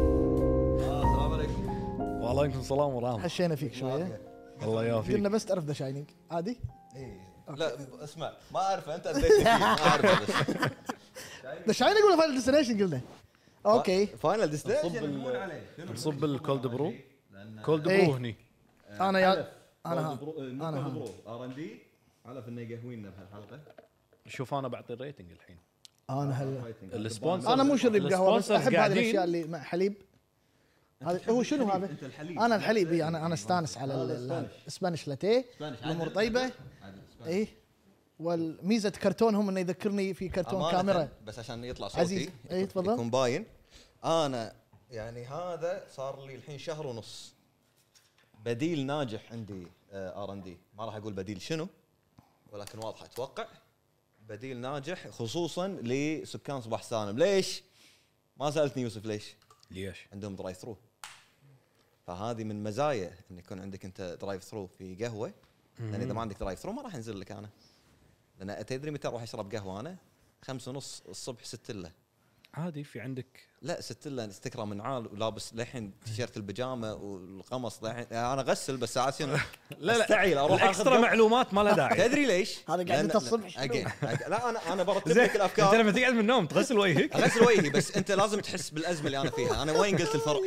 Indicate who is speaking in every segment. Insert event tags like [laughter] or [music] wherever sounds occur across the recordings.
Speaker 1: السلام
Speaker 2: إيه؟
Speaker 1: عليكم
Speaker 3: وعليكم السلام ورحمة
Speaker 2: حشينا فيك شويه
Speaker 3: الله يعافيك
Speaker 2: قلنا بس تعرف ذا شاينينج عادي إيه.
Speaker 1: لا ب- اسمع ما اعرف انت اديت
Speaker 2: [laughs]
Speaker 1: فيه إيه ما اعرف بس
Speaker 2: ذا شاينينج ولا فاينل ديستنيشن قلنا اوكي
Speaker 3: طيب.
Speaker 1: فاينل
Speaker 3: نصب ال-
Speaker 1: ديستنيشن
Speaker 3: نصب الكولد برو كولد برو
Speaker 2: إيه.
Speaker 3: هني
Speaker 2: انا يا
Speaker 1: طيب،
Speaker 2: انا ها.
Speaker 3: إيه،
Speaker 2: أنا
Speaker 4: انا
Speaker 2: هذا.
Speaker 4: برو ار ان دي علف انه يقهوينا بهالحلقه
Speaker 3: شوف انا بعطي الريتنج الحين
Speaker 2: انا
Speaker 1: طيب.
Speaker 2: هلا
Speaker 3: السبونسر
Speaker 2: انا مو شريب قهوه بس احب هذه
Speaker 3: قاعدين.
Speaker 2: الاشياء اللي مع حليب هذا هو شنو هذا؟
Speaker 4: انت الحليب
Speaker 2: انا الحليب إيه، انا انا استانس على ال- ال- الاسبانيش لاتيه
Speaker 4: إسبانيش.
Speaker 2: الامور طيبه
Speaker 4: عادل إسباني.
Speaker 2: اي والميزه كرتونهم انه يذكرني في كرتون كاميرا
Speaker 1: بس عشان يطلع
Speaker 2: عزيز.
Speaker 1: صوتي
Speaker 2: إيه، تفضل.
Speaker 1: يكون باين انا يعني هذا صار لي الحين شهر ونص بديل ناجح عندي آه، ار ان دي ما راح اقول بديل شنو ولكن واضح اتوقع بديل ناجح خصوصا لسكان صباح سالم ليش؟ ما سالتني يوسف ليش؟
Speaker 3: ليش؟
Speaker 1: عندهم درايف ثرو فهذه من مزايا ان يكون عندك انت درايف ثرو في قهوه لان اذا ما عندك درايف ثرو ما راح انزل لك انا لان تدري متى اروح اشرب قهوه انا؟ خمسة ونص الصبح ست الا
Speaker 3: عادي في عندك
Speaker 1: لا ست الا استكرة منعال ولابس للحين تيشيرت البيجامه والقمص للحين انا اغسل بس ساعات شنو
Speaker 3: [laughs] لا لا
Speaker 1: استعيل اروح اخذ
Speaker 3: الاكسترا
Speaker 1: قهوة.
Speaker 3: معلومات ما لها
Speaker 1: [laughs]
Speaker 3: داعي
Speaker 1: تدري ليش؟
Speaker 2: هذا قاعد
Speaker 1: لأن-
Speaker 2: أنت الصبح شنو؟
Speaker 1: Again. لا انا
Speaker 3: [laughs]
Speaker 1: انا برتب
Speaker 3: زين
Speaker 1: لك
Speaker 3: انت
Speaker 1: الافكار
Speaker 3: لما تقعد من النوم
Speaker 1: [laughs]
Speaker 3: تغسل وجهك
Speaker 1: غسل وجهي بس انت لازم تحس بالازمه اللي انا فيها انا وين قلت الفرق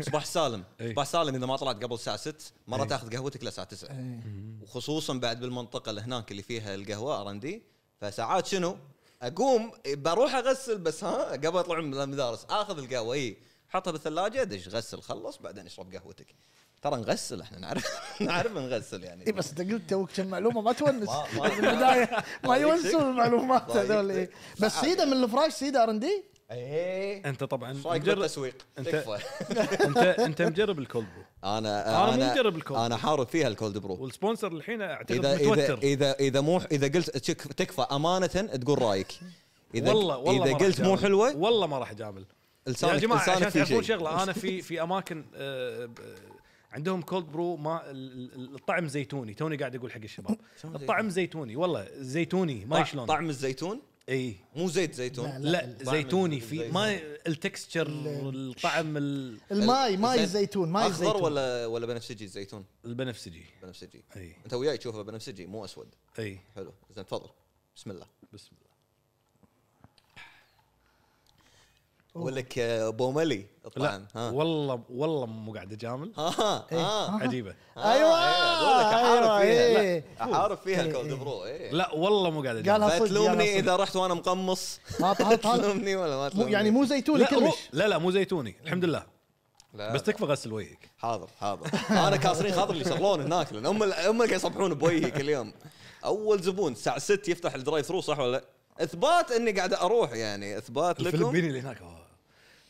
Speaker 1: صباح سالم
Speaker 3: إيه.
Speaker 1: صباح سالم اذا ما طلعت قبل الساعه 6 مره تاخذ قهوتك للساعه 9
Speaker 2: إيه.
Speaker 1: وخصوصا بعد بالمنطقه اللي هناك اللي فيها القهوه ار ان دي فساعات شنو اقوم بروح اغسل بس ها قبل اطلع من المدارس اخذ القهوه اي حطها بالثلاجه دش غسل خلص بعدين اشرب قهوتك ترى نغسل احنا نعرف [laughs] نعرف نغسل يعني
Speaker 3: إيه،
Speaker 2: اي إيه، بس انت قلت توك كم معلومه ما تونس
Speaker 1: ما-
Speaker 2: [laughs]
Speaker 1: ما-
Speaker 2: من البدايه ما
Speaker 1: ضايقتك.
Speaker 2: يونسون المعلومات
Speaker 1: ضايقتك.
Speaker 2: هذول إيه. بس سيده من الفراش سيده ار ان دي
Speaker 1: ايه
Speaker 3: انت طبعا
Speaker 1: ايش رايك
Speaker 3: مجرب [laughs]
Speaker 1: بالتسويق؟
Speaker 3: أنت-
Speaker 1: تكفى
Speaker 3: انت انت مجرب الكولد برو
Speaker 1: انا
Speaker 3: أنا مو مجرب الكولد.
Speaker 1: انا حارب فيها الكولد برو
Speaker 3: والسبونسر الحين اعتقد
Speaker 1: اذا اذا
Speaker 3: متوتر
Speaker 1: اذا اذا مو اذا قلت تك- تكفى امانه تقول رايك اذا
Speaker 3: والله والله ما
Speaker 1: اذا
Speaker 3: راح
Speaker 1: قلت مو
Speaker 3: أجامل.
Speaker 1: حلوه
Speaker 3: والله ما راح اجامل يا
Speaker 1: لسانك
Speaker 3: جماعه
Speaker 1: لسانك
Speaker 3: عشان
Speaker 1: في
Speaker 3: تعرفون
Speaker 1: شيء
Speaker 3: شغله انا في في اماكن آه، ب- عندهم كولد برو ما ال- ال- الطعم زيتوني توني قاعد اقول حق
Speaker 1: [laughs]
Speaker 3: الشباب الطعم زيتوني والله زيتوني ما
Speaker 1: طع-
Speaker 3: شلون
Speaker 1: طعم الزيتون
Speaker 3: اي
Speaker 1: مو زيت زيتون
Speaker 3: لا زيتوني في
Speaker 1: الزيتون.
Speaker 3: ما التكستشر الطعم ال-
Speaker 2: الماي ماي
Speaker 1: زين.
Speaker 2: الزيتون ماي
Speaker 1: اخضر
Speaker 2: الزيتون
Speaker 1: ولا ولا بنفسجي الزيتون
Speaker 3: البنفسجي
Speaker 1: بنفسجي
Speaker 3: اي
Speaker 1: انت وياي تشوفه بنفسجي مو اسود
Speaker 3: اي
Speaker 1: حلو زين تفضل بسم الله
Speaker 3: بسم الله
Speaker 1: اقول لك آه، بوملي الطعم
Speaker 3: لا
Speaker 1: ها
Speaker 3: والله والله مو قاعد اجامل
Speaker 1: ها ها
Speaker 2: إيه.
Speaker 1: ها
Speaker 3: عجيبه
Speaker 2: ايوه
Speaker 1: إيه، أقول لك احارب
Speaker 2: ايوه
Speaker 1: فيها لا،
Speaker 2: إيه.
Speaker 1: احارب فيها
Speaker 2: إيه،
Speaker 1: الكولد
Speaker 2: إيه.
Speaker 1: برو ايه
Speaker 3: لا والله مو قاعد اجامل
Speaker 2: قالها صدق،
Speaker 1: فتلومني
Speaker 2: يلا
Speaker 1: اذا رحت وانا مقمص
Speaker 2: ها طهت [laughs]
Speaker 1: [laughs]
Speaker 2: هذا
Speaker 1: تلومني ولا ما
Speaker 2: مو
Speaker 1: تلومني
Speaker 2: آه، يعني مو زيتوني
Speaker 3: لا مو
Speaker 2: كلش
Speaker 3: لا لا مو زيتوني الحمد لله
Speaker 1: لا.
Speaker 3: بس تكفى غسل وجهك
Speaker 1: حاضر [laughs] حاضر انا كاسرين خاطر اللي يشتغلون هناك لان هم هم اللي يصبحون بوجهي كل يوم اول زبون الساعه 6 يفتح الدرايف ثرو صح ولا لا؟ اثبات اني قاعد اروح يعني اثبات لكم
Speaker 3: الفلبيني اللي هناك آه،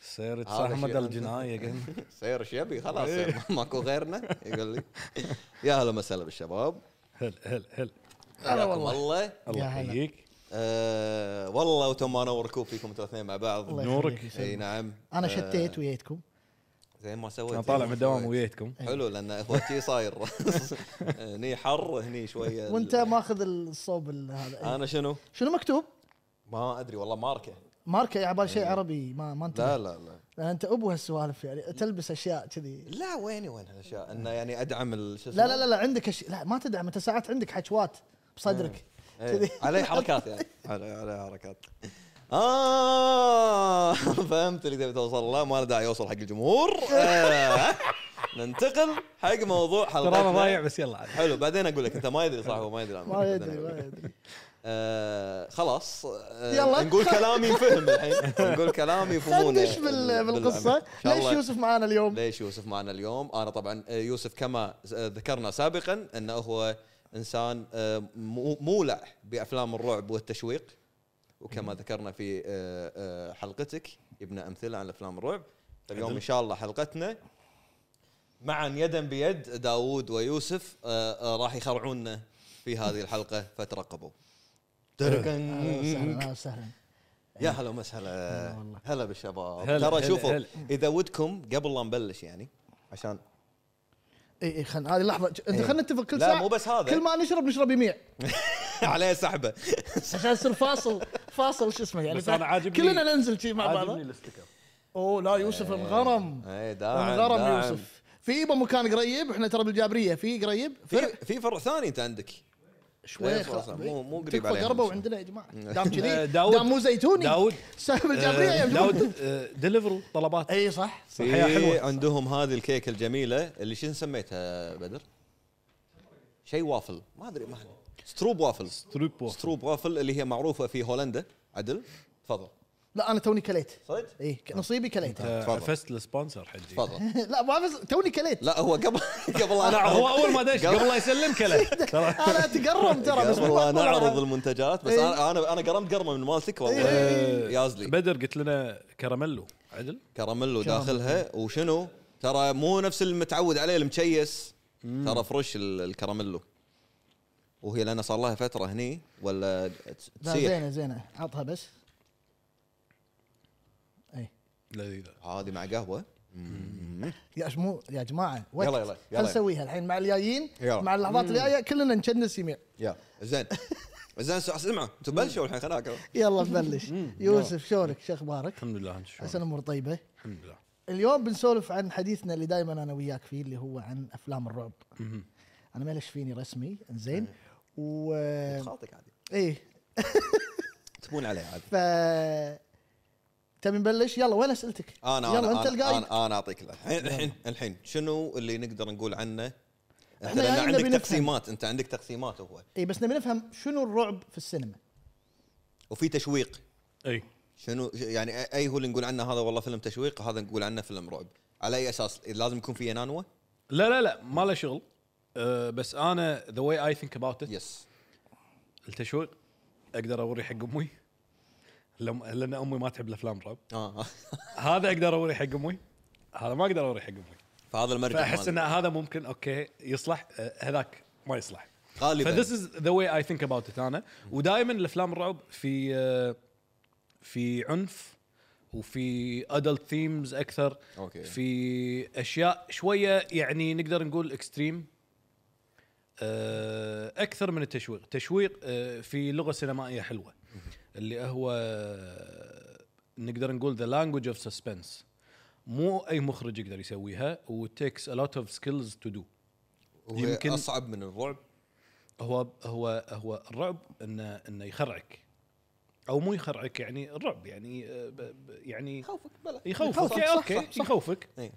Speaker 3: سيرة
Speaker 1: هذا شيء
Speaker 3: صحمة
Speaker 1: عندنا.
Speaker 3: الجناية
Speaker 1: [laughs] سير ايش يبي خلاص
Speaker 2: إيه.
Speaker 1: ماكو غيرنا يقول لي يا هلا وسهلا بالشباب
Speaker 3: هل هل هل
Speaker 2: هلا
Speaker 1: حياكم
Speaker 2: والله.
Speaker 1: الله
Speaker 3: الله
Speaker 2: يا هلا.
Speaker 3: يحييك
Speaker 1: آه، والله وتم ما انوركم فيكم انتوا الاثنين مع
Speaker 2: الله
Speaker 1: بعض
Speaker 2: يخليك.
Speaker 3: نورك.
Speaker 1: اي نعم
Speaker 2: انا
Speaker 1: آه،
Speaker 2: شتيت وياكم
Speaker 1: زين ما سويت
Speaker 3: انا طالع
Speaker 1: زين
Speaker 3: من
Speaker 1: ما
Speaker 3: الدوام
Speaker 1: سويت.
Speaker 3: وياكم
Speaker 2: إيه.
Speaker 1: حلو لان هو شي صاير
Speaker 2: [laughs]
Speaker 1: هني حر هني شويه ال- آه.
Speaker 2: وانت ماخذ الصوب ال- هذا إيه.
Speaker 1: انا شنو؟
Speaker 2: شنو مكتوب؟
Speaker 1: ما ادري والله ماركه
Speaker 2: ماركه على بالي شيء عربي ما ما انت
Speaker 1: لا لا آه. لا
Speaker 2: انت ابو هالسوالف يعني تلبس اشياء كذي
Speaker 1: لا ويني وين هالاشياء انه يعني ادعم ال- شو اسمه
Speaker 2: لا لا لا, لا عندك أشي... لا ما تدعم انت ساعات عندك حشوات بصدرك
Speaker 1: إيه.
Speaker 2: [laughs]
Speaker 1: عليه حركات يعني عليه عليه حركات اه [laughs] فهمت اللي تبي توصل له ما له داعي يوصل حق
Speaker 2: [laughs]
Speaker 1: الجمهور آه. ننتقل حق موضوع
Speaker 3: ترى انا ضايع
Speaker 1: حلقتنا
Speaker 3: بس يلا عاد.
Speaker 1: حلو بعدين اقول لك انت ما يدري صح هو ما يدري أنا.
Speaker 2: ما يدري
Speaker 1: [laughs]
Speaker 2: ما يدري
Speaker 1: آه خلاص آه
Speaker 2: يلا.
Speaker 1: نقول كلامي ينفهم الحين نقول كلامي يفهمونه
Speaker 2: خلينا بال... بالقصه
Speaker 1: إن شاء
Speaker 2: ليش
Speaker 1: الله-
Speaker 2: يوسف معانا اليوم؟
Speaker 1: ليش يوسف معنا اليوم انا طبعا آه، يوسف كما ز- آه، ذكرنا سابقا انه هو انسان آه، مو- مولع بافلام الرعب والتشويق وكما ذكرنا في آه، آه، حلقتك جبنا امثله عن افلام الرعب فاليوم ان شاء الله حلقتنا معا يدا بيد داوود ويوسف آه، آه، راح يخرعونا في هذه الحلقه فترقبوا
Speaker 2: أهلاً وسهلاً، أهلاً وسهلا
Speaker 1: يا هلا ومسهلا
Speaker 2: والله.
Speaker 1: هلا بالشباب
Speaker 3: هلا،
Speaker 1: ترى
Speaker 3: هلا،
Speaker 1: شوفوا
Speaker 3: هلا.
Speaker 1: اذا ودكم قبل لا نبلش يعني عشان [laughs]
Speaker 2: اي اي إيه، خلنا هذه لحظه انت خلينا نتفق كل
Speaker 1: إيه. لا،
Speaker 2: ساعه
Speaker 1: مو بس هذا.
Speaker 2: كل ما نشرب نشرب يميع
Speaker 1: عليه سحبه
Speaker 2: عشان يصير فاصل فاصل شو اسمه يعني
Speaker 3: بس أنا عاجبني-
Speaker 2: كلنا ننزل شي مع بعض
Speaker 3: عاجبني الاستيكر
Speaker 2: اوه لا يوسف انغرم
Speaker 1: اي إيه، داعم
Speaker 2: انغرم
Speaker 1: داعم.
Speaker 2: يوسف في يبا مكان قريب احنا ترى بالجابريه في قريب فرع
Speaker 1: في في فرع ثاني انت عندك
Speaker 2: شوي
Speaker 1: فرع أصلاً، مو- مو قريب
Speaker 2: تكفى
Speaker 1: علينا.
Speaker 2: قربوا عندنا يا جماعه دام
Speaker 3: آه،
Speaker 1: [laughs]
Speaker 2: كذي
Speaker 3: داود.
Speaker 2: دام مو زيتوني
Speaker 3: داود.
Speaker 2: ساهم الجابريه يا
Speaker 3: آه،
Speaker 2: جماعه
Speaker 3: داود آه، ديليفرو طلبات
Speaker 2: اي صح
Speaker 3: الحياة
Speaker 1: في
Speaker 3: حلوة.
Speaker 1: عندهم هذه الكيكه الجميله اللي شنو سميتها بدر؟ شيء وافل ما ادري ما أدري. ستروب وافل
Speaker 3: ستروب ووف.
Speaker 1: ستروب وافل اللي هي معروفه في هولندا عدل تفضل
Speaker 2: لا انا توني كليت
Speaker 1: صدق؟
Speaker 2: اي ك- نصيبي كليت
Speaker 3: آه،
Speaker 1: تفضل.
Speaker 3: عفست السبونسر حجي
Speaker 1: تفضل
Speaker 2: [laughs] لا ما بس توني كليت
Speaker 1: لا هو قبل [laughs] قبل ان
Speaker 3: انا هو
Speaker 1: اعرض
Speaker 3: اول ما دش قبل لا يسلمك له
Speaker 2: [laughs]
Speaker 3: ترى
Speaker 2: انا اتقرم ترى بس
Speaker 1: قبل ان
Speaker 2: والله
Speaker 1: اعرض
Speaker 2: أنا-
Speaker 1: المنتجات بس
Speaker 2: إيه.
Speaker 1: انا انا انا قرمت قرمه من مالتك والله يازلي
Speaker 3: بدر قلت لنا كراميلو عدل
Speaker 1: كراميلو داخلها وشنو؟ ترى مو نفس المتعود عليه المكيس ترى فرش ال- الكراميلو وهي لان صار لها فتره هني ولا تس-
Speaker 2: لا
Speaker 1: تسيح
Speaker 2: زينه زينه عطها بس اي
Speaker 3: لذيذه
Speaker 1: هذه مع قهوه
Speaker 2: يا إيش مو يا جماعه وقت.
Speaker 1: يلا، يلا، يلا.
Speaker 2: خل نسويها الحين مع الجايين
Speaker 1: يلا.
Speaker 2: مع اللحظات اللي جايه كلنا نشنس يمين
Speaker 1: يا زين زين اسمعوا انتم بلشوا الحين خلاك
Speaker 2: يلا نبلش [laughs] يوسف شلونك شو اخبارك؟
Speaker 3: الحمد لله انت
Speaker 2: عسى
Speaker 3: شلون؟
Speaker 2: الامور طيبه
Speaker 3: الحمد لله
Speaker 2: اليوم بنسولف عن حديثنا اللي دائما انا وياك فيه اللي هو عن افلام الرعب انا ما ليش فيني رسمي زين و
Speaker 1: خاطك عادي
Speaker 2: ايه
Speaker 1: تبون عليه عادي
Speaker 2: ف تبي نبلش يلا وين اسئلتك؟
Speaker 1: انا انا
Speaker 2: يلا انت
Speaker 1: انا
Speaker 2: القايد
Speaker 1: انا, أنا اعطيك له. الحين الحين الحين شنو اللي نقدر نقول عنه؟ انت
Speaker 2: إحنا
Speaker 1: لان
Speaker 2: يعني نبي
Speaker 1: عندك
Speaker 2: نفهم.
Speaker 1: تقسيمات انت عندك تقسيمات هو
Speaker 2: اي إيه، بس نبي نفهم شنو الرعب في السينما؟
Speaker 1: وفي تشويق
Speaker 3: اي
Speaker 1: شنو يعني أ- اي هو اللي نقول عنه هذا والله فيلم تشويق هذا نقول عنه فيلم رعب على اي اساس لازم يكون فيه نانوة
Speaker 3: لا لا لا ما له شغل أه بس انا ذا واي اي ثينك اباوت ات
Speaker 1: يس
Speaker 3: التشويق اقدر اوري حق امي لم- لان امي ما تحب الافلام رعب
Speaker 1: اه
Speaker 3: هذا اقدر اوري حق امي هذا ما اقدر اوري حق امي
Speaker 1: [laughs] فهذا المرجع
Speaker 3: فاحس ان
Speaker 1: مالي.
Speaker 3: هذا ممكن اوكي يصلح أه، هذاك ما يصلح
Speaker 1: غالبا
Speaker 3: فذس از ذا واي اي ثينك اباوت ات انا ودائما الافلام الرعب في آه، في عنف وفي ادلت ثيمز اكثر
Speaker 1: أوكي.
Speaker 3: في اشياء شويه يعني نقدر نقول اكستريم اكثر من التشويق تشويق آه، في لغه سينمائيه حلوه اللي هو آه، نقدر نقول ذا لانجوج اوف سسبنس مو اي مخرج يقدر يسويها وتيكس ا لوت اوف سكيلز تو دو
Speaker 1: يمكن
Speaker 3: يمكن-
Speaker 1: اصعب من الرعب
Speaker 3: هو هو هو الرعب انه انه يخرعك او مو يخرعك يعني الرعب يعني آه، ب- ب- يعني
Speaker 1: يخوفك بلا
Speaker 3: يخوفك
Speaker 1: صح،
Speaker 3: اوكي
Speaker 1: صح،
Speaker 3: اوكي
Speaker 1: صح، صح.
Speaker 3: يخوفك آه،
Speaker 1: إيه.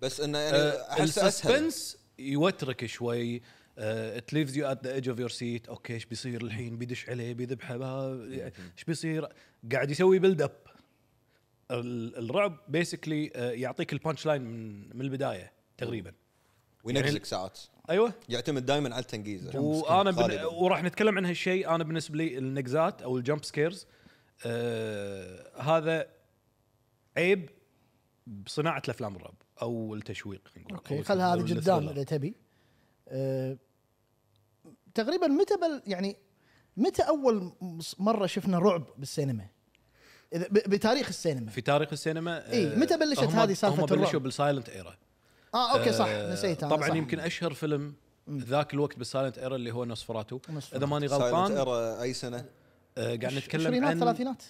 Speaker 1: بس انه يعني احس اسهل
Speaker 3: السسبنس يوترك شوي آه، ات ليفز يو ات ذا ايدج اوف يور سيت اوكي ايش بيصير الحين بيدش عليه بيذبحه با- ايش بيصير قاعد يسوي بيلد اب الرعب بيسكلي يعطيك البانش لاين من من البدايه تقريبا يعني-
Speaker 1: وينجزك ساعات
Speaker 3: ايوه
Speaker 1: يعتمد دائما على التنقيزه
Speaker 3: وانا بن...
Speaker 1: غالباً.
Speaker 3: وراح نتكلم عن هالشيء انا بالنسبه لي النقزات او الجمب سكيرز آه هذا عيب بصناعه الافلام الرعب او التشويق نقول.
Speaker 2: اوكي
Speaker 3: أو
Speaker 2: خل هذه
Speaker 3: الثريلر.
Speaker 2: قدام اذا تبي أه، تقريبا متى بل يعني متى اول مص- مره شفنا رعب بالسينما؟ اذا ب- بتاريخ السينما
Speaker 3: في تاريخ السينما آه،
Speaker 2: إي، متى بلشت
Speaker 3: هم-
Speaker 2: هذه سالفة
Speaker 3: هم بلشوا
Speaker 2: الرعب؟
Speaker 3: بالسايلنت ايرا
Speaker 2: اه اوكي صح نسيت انا
Speaker 3: طبعا
Speaker 2: صح.
Speaker 3: آه، يمكن اشهر فيلم ذاك الوقت بالسايلنت ايرا اللي هو نوسفراتو
Speaker 2: نوسفراتو.
Speaker 3: اذا ماني
Speaker 1: Silent
Speaker 3: غلطان
Speaker 1: Era اي سنه
Speaker 3: آه، قاعد نتكلم
Speaker 2: عشرينات
Speaker 3: عن
Speaker 2: ثلاثينات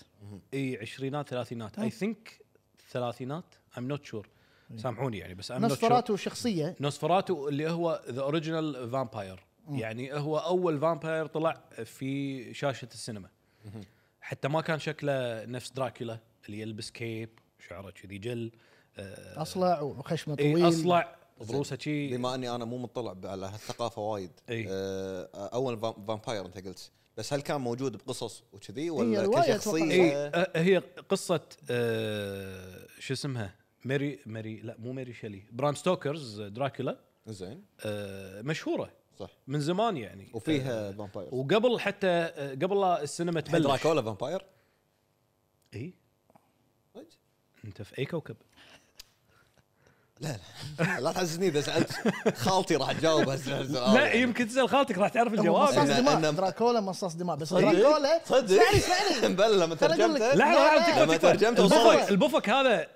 Speaker 3: اي عشرينات ثلاثينات
Speaker 2: مم.
Speaker 3: اي ثينك ثلاثينات ام نوت شور سامحوني يعني بس ام نوت شور
Speaker 2: نوسفراتو شخصيه
Speaker 3: نوسفراتو اللي هو ذا اوريجينال فامباير يعني هو اول فامباير طلع في شاشه السينما حتى ما كان شكله نفس دراكولا اللي يلبس كيب شعره كذي جل آه،
Speaker 2: اصلع وخشمه
Speaker 3: إيه،
Speaker 2: طويل
Speaker 3: اصلع ضروسه شي
Speaker 1: بما اني انا مو مطلع على هالثقافه وايد
Speaker 3: إي.
Speaker 1: آه، اول فام- فامباير انت قلت بس هل كان موجود بقصص وكذي ولا
Speaker 2: رواية
Speaker 3: اي
Speaker 1: كشخصيه
Speaker 3: آه، هي قصه آه، شو اسمها ماري ماري لا مو ماري شيلي برام ستوكرز آه، دراكولا
Speaker 1: زين
Speaker 3: آه، مشهوره
Speaker 1: صح
Speaker 3: من زمان يعني آه،
Speaker 1: وفيها فامباير
Speaker 3: وقبل حتى آه، قبل لا السينما تبلش
Speaker 1: دراكولا فامباير [laughs]
Speaker 3: اي انت في اي كوكب؟
Speaker 1: لا لا لا تحسسني اذا
Speaker 3: [laughs]
Speaker 1: سالت خالتي راح تجاوب هالسؤال
Speaker 3: لا يمكن تسال خالتك راح تعرف
Speaker 2: هو مصاص
Speaker 3: الجواب
Speaker 1: إن-
Speaker 2: دماء
Speaker 1: إن-
Speaker 2: دراكولا مصاص دماء بس
Speaker 1: صدق؟
Speaker 2: دراكولا
Speaker 1: صدق [laughs]
Speaker 2: اسمعني اسمعني
Speaker 1: بلى لما
Speaker 2: ترى أقول لك-
Speaker 1: ترجمته
Speaker 3: لحظه لحظه
Speaker 1: لما
Speaker 3: تكفى تكفى
Speaker 1: ترجمته
Speaker 3: البفك
Speaker 1: وصلت
Speaker 3: البفك هذا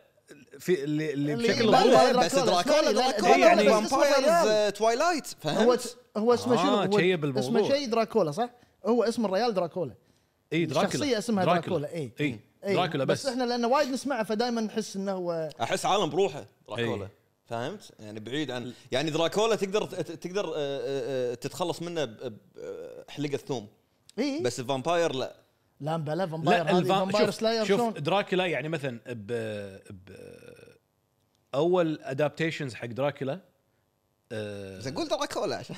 Speaker 3: في اللي, اللي
Speaker 2: اللي
Speaker 3: بشكل
Speaker 2: يبان
Speaker 3: غريب
Speaker 2: له.
Speaker 1: بس دراكولا
Speaker 3: إي، يعني
Speaker 1: دراكولا
Speaker 2: بس اسمه
Speaker 1: فامبايرز
Speaker 2: الريال.
Speaker 1: توايلايت
Speaker 2: هو
Speaker 1: فهمت؟
Speaker 2: هو اسمه
Speaker 3: آه،
Speaker 2: شنو هو
Speaker 3: شيب الموضوع.
Speaker 2: اسمه شيء دراكولا صح؟ هو اسم الريال دراكولا
Speaker 3: اي
Speaker 2: شخصية اسمها دراكولا، إي.
Speaker 3: اي
Speaker 2: إي،
Speaker 3: إيه، دراكولا
Speaker 2: بس
Speaker 3: بس.
Speaker 2: احنا لانه وايد نسمعه فدائما نحس انه هو
Speaker 1: احس عالم بروحه دراكولا
Speaker 3: إي.
Speaker 1: فهمت؟ يعني بعيد عن يعني دراكولا تقدر تقدر آه، آه، آه، تتخلص منه ب- بحلقه ثوم
Speaker 2: اي
Speaker 1: بس الفامباير لا
Speaker 2: إيه، لا بلا فامباير
Speaker 3: لا
Speaker 2: هذه
Speaker 3: الفام...
Speaker 2: فامباير
Speaker 3: شوف,
Speaker 2: سلاير شلون
Speaker 3: شوف دراكولا يعني مثلا ب... ب... اول ادابتيشنز حق دراكولا آه،
Speaker 1: زين قول دراكولا عشان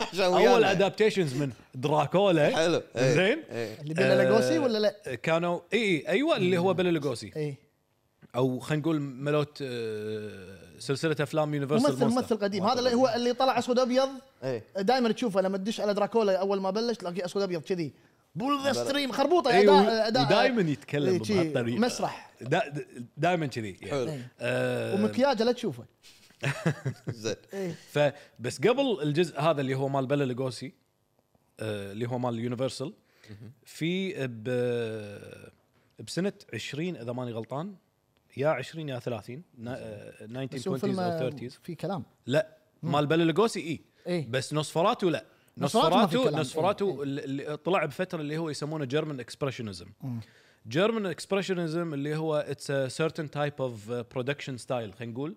Speaker 1: عشان
Speaker 3: اول
Speaker 1: ويانا.
Speaker 3: ادابتيشنز من دراكولا
Speaker 1: حلو إيه. إي.
Speaker 3: زين
Speaker 1: إي.
Speaker 2: اللي بيلاجوسي ولا لا؟ إيه.
Speaker 3: كانوا اي اي ايوه اللي هو بللوجوسي
Speaker 2: اي
Speaker 3: او خلينا نقول ملوت آه، سلسله افلام يونيفرسال
Speaker 2: ممثل ممثل قديم هذا اللي هو اللي طلع اسود ابيض
Speaker 1: إي.
Speaker 2: دائما تشوفه لما تدش على دراكولا اول ما بلش تلاقيه اسود ابيض كذي بول ذا ستريم خربوطه اداء اداء
Speaker 3: دائما
Speaker 2: إي،
Speaker 3: إيه، أيوه، يتكلم
Speaker 2: إيه، شي
Speaker 3: بهالطريقه
Speaker 2: مسرح
Speaker 3: دائما كذي يعني.
Speaker 1: حلو
Speaker 3: آه،
Speaker 2: ومكياجه لا تشوفه إيه.
Speaker 1: زين
Speaker 2: اي
Speaker 3: فبس قبل الجزء هذا اللي هو مال بلا لوغوسي آه، اللي هو مال يونيفرسال في ب بسنه 20 اذا ماني غلطان يا 20 يا 30 نا- آه،
Speaker 2: بس
Speaker 3: 1920s
Speaker 2: هو
Speaker 3: او
Speaker 2: فيلم
Speaker 3: 30s
Speaker 2: في كلام
Speaker 3: لا مال بلا لوغوسي اي
Speaker 2: اي
Speaker 3: بس نوسفراتو لا
Speaker 2: نوسفراتو إيه.
Speaker 3: نوسفراتو
Speaker 2: ما في كلام. إيه.
Speaker 3: نوسفراتو اللي- اللي طلع بفتره اللي هو يسمونه جيرمن اكسبرشنزم جيرمن اكسبرشنزم اللي هو اتس ا سيرتن تايب اوف برودكشن ستايل uh, خلينا نقول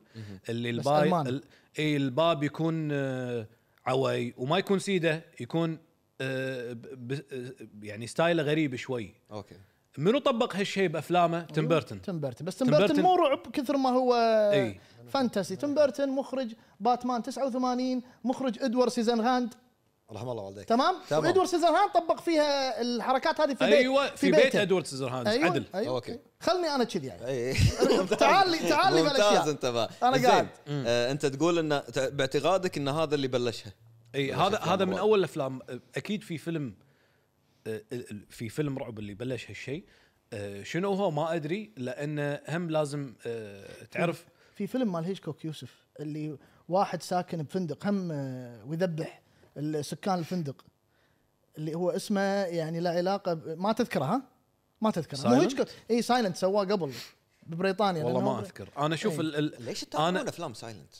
Speaker 3: اللي
Speaker 2: بس
Speaker 3: الباي
Speaker 2: ألمان.
Speaker 3: ال- اي الباب يكون آه، عوي وما يكون سيده يكون آه، ب- ب- آه، يعني ستايله غريب شوي
Speaker 1: اوكي
Speaker 3: منو طبق هالشيء بافلامه تيم بيرتون
Speaker 2: تيم بيرتون بس تيم
Speaker 3: تيم
Speaker 2: بيرتون
Speaker 3: بيرتون-
Speaker 2: مو رعب كثر ما هو
Speaker 3: إي.
Speaker 2: فانتسي تيم بيرتون مخرج باتمان 89 مخرج ادوارد سيزن هاند
Speaker 5: رحم الله والديك
Speaker 2: تمام,
Speaker 5: تمام.
Speaker 2: وادوارد سيزن هاند طبق فيها الحركات هذه في بيت
Speaker 3: ايوه في بيت
Speaker 2: بيته.
Speaker 3: ادوارد سيزر هاندز
Speaker 2: أيوة
Speaker 3: عدل
Speaker 2: أيوة
Speaker 5: أوكي.
Speaker 2: خلني انا
Speaker 3: [laughs]
Speaker 2: كذي يعني
Speaker 1: اي
Speaker 2: تعال لي- [laughs] تعال لي
Speaker 1: إيه. ممتاز
Speaker 2: بالأشياء.
Speaker 1: انت بقى
Speaker 2: أنا
Speaker 1: زين.
Speaker 2: قاعد.
Speaker 1: آه، انت تقول ان تع- باعتقادك ان هذا اللي بلشها
Speaker 3: اي
Speaker 1: بلش
Speaker 3: إيه، هذا
Speaker 1: أفلام
Speaker 3: هذا من
Speaker 1: رعب.
Speaker 3: اول الافلام اكيد في فيلم آه، ال- ال- في فيلم رعب اللي بلش هالشيء آه، شنو هو ما ادري لانه هم لازم آه، تعرف
Speaker 2: في فيلم مال هيشكوك يوسف اللي واحد ساكن بفندق هم آه، ويذبح سكان الفندق اللي هو اسمه يعني لا علاقه ب- ما تذكره ها؟ ما تذكره مو
Speaker 3: Silent؟
Speaker 2: هيشكوك اي سايلنت سواه قبل ببريطانيا
Speaker 3: والله
Speaker 2: لأنه
Speaker 3: ما
Speaker 2: يعني هو-
Speaker 3: اذكر انا اشوف
Speaker 2: إيه.
Speaker 3: ال- ال-
Speaker 1: ليش تتابعون
Speaker 3: انا
Speaker 1: افلام سايلنت؟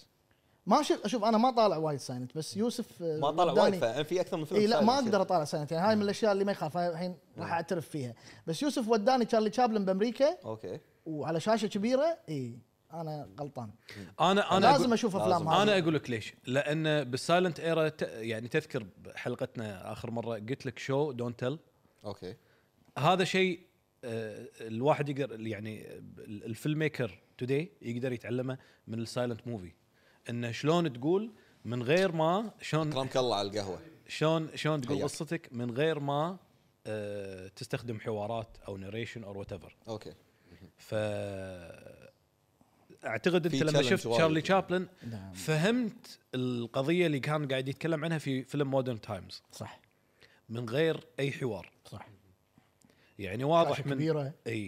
Speaker 2: ما شوف شوف انا ما طالع وايد سايلنت بس يوسف آه،
Speaker 1: ما طلع
Speaker 2: وداني-
Speaker 1: وايد فعلاً في اكثر من فيلم
Speaker 2: اي إيه، لا ما
Speaker 1: silent.
Speaker 2: اقدر اطالع سايلنت يعني هاي من الاشياء اللي ما يخافها الحين راح اعترف فيها بس يوسف وداني تشارلي تشابلن بامريكا
Speaker 1: اوكي
Speaker 2: وعلى شاشه كبيره اي انا غلطان
Speaker 3: انا انا
Speaker 2: لازم
Speaker 3: أقول-
Speaker 2: اشوف افلام هذه
Speaker 3: انا اقول لك ليش لان بالسايلنت ايرا ت- يعني تذكر حلقتنا اخر مره قلت لك شو دونت تيل
Speaker 1: اوكي
Speaker 3: هذا شيء آه، الواحد يقدر يعني ال- الفيلم ميكر توداي يقدر يتعلمه من السايلنت موفي انه شلون تقول من غير ما شلون
Speaker 1: اكرمك الله على القهوه
Speaker 3: شلون شلون تقول
Speaker 1: حياك.
Speaker 3: قصتك من غير ما آه، تستخدم حوارات او نريشن او وات ايفر
Speaker 1: اوكي
Speaker 3: ف اعتقد
Speaker 1: في
Speaker 3: انت لما
Speaker 1: challenge
Speaker 3: شفت
Speaker 1: وايد.
Speaker 3: شارلي تشابلن
Speaker 2: نعم.
Speaker 3: فهمت القضيه اللي كان قاعد يتكلم عنها في فيلم مودرن تايمز
Speaker 2: صح
Speaker 3: من غير اي حوار
Speaker 2: صح
Speaker 3: يعني واضح
Speaker 2: شاشة
Speaker 3: من
Speaker 2: كبيرة.
Speaker 3: اي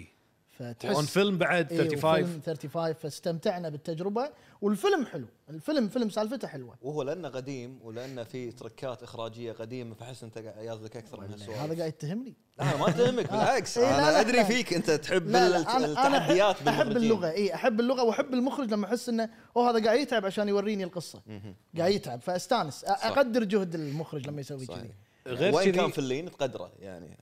Speaker 3: اون
Speaker 2: فتحس
Speaker 3: فيلم بعد
Speaker 2: إيه،
Speaker 3: 35
Speaker 2: وفيلم 35 فاستمتعنا بالتجربه والفيلم حلو الفيلم فيلم سالفته حلوه
Speaker 1: وهو لانه قديم ولانه في تركات اخراجيه قديمه فحس انت قاعد ياخذك اكثر من
Speaker 2: هذا
Speaker 1: هالسوالف
Speaker 2: قاعد يتهمني
Speaker 1: لا ما
Speaker 2: [laughs]
Speaker 1: تهمك بالعكس
Speaker 2: إيه، لا، لا،
Speaker 1: انا ادري
Speaker 2: لا.
Speaker 1: فيك انت تحب
Speaker 2: لا
Speaker 1: الت-
Speaker 2: لا انا انا
Speaker 1: التحديات
Speaker 2: أحب- إيه، احب
Speaker 1: بالمخرجين.
Speaker 2: اللغه اي احب اللغه واحب المخرج لما احس انه اوه هذا قاعد يتعب عشان يوريني القصه قاعد يتعب فاستانس أ- اقدر جهد المخرج لما يسوي
Speaker 1: صحيح
Speaker 2: كذي
Speaker 3: غير
Speaker 1: وين
Speaker 3: كذي-
Speaker 1: كان في اللين تقدره
Speaker 2: [laughs]
Speaker 1: يعني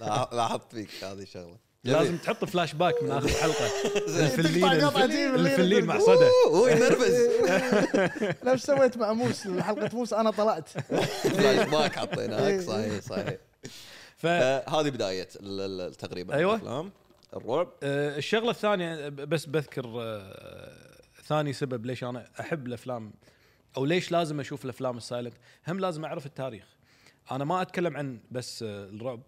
Speaker 1: لا- لاحظت فيك هذه الشغله
Speaker 3: لازم تحط فلاش باك من اخر حلقه الفلين
Speaker 2: تقطع قطعة جيب اللين
Speaker 3: الفلين مع
Speaker 2: يقول،
Speaker 3: صدى
Speaker 1: أوه، هو
Speaker 2: [laughs]
Speaker 1: ينرفز
Speaker 2: إيه. نفس سويت مع موس حلقه موس انا طلعت
Speaker 1: فلاش باك طيب،
Speaker 2: إيه.
Speaker 1: حطيناك صحيح صحيح
Speaker 3: ف
Speaker 1: آه، هذه بدايه ال- ال- تقريبا
Speaker 3: أيوة.
Speaker 1: الافلام الرعب
Speaker 3: آه، الشغله الثانيه بس بذكر آه، ثاني سبب ليش انا احب الافلام او ليش لازم اشوف الافلام السايلنت هم لازم اعرف التاريخ انا ما اتكلم عن بس آه، الرعب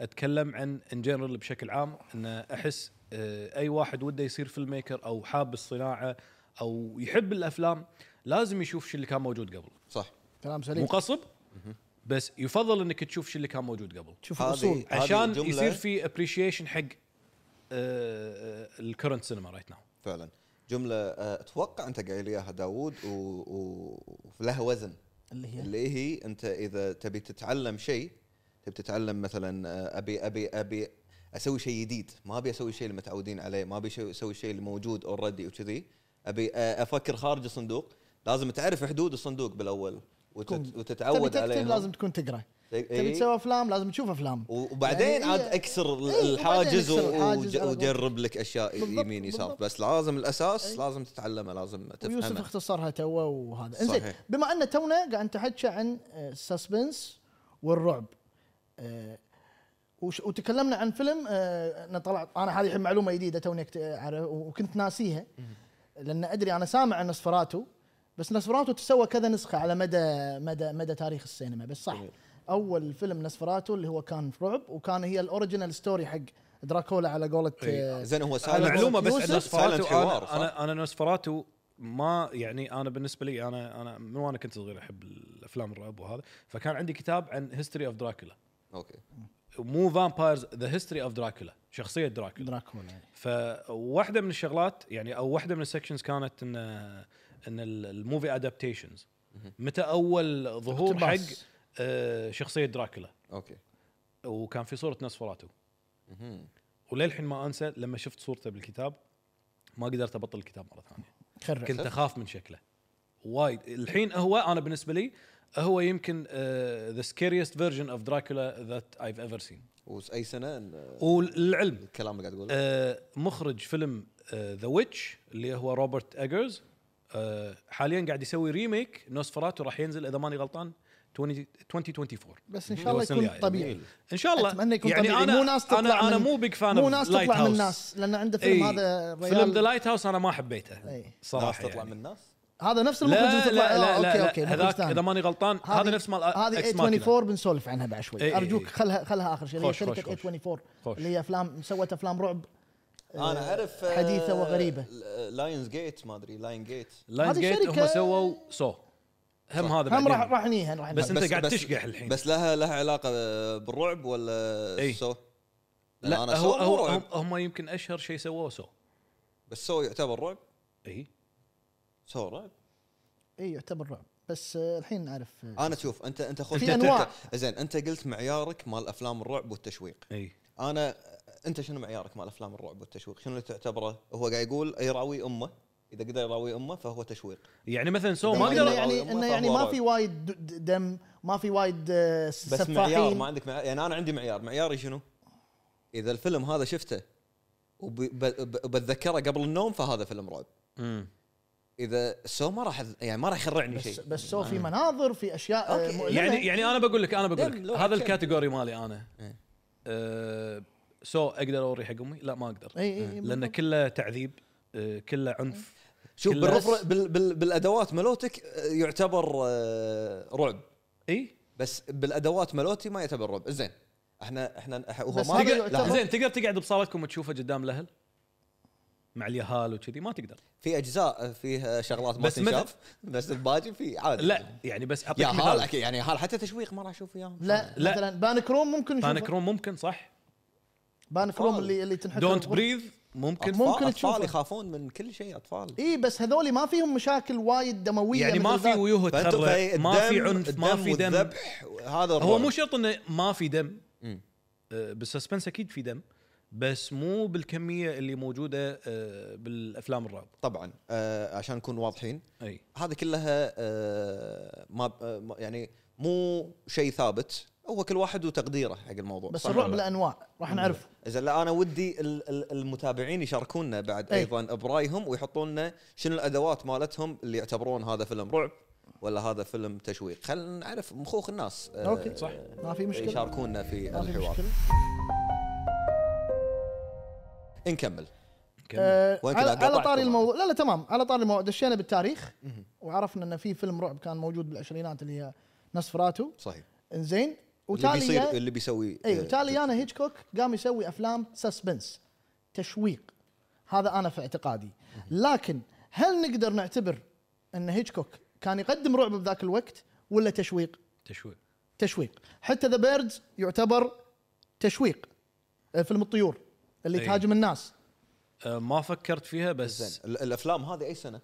Speaker 3: اتكلم عن ان جنرال بشكل عام ان احس آه، اي واحد وده يصير فيلم ميكر او حاب الصناعه او يحب الافلام لازم يشوف شو اللي كان موجود قبل
Speaker 1: صح
Speaker 2: كلام
Speaker 3: مو
Speaker 2: سليم
Speaker 3: قصب بس يفضل انك تشوف شو اللي كان موجود قبل
Speaker 2: تشوف
Speaker 1: هذه-
Speaker 2: الاصول
Speaker 1: هذه
Speaker 3: عشان
Speaker 1: الجملة-
Speaker 3: يصير في ابريشيشن حق آه، الكرنت سينما رايت ناو
Speaker 1: فعلا جمله آه، اتوقع انت قايل اياها داوود و- و- ولها وزن
Speaker 2: اللي هي
Speaker 1: اللي هي انت اذا تبي تتعلم شيء تبي تتعلم مثلا آه، ابي ابي ابي اسوي شيء جديد ما ابي اسوي شيء اللي متعودين عليه ما ابي شي- اسوي شيء اللي موجود اوريدي وكذي ابي آه، افكر خارج الصندوق لازم تعرف حدود الصندوق بالاول وتت-
Speaker 2: تكون-
Speaker 1: وتتعود
Speaker 2: تبي تكتب
Speaker 1: عليهم
Speaker 2: لازم تكون تقرا
Speaker 1: إيه.
Speaker 2: تبي تسوي افلام لازم تشوف افلام
Speaker 1: وبعدين
Speaker 2: يعني
Speaker 1: عاد
Speaker 2: إيه.
Speaker 1: اكسر ال-
Speaker 2: إيه، وبعدين
Speaker 1: الحاجز
Speaker 2: أكسر الحاجز
Speaker 1: وج-
Speaker 2: على
Speaker 1: وجرب لك اشياء
Speaker 2: بالضبط،
Speaker 1: يمين يسار
Speaker 2: بالضبط.
Speaker 1: بس لازم الاساس
Speaker 2: إيه.
Speaker 1: لازم تتعلمه لازم
Speaker 2: ويوسف
Speaker 1: تفهمه
Speaker 2: اختصرها توه وهذا انزين
Speaker 1: صحيح.
Speaker 2: بما ان تونا قاعد نتحكى عن آه، السسبنس والرعب آه، وش- وتكلمنا عن فيلم آه، انا طلعت انا هذه الحين معلومه جديده توني أكت- أعرف- وكنت ناسيها لان ادري انا سامع عن نصفراتو بس نصفراتو تسوى كذا نسخه على مدى مدى مدى تاريخ السينما بس صح
Speaker 1: جميل.
Speaker 2: اول فيلم نصفراتو اللي هو كان رعب وكان هي الاوريجينال ستوري حق دراكولا على قولة
Speaker 3: إي.
Speaker 2: آه،
Speaker 1: زين هو
Speaker 2: على
Speaker 1: سايلنت
Speaker 3: معلومه بس
Speaker 2: يوسف؟
Speaker 3: عن نسفراتو
Speaker 1: سايلنت حوار
Speaker 3: انا
Speaker 1: صح؟
Speaker 3: انا, أنا نسفراتو ما يعني انا بالنسبه لي انا انا من وانا كنت صغير احب الافلام الرعب وهذا فكان عندي كتاب عن هيستوري اوف دراكولا
Speaker 1: اوكي
Speaker 3: مو فامبايرز ذا هيستوري اوف دراكولا شخصيه دراكولا
Speaker 2: دراكولا
Speaker 3: فواحده من الشغلات يعني او واحده من السكشنز كانت ان ان ال- الموفي ادابتيشنز متى اول ظهور حق
Speaker 2: اقتباس.
Speaker 3: آه، شخصيه دراكولا
Speaker 1: اوكي
Speaker 3: وكان في صوره نسفراتو
Speaker 1: مهم.
Speaker 3: وللحين ما انسى لما شفت صورته بالكتاب ما قدرت ابطل الكتاب مره ثانيه
Speaker 2: خرع
Speaker 3: كنت اخاف من شكله وايد الحين هو انا بالنسبه لي هو يمكن آه، ذا سكيريست فيرجن اوف دراكولا ذات ايف ايفر سين
Speaker 1: واي سنه ال-
Speaker 3: وللعلم
Speaker 1: الكلام اللي قاعد
Speaker 2: إيه،
Speaker 1: تقوله
Speaker 3: آه، مخرج فيلم ذا ويتش اللي هو روبرت اجرز آه، حاليا قاعد يسوي ريميك نوسفراتو راح ينزل اذا ماني غلطان 20 2024
Speaker 2: بس ان
Speaker 3: هو
Speaker 2: شاء الله
Speaker 3: السنة
Speaker 2: يكون
Speaker 3: الجاية.
Speaker 2: طبيعي
Speaker 3: ان يعني. شاء الله
Speaker 2: أتمنى يكون
Speaker 3: يعني
Speaker 2: طبيعي.
Speaker 3: انا
Speaker 2: مو ناس تطلع
Speaker 3: انا انا
Speaker 2: من-
Speaker 3: مو بيج فان
Speaker 2: مو ناس تطلع من
Speaker 3: الناس
Speaker 2: الناس لان عنده فيلم هذا
Speaker 3: فيلم
Speaker 2: ريال-
Speaker 3: ذا لايت هاوس انا ما حبيته
Speaker 2: إي.
Speaker 1: ناس
Speaker 3: صراحه
Speaker 1: تطلع
Speaker 3: يعني.
Speaker 1: من الناس
Speaker 2: هذا نفس المخرج اللي
Speaker 3: لا لا
Speaker 2: تطلع
Speaker 3: لا,
Speaker 2: آه،
Speaker 3: لا,
Speaker 2: اوكي
Speaker 3: لا
Speaker 2: اوكي مخرج
Speaker 3: هذاك
Speaker 2: ثاني.
Speaker 3: اذا ماني غلطان هذا
Speaker 2: هذه-
Speaker 3: نفس مال
Speaker 2: هذه
Speaker 3: اكس ماكينة.
Speaker 2: 24 بنسولف عنها بعد شوي
Speaker 3: إي، إي،
Speaker 2: ارجوك
Speaker 3: إي.
Speaker 2: خلها خلها اخر شيء هي
Speaker 3: خوش،
Speaker 2: شركه
Speaker 3: خوش، خوش.
Speaker 2: 24
Speaker 3: خوش.
Speaker 2: اللي هي افلام سوت افلام رعب آه،
Speaker 1: انا اعرف
Speaker 2: حديثه وغريبة.
Speaker 1: لاينز جيت ما ادري لاين جيت
Speaker 3: لاينز
Speaker 2: هذه
Speaker 3: جيت هم
Speaker 2: شركة-
Speaker 3: سووا سو هم هذا
Speaker 2: هم راح
Speaker 3: بعدين.
Speaker 2: راح نيها راح
Speaker 3: بس
Speaker 2: نيها.
Speaker 3: أنت قاعد تشقح الحين.
Speaker 1: بس لها لها علاقه بالرعب ولا
Speaker 2: إيه.
Speaker 3: إي.
Speaker 1: سو؟ لأن
Speaker 3: لا
Speaker 1: أنا
Speaker 3: هو
Speaker 1: سو مو
Speaker 3: هو
Speaker 1: رعب
Speaker 3: هم- هم يمكن اشهر شيء سووه سو
Speaker 1: بس سو يعتبر رعب
Speaker 3: اي
Speaker 1: سو رعب
Speaker 2: اي يعتبر رعب بس آه، الحين نعرف آه،
Speaker 1: انا شوف انت انت خذ
Speaker 2: في أنواع.
Speaker 1: زين انت قلت معيارك مال افلام الرعب والتشويق
Speaker 3: اي
Speaker 1: انا انت شنو معيارك مال افلام الرعب والتشويق شنو اللي تعتبره هو قاعد يقول يراوي امه اذا قدر يراوي امه فهو تشويق
Speaker 3: يعني مثلا سو ما
Speaker 2: إنه
Speaker 1: قدروا-
Speaker 3: اقدر
Speaker 2: يعني
Speaker 1: ما
Speaker 2: انه يعني
Speaker 1: فهموا
Speaker 2: ما
Speaker 1: رعب.
Speaker 2: في وايد د- د- دم ما في وايد آه، س-
Speaker 1: بس معيار ما
Speaker 2: سفاحين
Speaker 1: عندك معيار يعني انا عندي معيار معياري شنو؟ اذا الفيلم هذا شفته وبتذكره قبل النوم فهذا فيلم رعب
Speaker 3: مم.
Speaker 1: اذا سو ما راح أذ- يعني ما راح يخرعني
Speaker 2: بس
Speaker 1: شيء
Speaker 2: بس سو في مناظر في اشياء آه،
Speaker 1: أوكي.
Speaker 2: مؤلمة.
Speaker 3: يعني يعني انا بقول لك انا بقول
Speaker 1: دم، لو
Speaker 3: لك هذا
Speaker 1: أكشن.
Speaker 3: الكاتيجوري مالي انا
Speaker 1: إيه.
Speaker 3: أه، سو اقدر اوري حق امي لا ما اقدر
Speaker 2: اي اي
Speaker 3: لان كله تعذيب أه، كله عنف
Speaker 1: شوف
Speaker 3: كل
Speaker 1: بالرفر
Speaker 3: بس-
Speaker 1: بال بال بالادوات ملوتك آه، يعتبر آه، رعب
Speaker 3: اي
Speaker 1: بس بالادوات ملوتي ما يعتبر رعب زين احنا احنا إح- هو
Speaker 2: بس
Speaker 1: ما
Speaker 2: هذا
Speaker 1: لحظة.
Speaker 2: يعتبر-
Speaker 3: زين تقدر تقعد بصالتكم وتشوفه قدام الاهل مع اليهال وكذي ما تقدر
Speaker 1: في اجزاء فيها شغلات ما
Speaker 3: بس
Speaker 1: تنشاف بس الباجي في عادي
Speaker 3: لا يعني بس اعطيك
Speaker 1: يا هال
Speaker 3: مثال
Speaker 1: أكيد، يعني هال حتى تشويق ما راح اشوف وياهم
Speaker 2: لا,
Speaker 3: لا.
Speaker 2: مثلا بانك روم ممكن نشوفه
Speaker 3: بانك روم ممكن صح
Speaker 2: بانك
Speaker 3: Oh.
Speaker 2: روم اللي اللي تنحط
Speaker 3: دونت بريذ ممكن
Speaker 1: أطفال-
Speaker 2: ممكن
Speaker 1: اطفال
Speaker 2: تشوفه.
Speaker 1: يخافون من كل شيء اطفال
Speaker 3: إيه.
Speaker 2: اي بس هذول ما فيهم مشاكل وايد دمويه
Speaker 3: يعني ما
Speaker 2: مثل
Speaker 3: في
Speaker 2: ذاك.
Speaker 3: ويوه
Speaker 1: فأنت-
Speaker 3: تخرع
Speaker 1: فالدم-
Speaker 3: ما في عنف ما
Speaker 1: الدم
Speaker 3: في دم
Speaker 1: والذبح هذا
Speaker 3: هو
Speaker 1: الرعب.
Speaker 3: مو شرط انه ما في دم
Speaker 1: مم.
Speaker 3: آه، بالسسبنس اكيد في دم بس مو بالكميه اللي موجوده آه، بالافلام الرعب
Speaker 1: طبعا آه عشان نكون واضحين
Speaker 3: اي
Speaker 1: هذه كلها آه ما آه ما- يعني مو شيء ثابت هو كل واحد وتقديره حق الموضوع
Speaker 2: بس
Speaker 1: صح
Speaker 2: الرعب
Speaker 1: ولا لا؟
Speaker 2: لانواع راح نعرفه
Speaker 1: اذا لا انا ودي ال- ال- المتابعين يشاركونا بعد
Speaker 2: أي.
Speaker 1: ايضا برايهم ويحطون لنا شنو الادوات مالتهم اللي يعتبرون هذا فيلم رعب ولا هذا فيلم تشويق خلينا نعرف مخوخ الناس آه،
Speaker 2: أوكي.
Speaker 3: صح.
Speaker 2: ما في مشكله
Speaker 1: يشاركونا في
Speaker 2: ما في
Speaker 1: الحوار
Speaker 2: مشكله
Speaker 1: نكمل
Speaker 3: كمل.
Speaker 2: آه
Speaker 1: وين
Speaker 2: على,
Speaker 1: كذا قطعت
Speaker 2: على طاري
Speaker 1: طبعاً.
Speaker 2: الموضوع لا لا تمام على طاري الموضوع دشينا بالتاريخ وعرفنا ان في فيلم رعب كان موجود بالعشرينات اللي هي نصفراتو
Speaker 1: صحيح
Speaker 2: انزين
Speaker 1: اللي بيصير
Speaker 2: وتالي
Speaker 1: اللي بيسوي
Speaker 2: ايوه
Speaker 1: آه،
Speaker 2: تالي يانا هيتشكوك قام يسوي افلام سسبنس تشويق هذا انا في اعتقادي لكن هل نقدر نعتبر ان هيتشكوك كان يقدم رعب بذاك الوقت ولا تشويق؟
Speaker 3: تشويق
Speaker 2: تشويق حتى ذا بيردز يعتبر تشويق آه، فيلم الطيور اللي
Speaker 1: إيه.
Speaker 3: أي.
Speaker 2: تهاجم الناس
Speaker 3: آه، ما فكرت فيها بس
Speaker 1: زين ال- الافلام هذه اي سنه؟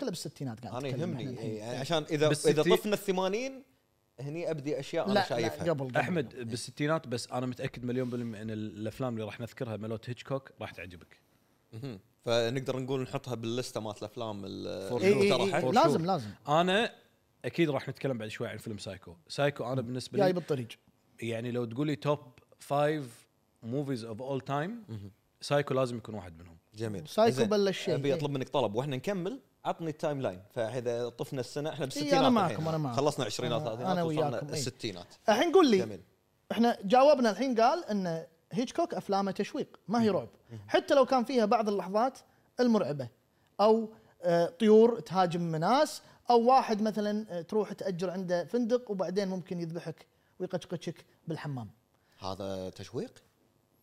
Speaker 2: كلها بالستينات قاعد
Speaker 1: انا
Speaker 2: نتكلم إحنا
Speaker 1: يهمني
Speaker 2: الحين.
Speaker 1: يعني عشان اذا
Speaker 3: بس
Speaker 1: اذا
Speaker 3: ستي-
Speaker 1: طفنا الثمانين هني ابدي اشياء انا
Speaker 2: لا, لا
Speaker 1: شايفها
Speaker 2: قبل قبل.
Speaker 1: إيه.
Speaker 3: احمد بالستينات بس انا متاكد مليون بالمئه ان ال- الافلام اللي راح نذكرها ملوت هيتشكوك راح تعجبك
Speaker 1: مهم. فنقدر نقول نحطها باللسته مالت الافلام ال-
Speaker 3: For
Speaker 2: إي-
Speaker 1: اللي
Speaker 2: إي- إي-
Speaker 1: اقترحت.
Speaker 3: for sure.
Speaker 2: إيه، لازم لازم
Speaker 3: انا اكيد راح نتكلم بعد شوي عن فيلم سايكو سايكو انا بالنسبه
Speaker 2: جاي
Speaker 3: لي
Speaker 2: بالطريق
Speaker 3: يعني لو تقول لي توب فايف موفيز اوف اول تايم سايكو لازم يكون واحد منهم
Speaker 1: جميل
Speaker 2: سايكو
Speaker 1: زين.
Speaker 2: بلش شيء
Speaker 1: ابي
Speaker 2: إيه.
Speaker 1: اطلب منك طلب واحنا نكمل عطني التايم لاين فاذا طفنا السنه احنا بالستينات
Speaker 2: إيه، أنا معكم،
Speaker 1: الحين.
Speaker 2: أنا معكم.
Speaker 1: خلصنا عشرينات
Speaker 2: أنا-
Speaker 1: ثلاثينات
Speaker 2: أنا
Speaker 1: وصلنا
Speaker 2: وياكم، إيه.
Speaker 1: الستينات
Speaker 2: الحين قول لي
Speaker 1: جميل
Speaker 2: احنا جاوبنا الحين قال ان هيتشكوك افلامه تشويق ما هي رعب حتى لو كان فيها بعض اللحظات المرعبه او آه، طيور تهاجم ناس او واحد مثلا آه، تروح تاجر عنده فندق وبعدين ممكن يذبحك ويقشقشك بالحمام
Speaker 1: هذا تشويق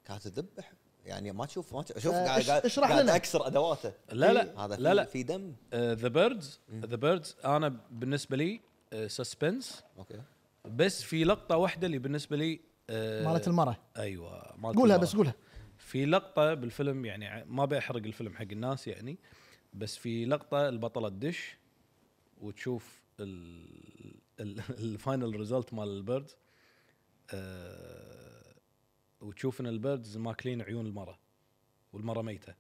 Speaker 1: كانت تذبح يعني ما تشوف ما تشوف شوف
Speaker 2: آه،
Speaker 1: قاعد
Speaker 2: إش-
Speaker 1: قاعد-
Speaker 2: اشرح
Speaker 1: قاعد
Speaker 2: لنا.
Speaker 1: اكسر ادواته
Speaker 3: لا لا
Speaker 1: هذا في
Speaker 3: لا لا
Speaker 1: في دم
Speaker 3: ذا بيردز ذا بيردز انا بالنسبه لي سسبنس
Speaker 1: اوكي
Speaker 3: بس في لقطه واحده اللي بالنسبه لي آه،
Speaker 2: مالت المراه
Speaker 3: ايوه مالت
Speaker 2: قولها
Speaker 3: المرأة.
Speaker 2: بس قولها
Speaker 3: في لقطه بالفيلم يعني ع- ما بحرق الفيلم حق الناس يعني بس في لقطه البطله تدش وتشوف الفاينل ريزلت مال البيرد آه وتشوف ان البيردز ماكلين عيون المراه والمراه ميته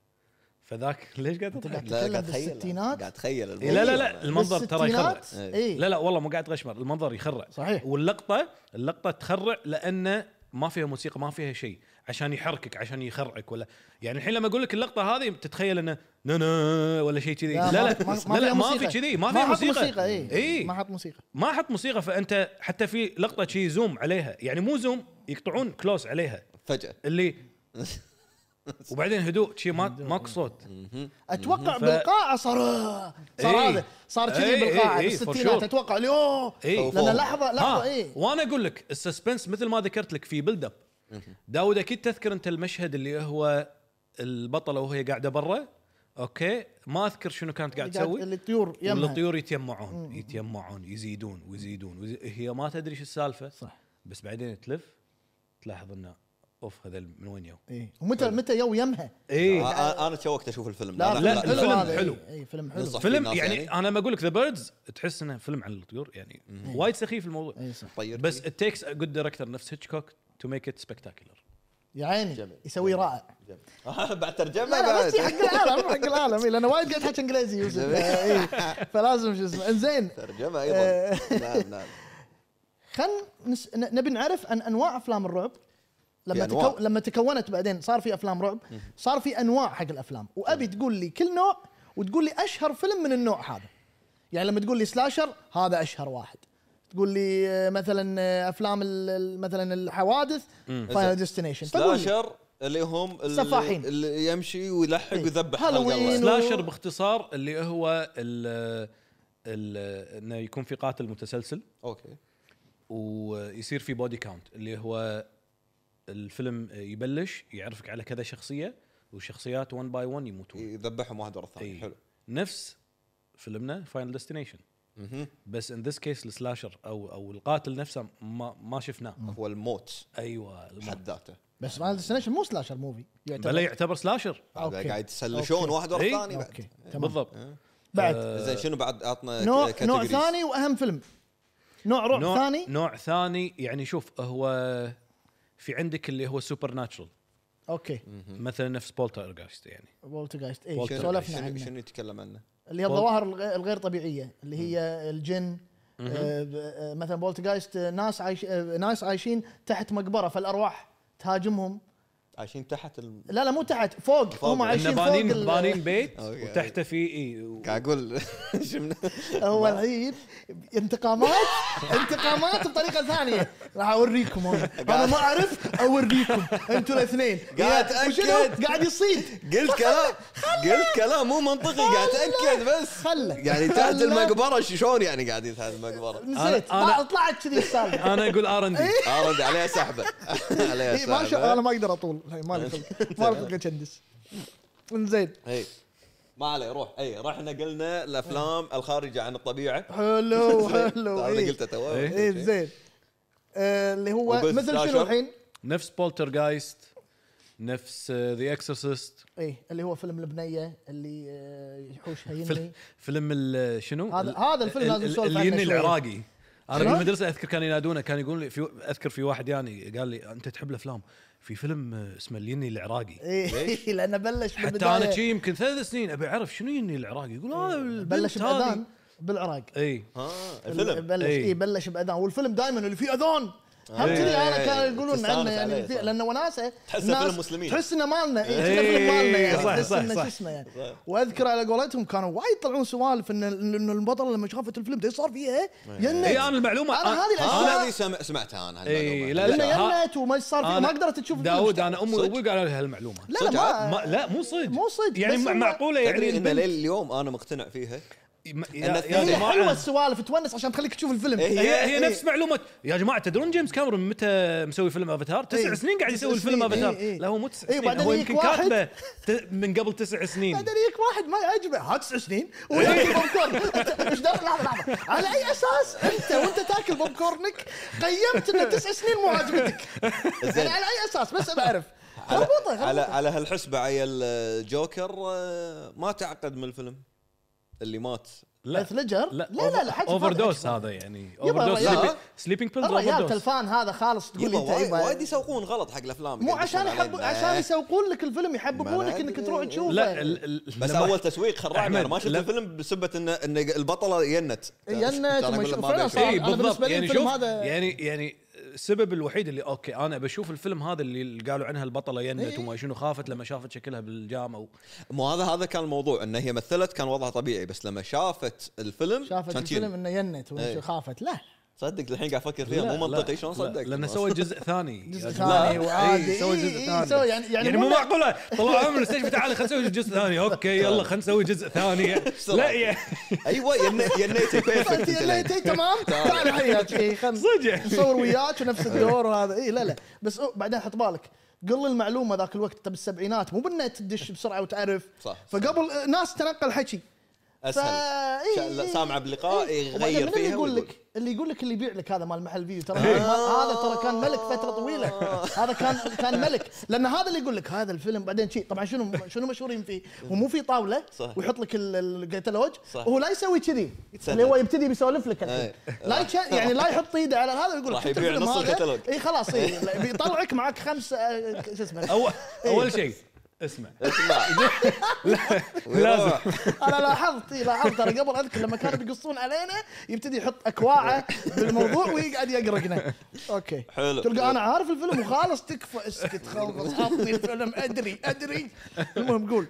Speaker 3: فذاك [laughs] ليش قاعد تضحك؟
Speaker 1: لا قاعد
Speaker 2: تتكلم
Speaker 1: اتخيل
Speaker 2: بالستينات؟
Speaker 1: قاعد اتخيل
Speaker 3: إيه، لا لا
Speaker 1: الموضوع.
Speaker 3: لا المنظر ترى يخرع
Speaker 2: بالستينات؟
Speaker 1: إيه.
Speaker 2: اي
Speaker 3: لا لا والله مو قاعد غشمر المنظر يخرع
Speaker 2: صحيح.
Speaker 3: واللقطه اللقطه تخرع لانه ما فيها موسيقى ما فيها شيء عشان يحركك عشان يخرعك ولا يعني الحين لما اقول لك اللقطه هذه تتخيل انه نانا ولا شيء كذي لا
Speaker 2: لا،
Speaker 3: لا
Speaker 2: ما- ما- ما
Speaker 3: لا لا
Speaker 2: فيها
Speaker 3: ما في
Speaker 2: موسيقى.
Speaker 3: كذي ما
Speaker 2: ما
Speaker 3: في
Speaker 2: حط
Speaker 3: موسيقى إيه.
Speaker 2: موسيقى اي
Speaker 3: إي.
Speaker 2: ما حط موسيقى
Speaker 3: ما حط موسيقى فانت حتى في لقطه شيء زوم عليها يعني مو زوم يقطعون كلوز عليها
Speaker 1: فجاه
Speaker 3: اللي
Speaker 2: [laughs]
Speaker 3: وبعدين هدوء شيء ما ماكو صوت
Speaker 2: اتوقع
Speaker 3: ف-
Speaker 2: بالقاعه صار صار
Speaker 3: إي.
Speaker 2: هذا صار
Speaker 3: إي،
Speaker 2: كذي
Speaker 3: إي،
Speaker 2: بالقاعه
Speaker 3: إي، for
Speaker 2: بالستينات
Speaker 3: sure.
Speaker 2: اتوقع اليوه
Speaker 3: إي.
Speaker 2: لان لحظه لحظه
Speaker 3: ها
Speaker 2: اي
Speaker 3: وانا اقول لك السسبنس مثل ما ذكرت لك في بيلد اب داود اكيد تذكر انت المشهد اللي هو البطله وهي قاعده برا اوكي ما اذكر شنو كانت قاعد تسوي
Speaker 2: اللي الطيور يمها
Speaker 3: والطيور يتيمعون يتيمعون يزيدون ويزيدون ويزي- هي ما تدري شو السالفه
Speaker 2: صح.
Speaker 3: بس بعدين تلف تلاحظ انه اوف هذا من وين إيه، يو
Speaker 2: اي إيه. ومتى متى يو يمها
Speaker 3: اي
Speaker 1: آه، آه، انا تشوقت اشوف الفيلم
Speaker 2: لا,
Speaker 3: لا،
Speaker 2: فيلم حلو
Speaker 3: الفيلم
Speaker 2: هذا،
Speaker 3: حلو.
Speaker 2: اي إي، فيلم حلو
Speaker 1: ننصح.
Speaker 3: فيلم
Speaker 1: الناس
Speaker 3: يعني,
Speaker 1: يعني؟
Speaker 3: انا لما اقول لك ذا بيردز تحس انه فيلم عن الطيور يعني وايد سخيف الموضوع
Speaker 2: اي إيه، صح
Speaker 1: طير
Speaker 3: بس it takes a good director نفس هيتشكوك to make it spectacular
Speaker 2: يا عيني
Speaker 1: جميل.
Speaker 2: يسويه رائع
Speaker 1: آه، [laughs] بعد ترجمه
Speaker 2: لا لا بس هي
Speaker 1: بعد
Speaker 2: حق العالم حق العالم إي، لانه وايد قاعد احكي انجليزي يوسف إي، فلازم شو اسمه انزين
Speaker 1: ترجمه
Speaker 2: آه.
Speaker 1: ايضا نعم نعم
Speaker 2: خلينا نس... ن- نبي نعرف عن انواع افلام الرعب
Speaker 1: في
Speaker 2: لما
Speaker 1: أنواع.
Speaker 2: تكو... لما تكونت بعدين صار في افلام رعب صار في انواع حق الافلام وابي تقول لي كل نوع وتقول لي اشهر فيلم من النوع هذا يعني لما تقول لي سلاشر هذا اشهر واحد تقول لي آه، مثلا آه، افلام ال- ال- مثلا الحوادث فاينل ديستنيشن
Speaker 1: سلاشر اللي هم ال-
Speaker 2: سفاحين.
Speaker 1: اللي يمشي ويلحق
Speaker 2: إيه.
Speaker 1: ويذبح
Speaker 2: هالوين.
Speaker 1: خلق الله.
Speaker 3: سلاشر باختصار اللي هو ال ال انه يكون في قاتل متسلسل
Speaker 1: اوكي
Speaker 3: ويصير في بودي كاونت اللي هو الفيلم يبلش يعرفك على كذا شخصيه وشخصيات 1 باي 1 يموتون
Speaker 1: يذبحهم واحد ورا الثاني
Speaker 3: إي.
Speaker 1: حلو
Speaker 3: نفس فيلمنا فاينل ديستنيشن بس ان ذس كيس السلاشر او او القاتل نفسه ما ما شفناه
Speaker 1: هو الموت
Speaker 3: ايوه المهم.
Speaker 1: بحد ذاته
Speaker 2: بس فاينل ديستنيشن مو سلاشر موفي يعتبر
Speaker 3: بلا يعتبر سلاشر
Speaker 2: أوكي.
Speaker 1: قاعد يتسلشون واحد ورا
Speaker 3: إي.
Speaker 1: الثاني بعد
Speaker 2: اوكي تمام
Speaker 3: بالضبط آه،
Speaker 2: بعد
Speaker 1: زين شنو بعد عطنا
Speaker 2: نوع
Speaker 1: ك-
Speaker 2: نوع
Speaker 1: categories.
Speaker 2: ثاني واهم فيلم نوع رعب
Speaker 3: نوع
Speaker 2: ثاني
Speaker 3: نوع ثاني يعني شوف هو في عندك اللي هو سوبر ناتشرال
Speaker 2: اوكي
Speaker 3: مثلا نفس بولترغايست يعني
Speaker 2: وولترغايست
Speaker 1: شنو-
Speaker 2: اي
Speaker 1: شنو-
Speaker 2: سولفنا
Speaker 1: شنو-
Speaker 2: عنه
Speaker 1: شنو يتكلم عنه؟
Speaker 2: اللي هي
Speaker 3: بول-
Speaker 2: الظواهر الغ- الغير طبيعيه اللي هي الجن آه، ب- آه، مثلا بولتجايست آه، ناس عايش آه، ناس عايشين تحت مقبره فالارواح تهاجمهم
Speaker 1: عايشين تحت ال...
Speaker 2: لا لا مو تحت فوق
Speaker 1: فوق.
Speaker 2: هم
Speaker 3: انه
Speaker 2: عايشين فوق
Speaker 3: بانين
Speaker 2: ال-
Speaker 3: بانين بيت
Speaker 1: أوكي.
Speaker 3: وتحته في اي
Speaker 1: قاعد اقول شنو-
Speaker 2: [laughs] هو الحين انتقامات انتقامات بطريقه ثانيه راح
Speaker 1: [laughs]
Speaker 2: اوريكم انا انا ما اعرف اوريكم انتوا الاثنين
Speaker 1: قاعد
Speaker 2: يا- وشنو؟
Speaker 1: أتأكد.
Speaker 2: قاعد يصيد
Speaker 1: [laughs] قلت كلام قلت كلام مو منطقي قاعد اتاكد بس
Speaker 2: خله
Speaker 1: يعني تحت
Speaker 2: خله.
Speaker 1: المقبره ش- شلون يعني قاعدين تحت
Speaker 2: [laughs]
Speaker 1: المقبره؟
Speaker 2: نسيت
Speaker 3: أنا- أنا-
Speaker 2: طلع- طلعت كذي السالفه
Speaker 3: انا اقول ار
Speaker 2: [laughs]
Speaker 3: ان دي
Speaker 2: إيه؟
Speaker 1: ارد عليها سحبه [laughs] عليها
Speaker 2: اي إيه، ما شاء
Speaker 1: سحبه
Speaker 2: انا ما اقدر اطول ما لي خلق ما لي خلق اكندس انزين
Speaker 1: اي إيه. ما عليه روح إيه، اي رحنا قلنا الافلام الخارجه عن طيب، الطبيعه
Speaker 2: حلو حلو
Speaker 1: انا
Speaker 2: اي
Speaker 1: قلتها تو
Speaker 2: إي، زين آه، اللي هو
Speaker 1: وبث
Speaker 2: مثل شنو
Speaker 1: داشر.
Speaker 2: الحين؟
Speaker 3: نفس بولترغايست نفس آه، ذا اكسورسيست
Speaker 2: اي إيه، اللي هو فيلم البنيه اللي آه، يحوشها يني
Speaker 3: فيلم ال- شنو
Speaker 2: هذا- هذا الفيلم لازم نسولف عنه
Speaker 3: الين
Speaker 2: شوي.
Speaker 3: العراقي انا
Speaker 2: شنو؟
Speaker 3: بالمدرسه اذكر كانوا ينادونه كان يقول لي في اذكر في واحد يعني قال لي انت تحب الافلام في فيلم آه، اسمه اليني العراقي
Speaker 2: إيه، [laughs] اي لانه بلش
Speaker 3: حتى انا
Speaker 2: بالبدايه
Speaker 3: شي يمكن ثلاث سنين ابي اعرف شنو يني العراقي يقول هذا
Speaker 2: إيه، بلش
Speaker 3: البنت هذه
Speaker 2: باذان بالعراق
Speaker 3: اي
Speaker 1: ها
Speaker 2: ال-
Speaker 1: الفيلم
Speaker 2: بلش
Speaker 3: إي.
Speaker 2: اي بلش باذان والفيلم دائما اللي فيه اذان هم
Speaker 1: إي.
Speaker 2: كذي انا
Speaker 1: إي.
Speaker 2: كانوا يقولون
Speaker 1: إيه. تستانس
Speaker 2: عنه يعني
Speaker 1: عليه
Speaker 2: اللي فيه-
Speaker 1: صح.
Speaker 2: لانه وناسه
Speaker 1: تحسه
Speaker 2: الناس
Speaker 1: فيلم مسلمين. إيه.
Speaker 2: تحس انه مالنا اي تحسه
Speaker 3: إي.
Speaker 2: فيلم مالنا يعني
Speaker 3: إيه. صح،
Speaker 2: تحس
Speaker 3: صح،
Speaker 2: انه
Speaker 3: صح.
Speaker 2: شو اسمه يعني
Speaker 1: صح.
Speaker 2: واذكر على قولتهم كانوا وايد يطلعون سوالف ان انه البطله لما شافت الفيلم ده صار فيها
Speaker 1: إيه.
Speaker 2: ينت
Speaker 3: اي انا المعلومه
Speaker 2: انا هذه
Speaker 1: ها هذه
Speaker 2: الاشياء
Speaker 1: سمع- سمعتها انا
Speaker 3: اي
Speaker 1: هالمعلومة.
Speaker 3: لا
Speaker 2: لانه
Speaker 3: لا ها-
Speaker 2: ينت وما صار فيها
Speaker 3: أنا-
Speaker 2: ما قدرت تشوف الفيلم
Speaker 3: داود
Speaker 2: شلون.
Speaker 3: انا امي
Speaker 1: صدق؟
Speaker 3: وابوي قالوا لي هالمعلومه
Speaker 2: لا لا ما,
Speaker 3: ما لا مو صدق
Speaker 2: مو صدق،
Speaker 3: يعني
Speaker 2: بس
Speaker 3: مع-
Speaker 2: هو-
Speaker 3: معقوله يعني
Speaker 1: تدري ان
Speaker 3: البنت-
Speaker 1: لليوم انا مقتنع فيها
Speaker 3: ما-
Speaker 1: إن
Speaker 3: يا يا
Speaker 1: الثانية
Speaker 2: هي حلوه
Speaker 3: جماعه
Speaker 2: السوالف تونس عشان تخليك تشوف الفيلم
Speaker 1: إي. إيه.
Speaker 3: هي هي نفس معلومه يا جماعه تدرون جيمس كاميرون متى مسوي فيلم افاتار؟ تسع
Speaker 2: إيه.
Speaker 3: سنين قاعد يسوي
Speaker 2: تسع
Speaker 3: الفيلم
Speaker 2: سنين. إيه،
Speaker 3: افاتار
Speaker 2: إيه.
Speaker 3: لا هو مو تسع
Speaker 2: إيه،
Speaker 3: سنين
Speaker 2: بعدين
Speaker 3: هو
Speaker 2: يجيك
Speaker 3: يمكن
Speaker 2: واحد-
Speaker 3: كاتبه ت- من قبل تسع سنين
Speaker 2: بعدين يجيك واحد ما يعجبه ها تسع
Speaker 1: [laughs]
Speaker 2: سنين وياكل بوب كورن أنت ايش دخل لحظه لحظه على اي اساس انت وانت تاكل بوب كورنك قيمت انه تسع سنين مو عاجبتك
Speaker 1: [laughs] زين.
Speaker 2: يعني على اي اساس بس
Speaker 1: [laughs]
Speaker 2: بعرف
Speaker 1: على
Speaker 2: خربطه
Speaker 1: على,
Speaker 2: خربطه
Speaker 1: على هالحسبه عيل جوكر آه، ما تعقد من الفيلم اللي مات
Speaker 3: لا
Speaker 2: بث ليجر
Speaker 3: لا
Speaker 2: لا لا لا حجم
Speaker 3: اوفر دوز
Speaker 2: فاتح.
Speaker 3: هذا يعني
Speaker 2: يبا
Speaker 3: اوفر دوز
Speaker 2: الرجال-
Speaker 3: سليبنج بيلز اوفر
Speaker 2: الرجال
Speaker 3: دوز
Speaker 2: تلفان هذا خالص تقول
Speaker 1: يبا
Speaker 2: لي انت
Speaker 1: وايد- وايد
Speaker 2: يبا-
Speaker 1: يسوقون غلط حق الافلام
Speaker 2: مو
Speaker 1: قاعد
Speaker 2: عشان
Speaker 1: يدشون
Speaker 2: يحب
Speaker 1: علينا.
Speaker 2: عشان يسوقون لك الفيلم
Speaker 1: ما
Speaker 2: يحببونك
Speaker 1: أدري.
Speaker 2: انك تروح تشوفه
Speaker 3: لا ال- ال-
Speaker 1: بس
Speaker 3: لما-
Speaker 1: اول تسويق خرعني انا
Speaker 3: أحمد،
Speaker 1: ما شفت
Speaker 3: لا.
Speaker 1: الفيلم بسبه ان ان البطله ينت
Speaker 2: ينت
Speaker 1: أنا
Speaker 2: وما
Speaker 1: أقول لك
Speaker 2: شو-
Speaker 1: ما
Speaker 2: فعلاً
Speaker 1: بيشوف.
Speaker 2: صار.
Speaker 3: اي
Speaker 2: أنا
Speaker 3: بالضبط
Speaker 2: بالنسبة لي
Speaker 3: يعني
Speaker 2: الفيلم
Speaker 3: شوف
Speaker 2: هذا-
Speaker 3: يعني يعني السبب الوحيد اللي اوكي انا بشوف الفيلم هذا اللي اللي قالوا عنها البطله ينت
Speaker 2: إيه.
Speaker 3: وما شنو خافت لما شافت شكلها بالجامعه و-
Speaker 1: مو هذا هذا كان الموضوع ان هي مثلت كان وضعها طبيعي بس لما شافت الفيلم
Speaker 2: شافت
Speaker 1: كانت
Speaker 2: الفيلم
Speaker 1: ين.
Speaker 2: انه ينت
Speaker 1: إيه.
Speaker 2: خافت لا
Speaker 1: صدق الحين قاعد افكر فيها
Speaker 3: لا،
Speaker 1: مو منطقي
Speaker 3: لا،
Speaker 1: شلون
Speaker 3: لا،
Speaker 1: صدق
Speaker 3: لانه سوى جزء ثاني
Speaker 2: طيب، [laughs] جزء
Speaker 3: يا
Speaker 2: ثاني
Speaker 3: جماعة. إي،
Speaker 2: وعادي.
Speaker 3: سوى
Speaker 2: إي،
Speaker 3: إيه، جزء
Speaker 2: إي،
Speaker 3: ثاني
Speaker 2: سوى يعني- يعني
Speaker 3: يعني
Speaker 2: مو طيب.
Speaker 3: مو
Speaker 2: لا-
Speaker 3: معقوله طلعوها من المستشفى تعال خلينا نسوي جزء ثاني اوكي يلا خلينا نسوي جزء ثاني
Speaker 2: [laughs]
Speaker 3: لا يعني
Speaker 1: ايوه ين-
Speaker 3: [laughs]
Speaker 1: ينيتي
Speaker 2: انت
Speaker 1: بيرفكت أنت طيب. إيه، الحين.
Speaker 2: ينيتي
Speaker 1: [laughs]
Speaker 2: تمام تعال حياك إي، خل-
Speaker 3: صدق
Speaker 2: نصور وياك ونفس
Speaker 1: إيه.
Speaker 2: الدور وهذا اي لا لا بس أو- بعدين حط بالك قل لي المعلومه ذاك الوقت انت بالسبعينات مو بالنا تدش بسرعه وتعرف
Speaker 1: صح.
Speaker 2: فقبل آه، ناس تنقل حكي
Speaker 1: اسهل
Speaker 2: إي،
Speaker 1: شا- لا،
Speaker 2: إي.
Speaker 1: سامعه بلقاء
Speaker 2: إي.
Speaker 1: يغير
Speaker 2: وبعدين إيه. يعني من اللي
Speaker 1: فيها
Speaker 2: يقول
Speaker 1: ويقول. آه.
Speaker 2: لك اللي يقول لك اللي يبيع لك هذا مال محل فيديو ترى هذا مال- هذا ترى كان ملك فتره
Speaker 1: [laughs]
Speaker 2: طويله هذا كان كان ملك لان هذا اللي يقول لك هذا الفيلم بعدين شيء طبعا شنو شنو مشهورين فيه ومو في طاوله
Speaker 1: صح.
Speaker 2: ويحط لك ال- الكتالوج
Speaker 1: صح.
Speaker 2: وهو لا يسوي كذي
Speaker 1: يتسلل.
Speaker 2: اللي هو يبتدي بيسولف لك الحين
Speaker 1: إي.
Speaker 2: لا يتش- يعني لا يحط ايده على هذا ويقول لك
Speaker 1: راح
Speaker 2: شفت
Speaker 1: يبيع
Speaker 2: الفيلم
Speaker 1: نص
Speaker 2: هذا؟
Speaker 1: الكتالوج.
Speaker 2: اي
Speaker 1: [laughs]
Speaker 2: خلاص اي لا، بيطلعك معك خمس آه، شو اسمه
Speaker 3: اول اول شيء اسمع
Speaker 1: اسمع
Speaker 3: [laughs] لازم
Speaker 2: انا لاحظت إي لاحظت انا قبل اذكر لما كانوا بيقصون علينا يبتدي يحط اكواعه بالموضوع ويقعد يقرقنا اوكي
Speaker 1: حلو.
Speaker 2: تلقى انا عارف الفيلم وخالص تكفى اسكت خلص عطني الفيلم ادري ادري المهم قول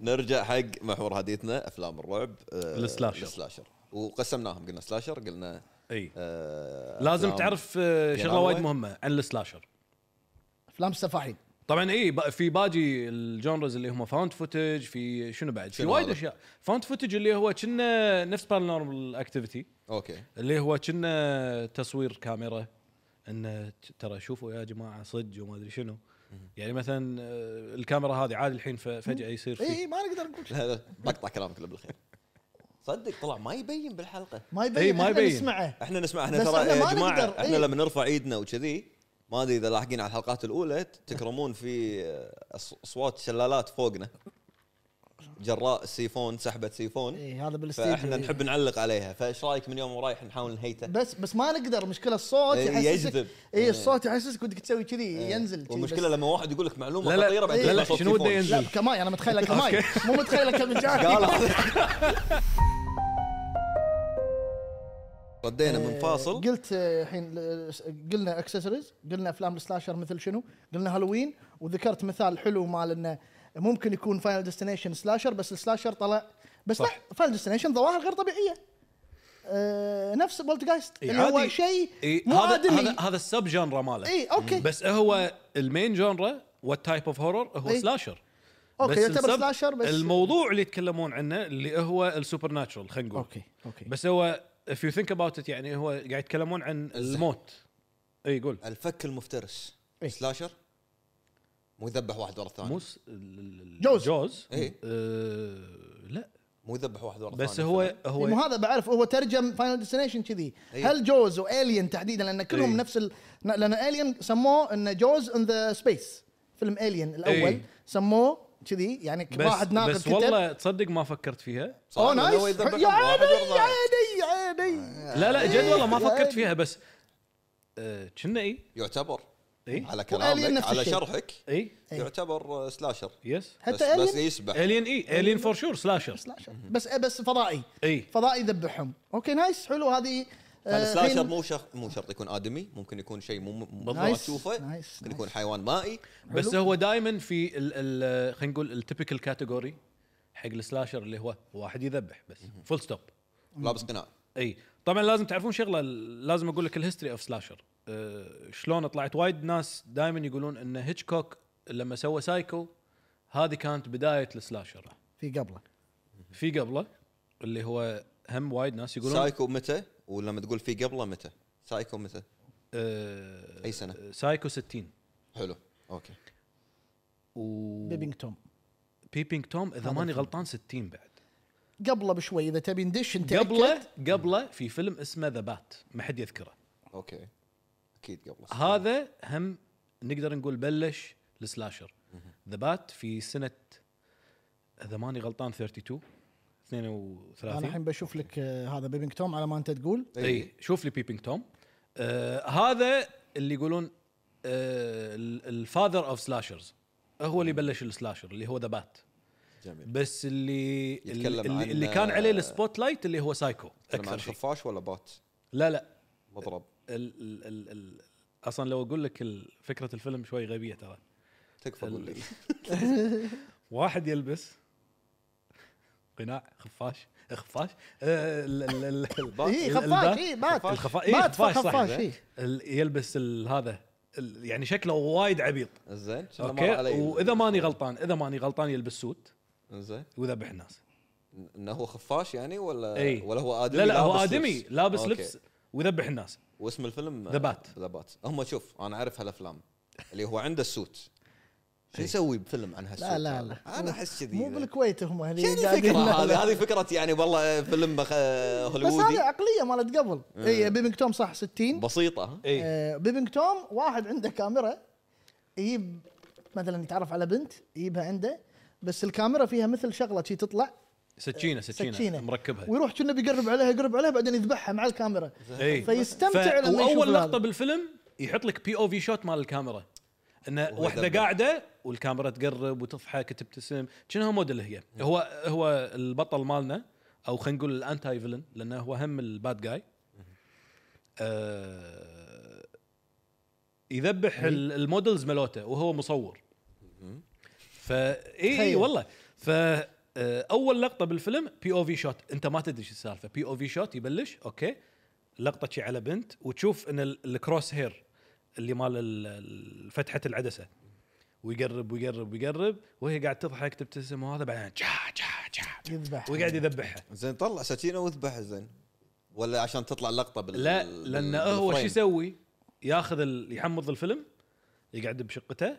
Speaker 1: نرجع حق محور حديثنا افلام الرعب آه،
Speaker 3: السلاشر.
Speaker 1: السلاشر وقسمناهم قلنا سلاشر قلنا
Speaker 3: اي
Speaker 1: آه،
Speaker 3: إيه. لازم
Speaker 1: أفلام-
Speaker 3: تعرف آه، شغله
Speaker 1: جناوي.
Speaker 3: وايد مهمه عن السلاشر
Speaker 2: افلام السفاحين
Speaker 3: طبعا اي إيه، ب- في باجي الجونرز اللي هم فاوند فوتج في شنو بعد في
Speaker 1: شنو
Speaker 3: وايد
Speaker 1: هذا؟
Speaker 3: اشياء فاوند فوتج اللي هو كنا نفس بارانورمال اكتيفيتي
Speaker 1: اوكي
Speaker 3: اللي هو كنا تصوير كاميرا انه ت- ترى شوفوا يا جماعه صج وما ادري شنو يعني مثلا آه، الكاميرا هذه عادي الحين ف- فجاه يصير
Speaker 1: إيه،
Speaker 2: اي
Speaker 3: في
Speaker 2: إي، إيه، ما نقدر نقول شيء.
Speaker 1: لا لا [laughs] بقطع كلامك اللي بالخير صدق طلع ما يبين بالحلقه
Speaker 2: ما
Speaker 3: إي،
Speaker 2: يبين
Speaker 3: إيه، ما
Speaker 2: ما
Speaker 3: يبين.
Speaker 2: يبين نسمعه
Speaker 1: احنا نسمع احنا
Speaker 2: بس
Speaker 1: ترى
Speaker 2: إحنا
Speaker 1: يا
Speaker 2: ما
Speaker 1: جماعه
Speaker 2: نقدر،
Speaker 1: احنا
Speaker 2: إيه.
Speaker 1: لما نرفع ايدنا وكذي ما ادري اذا لاحقين على الحلقات الاولى تكرمون في آه، أص- اصوات شلالات فوقنا جراء سيفون سحبه سيفون
Speaker 2: اي إيه، هذا بالاستديو
Speaker 1: فاحنا
Speaker 2: إي.
Speaker 1: نحب نعلق عليها فايش رايك من يوم ورايح نحاول نهيته
Speaker 2: بس بس ما نقدر مشكله الصوت
Speaker 1: إي،
Speaker 2: يحسسك
Speaker 1: إيه، يجذب. إيه.
Speaker 2: اي الصوت يحسسك ودك تسوي كذي ينزل كذي
Speaker 1: والمشكله
Speaker 2: بس- إيه.
Speaker 1: لما واحد يقول لك معلومه
Speaker 3: لا، لا،
Speaker 1: خطيره بعدين
Speaker 3: لا، لا،
Speaker 1: يطلع صوت
Speaker 3: شنو بده
Speaker 1: سيفون.
Speaker 3: ينزل؟
Speaker 2: لا كماي انا متخيله كماي مو متخيله
Speaker 1: [laughs]
Speaker 2: كمجاري
Speaker 1: قال ردينا من فاصل
Speaker 2: إيه، قلت آه، الحين آه، قلنا اكسسوارز قلنا افلام السلاشر مثل شنو قلنا هالوين وذكرت مثال حلو مال انه ممكن يكون فاينل ديستنيشن سلاشر بس السلاشر طلع بس لا
Speaker 3: صح.
Speaker 2: فاينل ديستنيشن ظواهر غير طبيعيه آه نفس بولت جايست
Speaker 3: إي،
Speaker 2: اللي هو
Speaker 3: إيه، عادي.
Speaker 2: شيء إيه،
Speaker 3: إي،
Speaker 2: مو
Speaker 3: هذا هذا
Speaker 2: ادمي
Speaker 3: هذا السب جانرا ماله
Speaker 2: اي اوكي
Speaker 3: بس هو المين جونرا والتايب اوف هورر هو
Speaker 2: إي.
Speaker 3: سلاشر
Speaker 2: اوكي إيه. يعتبر
Speaker 3: السب-
Speaker 2: سلاشر بس
Speaker 3: الموضوع اللي يتكلمون عنه اللي هو السوبر ناتشرال خلينا نقول
Speaker 2: اوكي اوكي
Speaker 3: بس هو if you think about it يعني هو قاعد يتكلمون عن الموت اي قول
Speaker 1: الفك المفترس
Speaker 2: إيه.
Speaker 1: سلاشر مو يذبح واحد ورا الثاني
Speaker 3: مو س- ال- ال- ال-
Speaker 2: آه. جوز. إيه.
Speaker 3: جوز
Speaker 1: إي.
Speaker 3: آه، لا
Speaker 1: مو يذبح واحد ورا الثاني
Speaker 3: بس هو
Speaker 2: هو مو
Speaker 3: هو
Speaker 2: هذا بعرف هو ترجم فاينل ديستنيشن كذي
Speaker 1: إيه.
Speaker 2: هل جوز والين تحديدا لان كلهم
Speaker 3: إيه.
Speaker 2: نفس ال... لان الين سموه انه جوز ان ذا سبيس فيلم الين الاول
Speaker 3: إيه.
Speaker 2: سموه كذي يعني
Speaker 3: بس
Speaker 2: واحد ناقد
Speaker 3: بس
Speaker 2: كتب
Speaker 3: والله تصدق ما فكرت فيها
Speaker 2: اوه
Speaker 1: صح، لأنه هو
Speaker 2: نايس
Speaker 1: يذبحهم
Speaker 2: يا
Speaker 1: واحد
Speaker 2: عيني
Speaker 1: ورا الثاني.
Speaker 2: يا عيني يا عيني
Speaker 3: آه، لا لا جد والله ما
Speaker 2: يا
Speaker 3: فكرت
Speaker 2: عيني.
Speaker 3: فيها بس آه، كنا اي
Speaker 1: يعتبر
Speaker 3: اي
Speaker 1: على
Speaker 2: وآليين
Speaker 1: كلامك
Speaker 2: نفس
Speaker 1: على
Speaker 2: الشيء.
Speaker 1: شرحك
Speaker 3: اي
Speaker 2: إيه.
Speaker 1: يعتبر آه، سلاشر
Speaker 3: يس
Speaker 1: بس,
Speaker 2: حتى آه،
Speaker 1: بس
Speaker 2: Alien-
Speaker 1: يسبح
Speaker 3: الين اي الين فور شور سلاشر
Speaker 2: سلاشر بس بس فضائي
Speaker 3: اي
Speaker 2: فضائي يذبحهم اوكي نايس حلو هذه آه،
Speaker 1: فالسلاشر
Speaker 2: الحين-
Speaker 1: طيب، مو شرط مو شرط يكون ادمي ممكن يكون شيء مو مو
Speaker 3: بالضبط.
Speaker 1: ما
Speaker 2: نايس،
Speaker 1: تشوفه
Speaker 2: نايس،
Speaker 1: ممكن يكون
Speaker 2: نايس.
Speaker 1: حيوان مائي
Speaker 3: بس
Speaker 2: حلو.
Speaker 3: هو دائما في ال- ال خلينا نقول التيبكال كاتيجوري حق السلاشر اللي هو واحد يذبح بس فول ستوب
Speaker 1: لابس قناع
Speaker 3: اي طبعا لازم تعرفون شغله ال- لازم اقول لك الهيستوري اوف سلاشر أه شلون طلعت وايد ناس دائما يقولون ان هيتشكوك لما سوى سايكو هذه كانت بدايه السلاشر
Speaker 2: في قبله
Speaker 3: في قبله اللي هو هم وايد ناس يقولون
Speaker 1: سايكو متى ولما تقول في قبله متى سايكو متى
Speaker 3: أه
Speaker 1: اي سنه
Speaker 3: سايكو 60
Speaker 1: حلو اوكي
Speaker 3: و
Speaker 2: بيبينج توم
Speaker 3: بيبينج توم اذا ماني غلطان 60 بعد
Speaker 2: قبله بشوي اذا تبي ندش نتأكد.
Speaker 3: قبله قبله في فيلم اسمه ذا بات ما حد يذكره
Speaker 1: اوكي اكيد قبله
Speaker 3: هذا هم نقدر نقول بلش السلاشر ذا بات في سنه اذا ماني غلطان 32
Speaker 2: انا
Speaker 3: 32
Speaker 2: الحين بشوف لك آه، هذا بيبينج توم على ما انت تقول
Speaker 3: اي شوف لي بيبينج توم آه هذا اللي يقولون آه الفاذر اوف سلاشرز هو اللي بلش السلاشر اللي هو ذا بات
Speaker 1: جميل
Speaker 3: بس اللي
Speaker 1: يتكلم
Speaker 3: اللي, اللي,
Speaker 1: عن-
Speaker 3: اللي كان عليه السبوت لايت اللي هو سايكو
Speaker 1: تكلم
Speaker 3: اكثر
Speaker 1: عن
Speaker 3: شيء
Speaker 1: خفاش ولا بات
Speaker 3: لا لا
Speaker 1: مضرب
Speaker 3: ال ال ال ال اصلا لو اقول لك ال- فكره الفيلم شوي غبيه ترى
Speaker 1: تكفى
Speaker 3: ال-
Speaker 1: قول لي
Speaker 3: واحد يلبس قناع خفاش خفاش آه، ال- ال- ال-
Speaker 1: إيه،
Speaker 2: اي
Speaker 3: ال-
Speaker 2: خفاش
Speaker 3: البات.
Speaker 2: اي بات
Speaker 3: الخفا- إيه،
Speaker 2: بات
Speaker 3: خفاش صح
Speaker 2: خفاش اي
Speaker 3: ال- يلبس ال- هذا ال- يعني شكله وايد عبيط
Speaker 1: زين شنو مر
Speaker 3: اوكي
Speaker 1: علي
Speaker 3: واذا ماني غلطان اذا ماني غلطان يلبس سوت
Speaker 1: زين
Speaker 3: وذبح الناس
Speaker 1: انه هو خفاش يعني ولا
Speaker 3: إي.
Speaker 1: ولا هو ادمي
Speaker 3: لا لا هو
Speaker 1: لابس
Speaker 3: ادمي
Speaker 1: لبس؟
Speaker 3: لابس
Speaker 1: أوكي.
Speaker 3: لبس وذبح الناس
Speaker 1: واسم الفيلم
Speaker 3: The Bat.
Speaker 1: ذا بات هم شوف انا اعرف هالافلام اللي هو عنده السوت شو
Speaker 3: إي.
Speaker 1: يسوي بفيلم عن هالسوت
Speaker 2: لا لا
Speaker 1: هذا؟
Speaker 2: لا
Speaker 1: انا احس كذي
Speaker 2: مو بالكويت هم هني
Speaker 1: شنو
Speaker 2: قاعدين-
Speaker 1: الفكره
Speaker 2: لا،
Speaker 1: هذه
Speaker 2: لا.
Speaker 1: هذه فكره يعني والله فيلم بخ-
Speaker 2: بس هذه
Speaker 1: هوليوودي
Speaker 2: عقليه مالت قبل
Speaker 1: إيه.
Speaker 2: اي بيبينج توم صح 60
Speaker 1: بسيطه ها؟
Speaker 3: اي
Speaker 2: آه، بيبينج توم واحد عنده كاميرا يجيب مثلا يتعرف على بنت يجيبها عنده بس الكاميرا فيها مثل شغله شي تطلع
Speaker 1: إيه.
Speaker 3: سكينه سكينه
Speaker 2: سكينة.
Speaker 3: مركبها
Speaker 2: ويروح كنا بيقرب عليها يقرب عليها بعدين يذبحها مع الكاميرا
Speaker 3: اي
Speaker 2: فيستمتع لما يشوف
Speaker 3: واول
Speaker 2: هذا.
Speaker 3: لقطه بالفيلم يحط لك بي او في شوت مال الكاميرا انه
Speaker 1: وهو
Speaker 3: واحده
Speaker 1: يدبر.
Speaker 3: قاعده والكاميرا تقرب وتضحك تبتسم كأنها موديل هي هو هو البطل مالنا او خلينا نقول الانتاي فيلن لانه هو هم الباد جاي آه يذبح ال- المودلز ملوته وهو مصور فا اي اي
Speaker 2: تخيل.
Speaker 3: والله ف آه، اول لقطه بالفيلم بي او في شوت انت ما تدري شو السالفه بي او في شوت يبلش اوكي لقطه شي على بنت وتشوف ان ال- الكروس هير اللي مال ال- ال- فتحه العدسه ويقرب ويقرب ويقرب وهي قاعد تضحك تبتسم وهذا بعدين جا جا جا
Speaker 2: يذبح
Speaker 3: ويقعد يذبحها
Speaker 1: زين طلع سكينه واذبح زين ولا عشان تطلع اللقطه بال
Speaker 3: لا
Speaker 1: بال-
Speaker 3: لان هو شو
Speaker 1: بالفريم.
Speaker 3: يسوي؟ ياخذ ال- يحمض الفيلم يقعد بشقته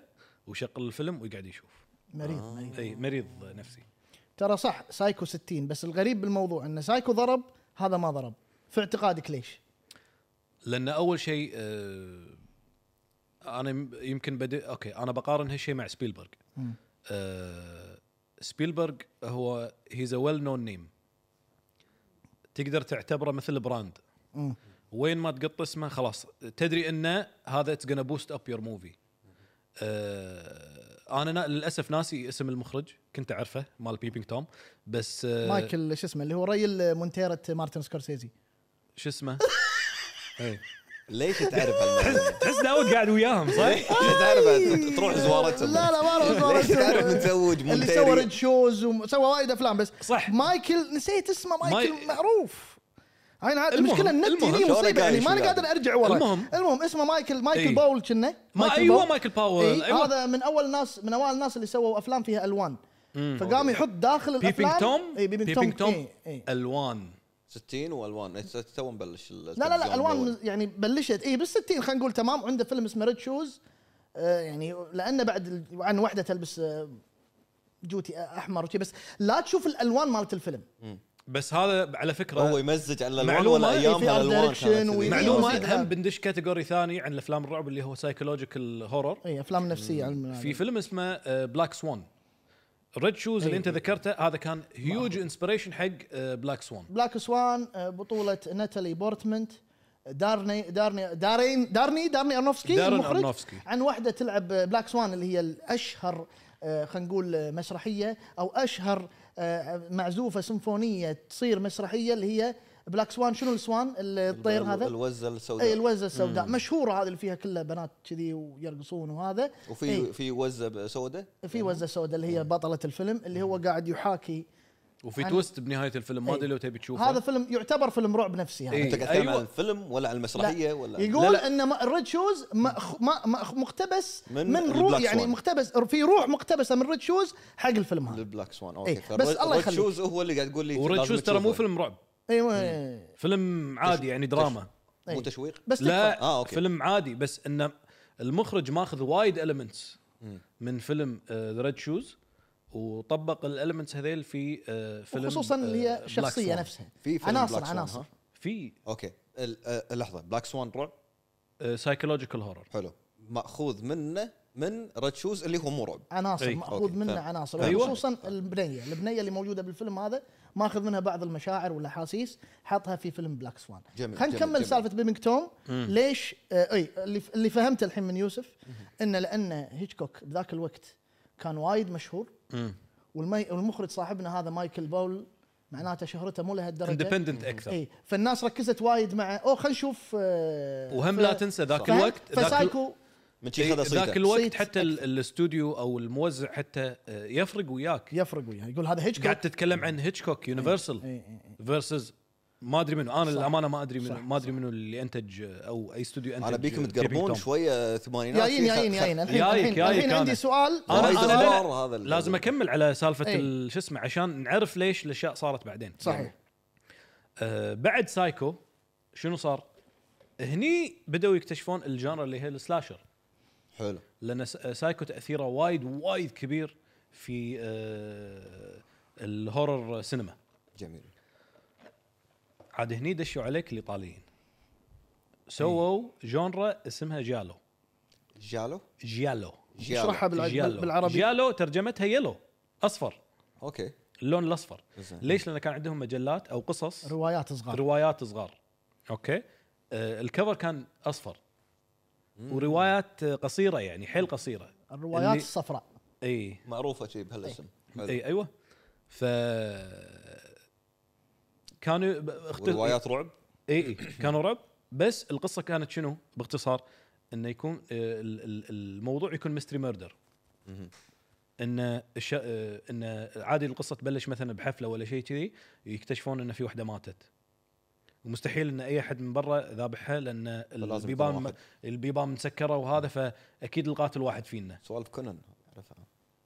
Speaker 3: ويشغل الفيلم ويقعد يشوف
Speaker 2: مريض
Speaker 1: آه.
Speaker 2: مريض
Speaker 3: اي مريض نفسي
Speaker 2: ترى صح سايكو 60 بس الغريب بالموضوع انه سايكو ضرب هذا ما ضرب في اعتقادك ليش؟
Speaker 3: لان اول شيء آه، انا يم- يمكن بدي اوكي انا بقارن هالشيء مع سبيلبرغ
Speaker 2: مم.
Speaker 3: آه، سبيلبرغ هو هيز ا ويل نون نيم تقدر تعتبره مثل براند
Speaker 2: مم.
Speaker 3: وين ما تقط اسمه خلاص تدري انه هذا اتس gonna بوست اب يور موفي انا آه، نا للاسف ناسي اسم المخرج كنت اعرفه مال بيبينج توم بس
Speaker 1: إيه.
Speaker 3: آه،
Speaker 2: مايكل شو اسمه اللي هو ريل مونتيرة مارتن سكورسيزي
Speaker 3: شو اسمه إيه.
Speaker 1: ليش تعرف هالمعلومه؟
Speaker 3: تحس داود قاعد وياهم [laughs] صح؟
Speaker 1: ليش تعرف تروح زوارتهم
Speaker 2: لا لا ما راح
Speaker 1: [laughs] ليش تعرف
Speaker 2: أزور.
Speaker 1: متزوج
Speaker 2: اللي سوى ريد
Speaker 1: مونتيري
Speaker 2: شوز وسوى وايد افلام بس
Speaker 3: صح.
Speaker 2: مايكل نسيت اسمه مايكل
Speaker 3: ماي-
Speaker 2: معروف انا عاد
Speaker 3: المهم-
Speaker 2: المشكله النت
Speaker 3: المهم.
Speaker 2: هني
Speaker 1: شو أنا
Speaker 2: مصيبه يعني
Speaker 1: قايل
Speaker 2: ماني
Speaker 1: شو
Speaker 2: قادر
Speaker 1: قاعد؟
Speaker 2: ارجع ورا
Speaker 3: المهم.
Speaker 2: المهم اسمه مايكل مايكل
Speaker 3: إي.
Speaker 2: باول كنا
Speaker 3: ما ايوه مايكل باول
Speaker 2: إي،
Speaker 3: ايوه
Speaker 2: هذا من اول ناس من اوائل الناس اللي سووا افلام فيها الوان فقام يحط داخل إيه، الافلام
Speaker 3: بيبينج توم
Speaker 2: اي بيبينج توم, إيه. إي، إي.
Speaker 3: الوان
Speaker 1: 60 والوان إيه، تو مبلش
Speaker 2: لا لا لا الوان مز- يعني بلشت اي بال 60 خلينا نقول تمام عنده فيلم اسمه ريد شوز آه يعني لانه بعد ال- عن وحده تلبس آه جوتي آه، احمر وشي بس لا تشوف الالوان مالت الفيلم
Speaker 3: بس هذا على
Speaker 1: هو
Speaker 3: فكره
Speaker 1: يمزج على الالوان
Speaker 3: معلومة،
Speaker 1: ولا
Speaker 3: إيه،
Speaker 1: ايام
Speaker 2: في art
Speaker 1: الالوان
Speaker 2: direction
Speaker 1: كانت
Speaker 2: وي-
Speaker 1: معلومه
Speaker 2: وزيد
Speaker 3: معلومه هم
Speaker 2: هذا.
Speaker 3: بندش كاتيجوري ثاني عن الافلام الرعب اللي هو سايكولوجيكال هورر
Speaker 2: اي افلام نفسيه إيه، علم
Speaker 3: في فيلم اسمه آه، بلاك سوان ريد شوز
Speaker 2: إيه.
Speaker 3: اللي انت ذكرته هذا كان هيوج انسبريشن حق بلاك سوان
Speaker 2: uh, بلاك سوان آه، بطوله ناتالي بورتمنت دارني دارني دارين دارني دارني ارنوفسكي
Speaker 3: دارن
Speaker 2: المخرج
Speaker 3: أرنوفسكي.
Speaker 2: عن واحده تلعب بلاك سوان اللي هي الاشهر آه، خلينا نقول آه، مسرحيه او اشهر آه، معزوفه سيمفونيه تصير مسرحيه اللي هي بلاك سوان شنو السوان الطير هذا
Speaker 1: الوزه
Speaker 2: اي
Speaker 1: السوداء
Speaker 2: الوزه السوداء مشهوره هذه اللي فيها كلها بنات كذي ويرقصون وهذا
Speaker 1: وفي
Speaker 2: إيه.
Speaker 1: في وزه سوداء
Speaker 2: في وزه سوداء اللي هي بطله الفيلم اللي هو قاعد يحاكي
Speaker 3: وفي
Speaker 2: أنا-
Speaker 3: تويست بنهايه الفيلم ما
Speaker 2: إيه.
Speaker 3: ادري لو تبي تشوفه
Speaker 2: هذا فيلم يعتبر فيلم رعب نفسي هذا
Speaker 3: إيه.
Speaker 1: انت قاعد تتكلم
Speaker 3: أيوة.
Speaker 1: عن الفيلم ولا عن المسرحيه ولا
Speaker 3: لا،
Speaker 2: يقول
Speaker 3: لا.
Speaker 2: ان ما- الريد شوز مأخ- ما- مأخ- مقتبس
Speaker 1: من
Speaker 2: من, من روح
Speaker 1: البلاك
Speaker 2: يعني
Speaker 1: سوان.
Speaker 2: مقتبس في روح مقتبسه من ريد شوز حق الفيلم هذا
Speaker 1: للبلاك سوان
Speaker 2: إيه،
Speaker 1: اوكي
Speaker 2: بس الله يخليك.
Speaker 1: شوز هو اللي قاعد يقول لي
Speaker 3: وريد
Speaker 1: لازم
Speaker 3: شوز ترى مو
Speaker 1: تشوفه.
Speaker 3: فيلم رعب
Speaker 2: ايوه
Speaker 3: فيلم عادي يعني دراما
Speaker 1: مو تشويق
Speaker 2: بس
Speaker 3: لا
Speaker 1: آه، أوكي.
Speaker 3: فيلم عادي بس انه المخرج ماخذ وايد المنتس من فيلم آه، ذا ريد شوز وطبق الالمنتس هذيل في آه، فيلم
Speaker 2: فيلم خصوصا اللي
Speaker 3: آه،
Speaker 2: هي
Speaker 3: Black
Speaker 2: الشخصيه
Speaker 3: Swan.
Speaker 2: نفسها
Speaker 1: في فيلم
Speaker 2: عناصر
Speaker 1: Black Swan،
Speaker 2: عناصر
Speaker 1: ها؟
Speaker 3: في
Speaker 1: اوكي ال- آه، لحظه بلاك سوان رعب
Speaker 3: آه، سايكولوجيكال هورر
Speaker 1: حلو ماخوذ منه من ريد شوز اللي هو مو رعب
Speaker 2: عناصر
Speaker 3: إيه،
Speaker 2: ماخوذ
Speaker 1: أوكي،
Speaker 2: منه
Speaker 1: فهمت.
Speaker 2: عناصر
Speaker 3: أيوة.
Speaker 2: خصوصا البنيه البنيه اللي موجوده بالفيلم هذا ماخذ منها بعض المشاعر والاحاسيس حطها في فيلم بلاك سوان
Speaker 1: جميل،
Speaker 2: خلينا
Speaker 1: جميل،
Speaker 2: نكمل
Speaker 1: جميل.
Speaker 2: سالفه بيبنج توم ليش آه اي اللي, اللي فهمته الحين من يوسف انه لان هيتشكوك بذاك الوقت كان وايد مشهور والمي والمخرج صاحبنا هذا مايكل باول معناته شهرته مو لهالدرجه
Speaker 3: اندبندنت اكثر
Speaker 2: اي فالناس ركزت وايد مع اوه خلينا نشوف آه،
Speaker 3: وهم
Speaker 2: ف-
Speaker 3: لا تنسى ذاك
Speaker 2: فهمت؟
Speaker 3: الوقت ذاك ال-
Speaker 2: فسايكو
Speaker 1: من شي
Speaker 3: إيه،
Speaker 1: خذ
Speaker 3: ذاك
Speaker 1: صيته
Speaker 3: الوقت
Speaker 2: صيت
Speaker 3: حتى ال- الاستوديو او الموزع حتى آه، يفرق وياك
Speaker 2: يفرق وياه يقول هذا هيتشكوك
Speaker 3: قاعد تتكلم عن هيتشكوك يونيفرسال
Speaker 2: اي اي اي
Speaker 3: فيرسز ما ادري منو انا
Speaker 2: إيه. صح.
Speaker 3: للامانه ما ادري
Speaker 2: صح،
Speaker 3: منو
Speaker 2: صح.
Speaker 3: ما ادري منو اللي انتج آه، او اي استوديو انتج
Speaker 1: انا بيكم
Speaker 3: آه،
Speaker 1: تقربون
Speaker 3: Peeping Tom.
Speaker 1: شويه ثمانينات
Speaker 2: جايين
Speaker 1: في خ-
Speaker 2: جايين
Speaker 1: خ-
Speaker 2: جايين الحين
Speaker 3: جايك-
Speaker 2: الحين,
Speaker 3: جايك
Speaker 2: الحين
Speaker 3: أنا.
Speaker 2: عندي سؤال
Speaker 3: انا
Speaker 1: وايد
Speaker 3: انا
Speaker 1: أسرار
Speaker 3: لا-
Speaker 1: هذا ال-
Speaker 3: لازم اكمل على سالفه
Speaker 2: إيه.
Speaker 3: ال- شو اسمه عشان نعرف ليش الاشياء صارت بعدين يعني،
Speaker 2: صحيح
Speaker 3: آه بعد سايكو شنو صار؟ هني بداوا يكتشفون الجانر اللي هي السلاشر
Speaker 1: حلو
Speaker 3: لان س- آه، سايكو تاثيره وايد وايد كبير في آه الهورر سينما
Speaker 1: جميل
Speaker 3: عاد هني دشوا عليك الايطاليين سووا
Speaker 2: إيه.
Speaker 3: جونرا اسمها جالو
Speaker 1: جالو
Speaker 3: جيالو
Speaker 1: جيالو.
Speaker 2: اشرحها بالع-
Speaker 3: جيالو
Speaker 2: بالعربي
Speaker 3: جيالو ترجمتها يلو اصفر
Speaker 1: اوكي
Speaker 3: اللون الاصفر
Speaker 1: زين.
Speaker 3: ليش؟ لان كان عندهم مجلات او قصص
Speaker 2: روايات صغار
Speaker 3: روايات صغار اوكي آه الكفر كان اصفر وروايات آه، قصيره يعني حيل قصيره
Speaker 2: الروايات
Speaker 3: اللي-
Speaker 2: الصفراء
Speaker 3: اي
Speaker 1: معروفه شيء بهالاسم حلو.
Speaker 3: اي ايوه ف كانوا ب- اختل...
Speaker 1: وروايات رعب
Speaker 3: اي
Speaker 1: [coughs]
Speaker 3: اي كانوا رعب بس القصه كانت شنو باختصار انه يكون آه، ال- ال- الموضوع يكون ميستري ميردر ان الش... آه، ان عادي القصه تبلش مثلا بحفله ولا شيء كذي يكتشفون ان في وحده ماتت ومستحيل ان اي احد من برا ذابحها لان
Speaker 1: يكون
Speaker 3: البيبان
Speaker 1: واحد.
Speaker 3: البيبان مسكره وهذا فاكيد القاتل واحد فينا
Speaker 1: سوالف كونان عرفها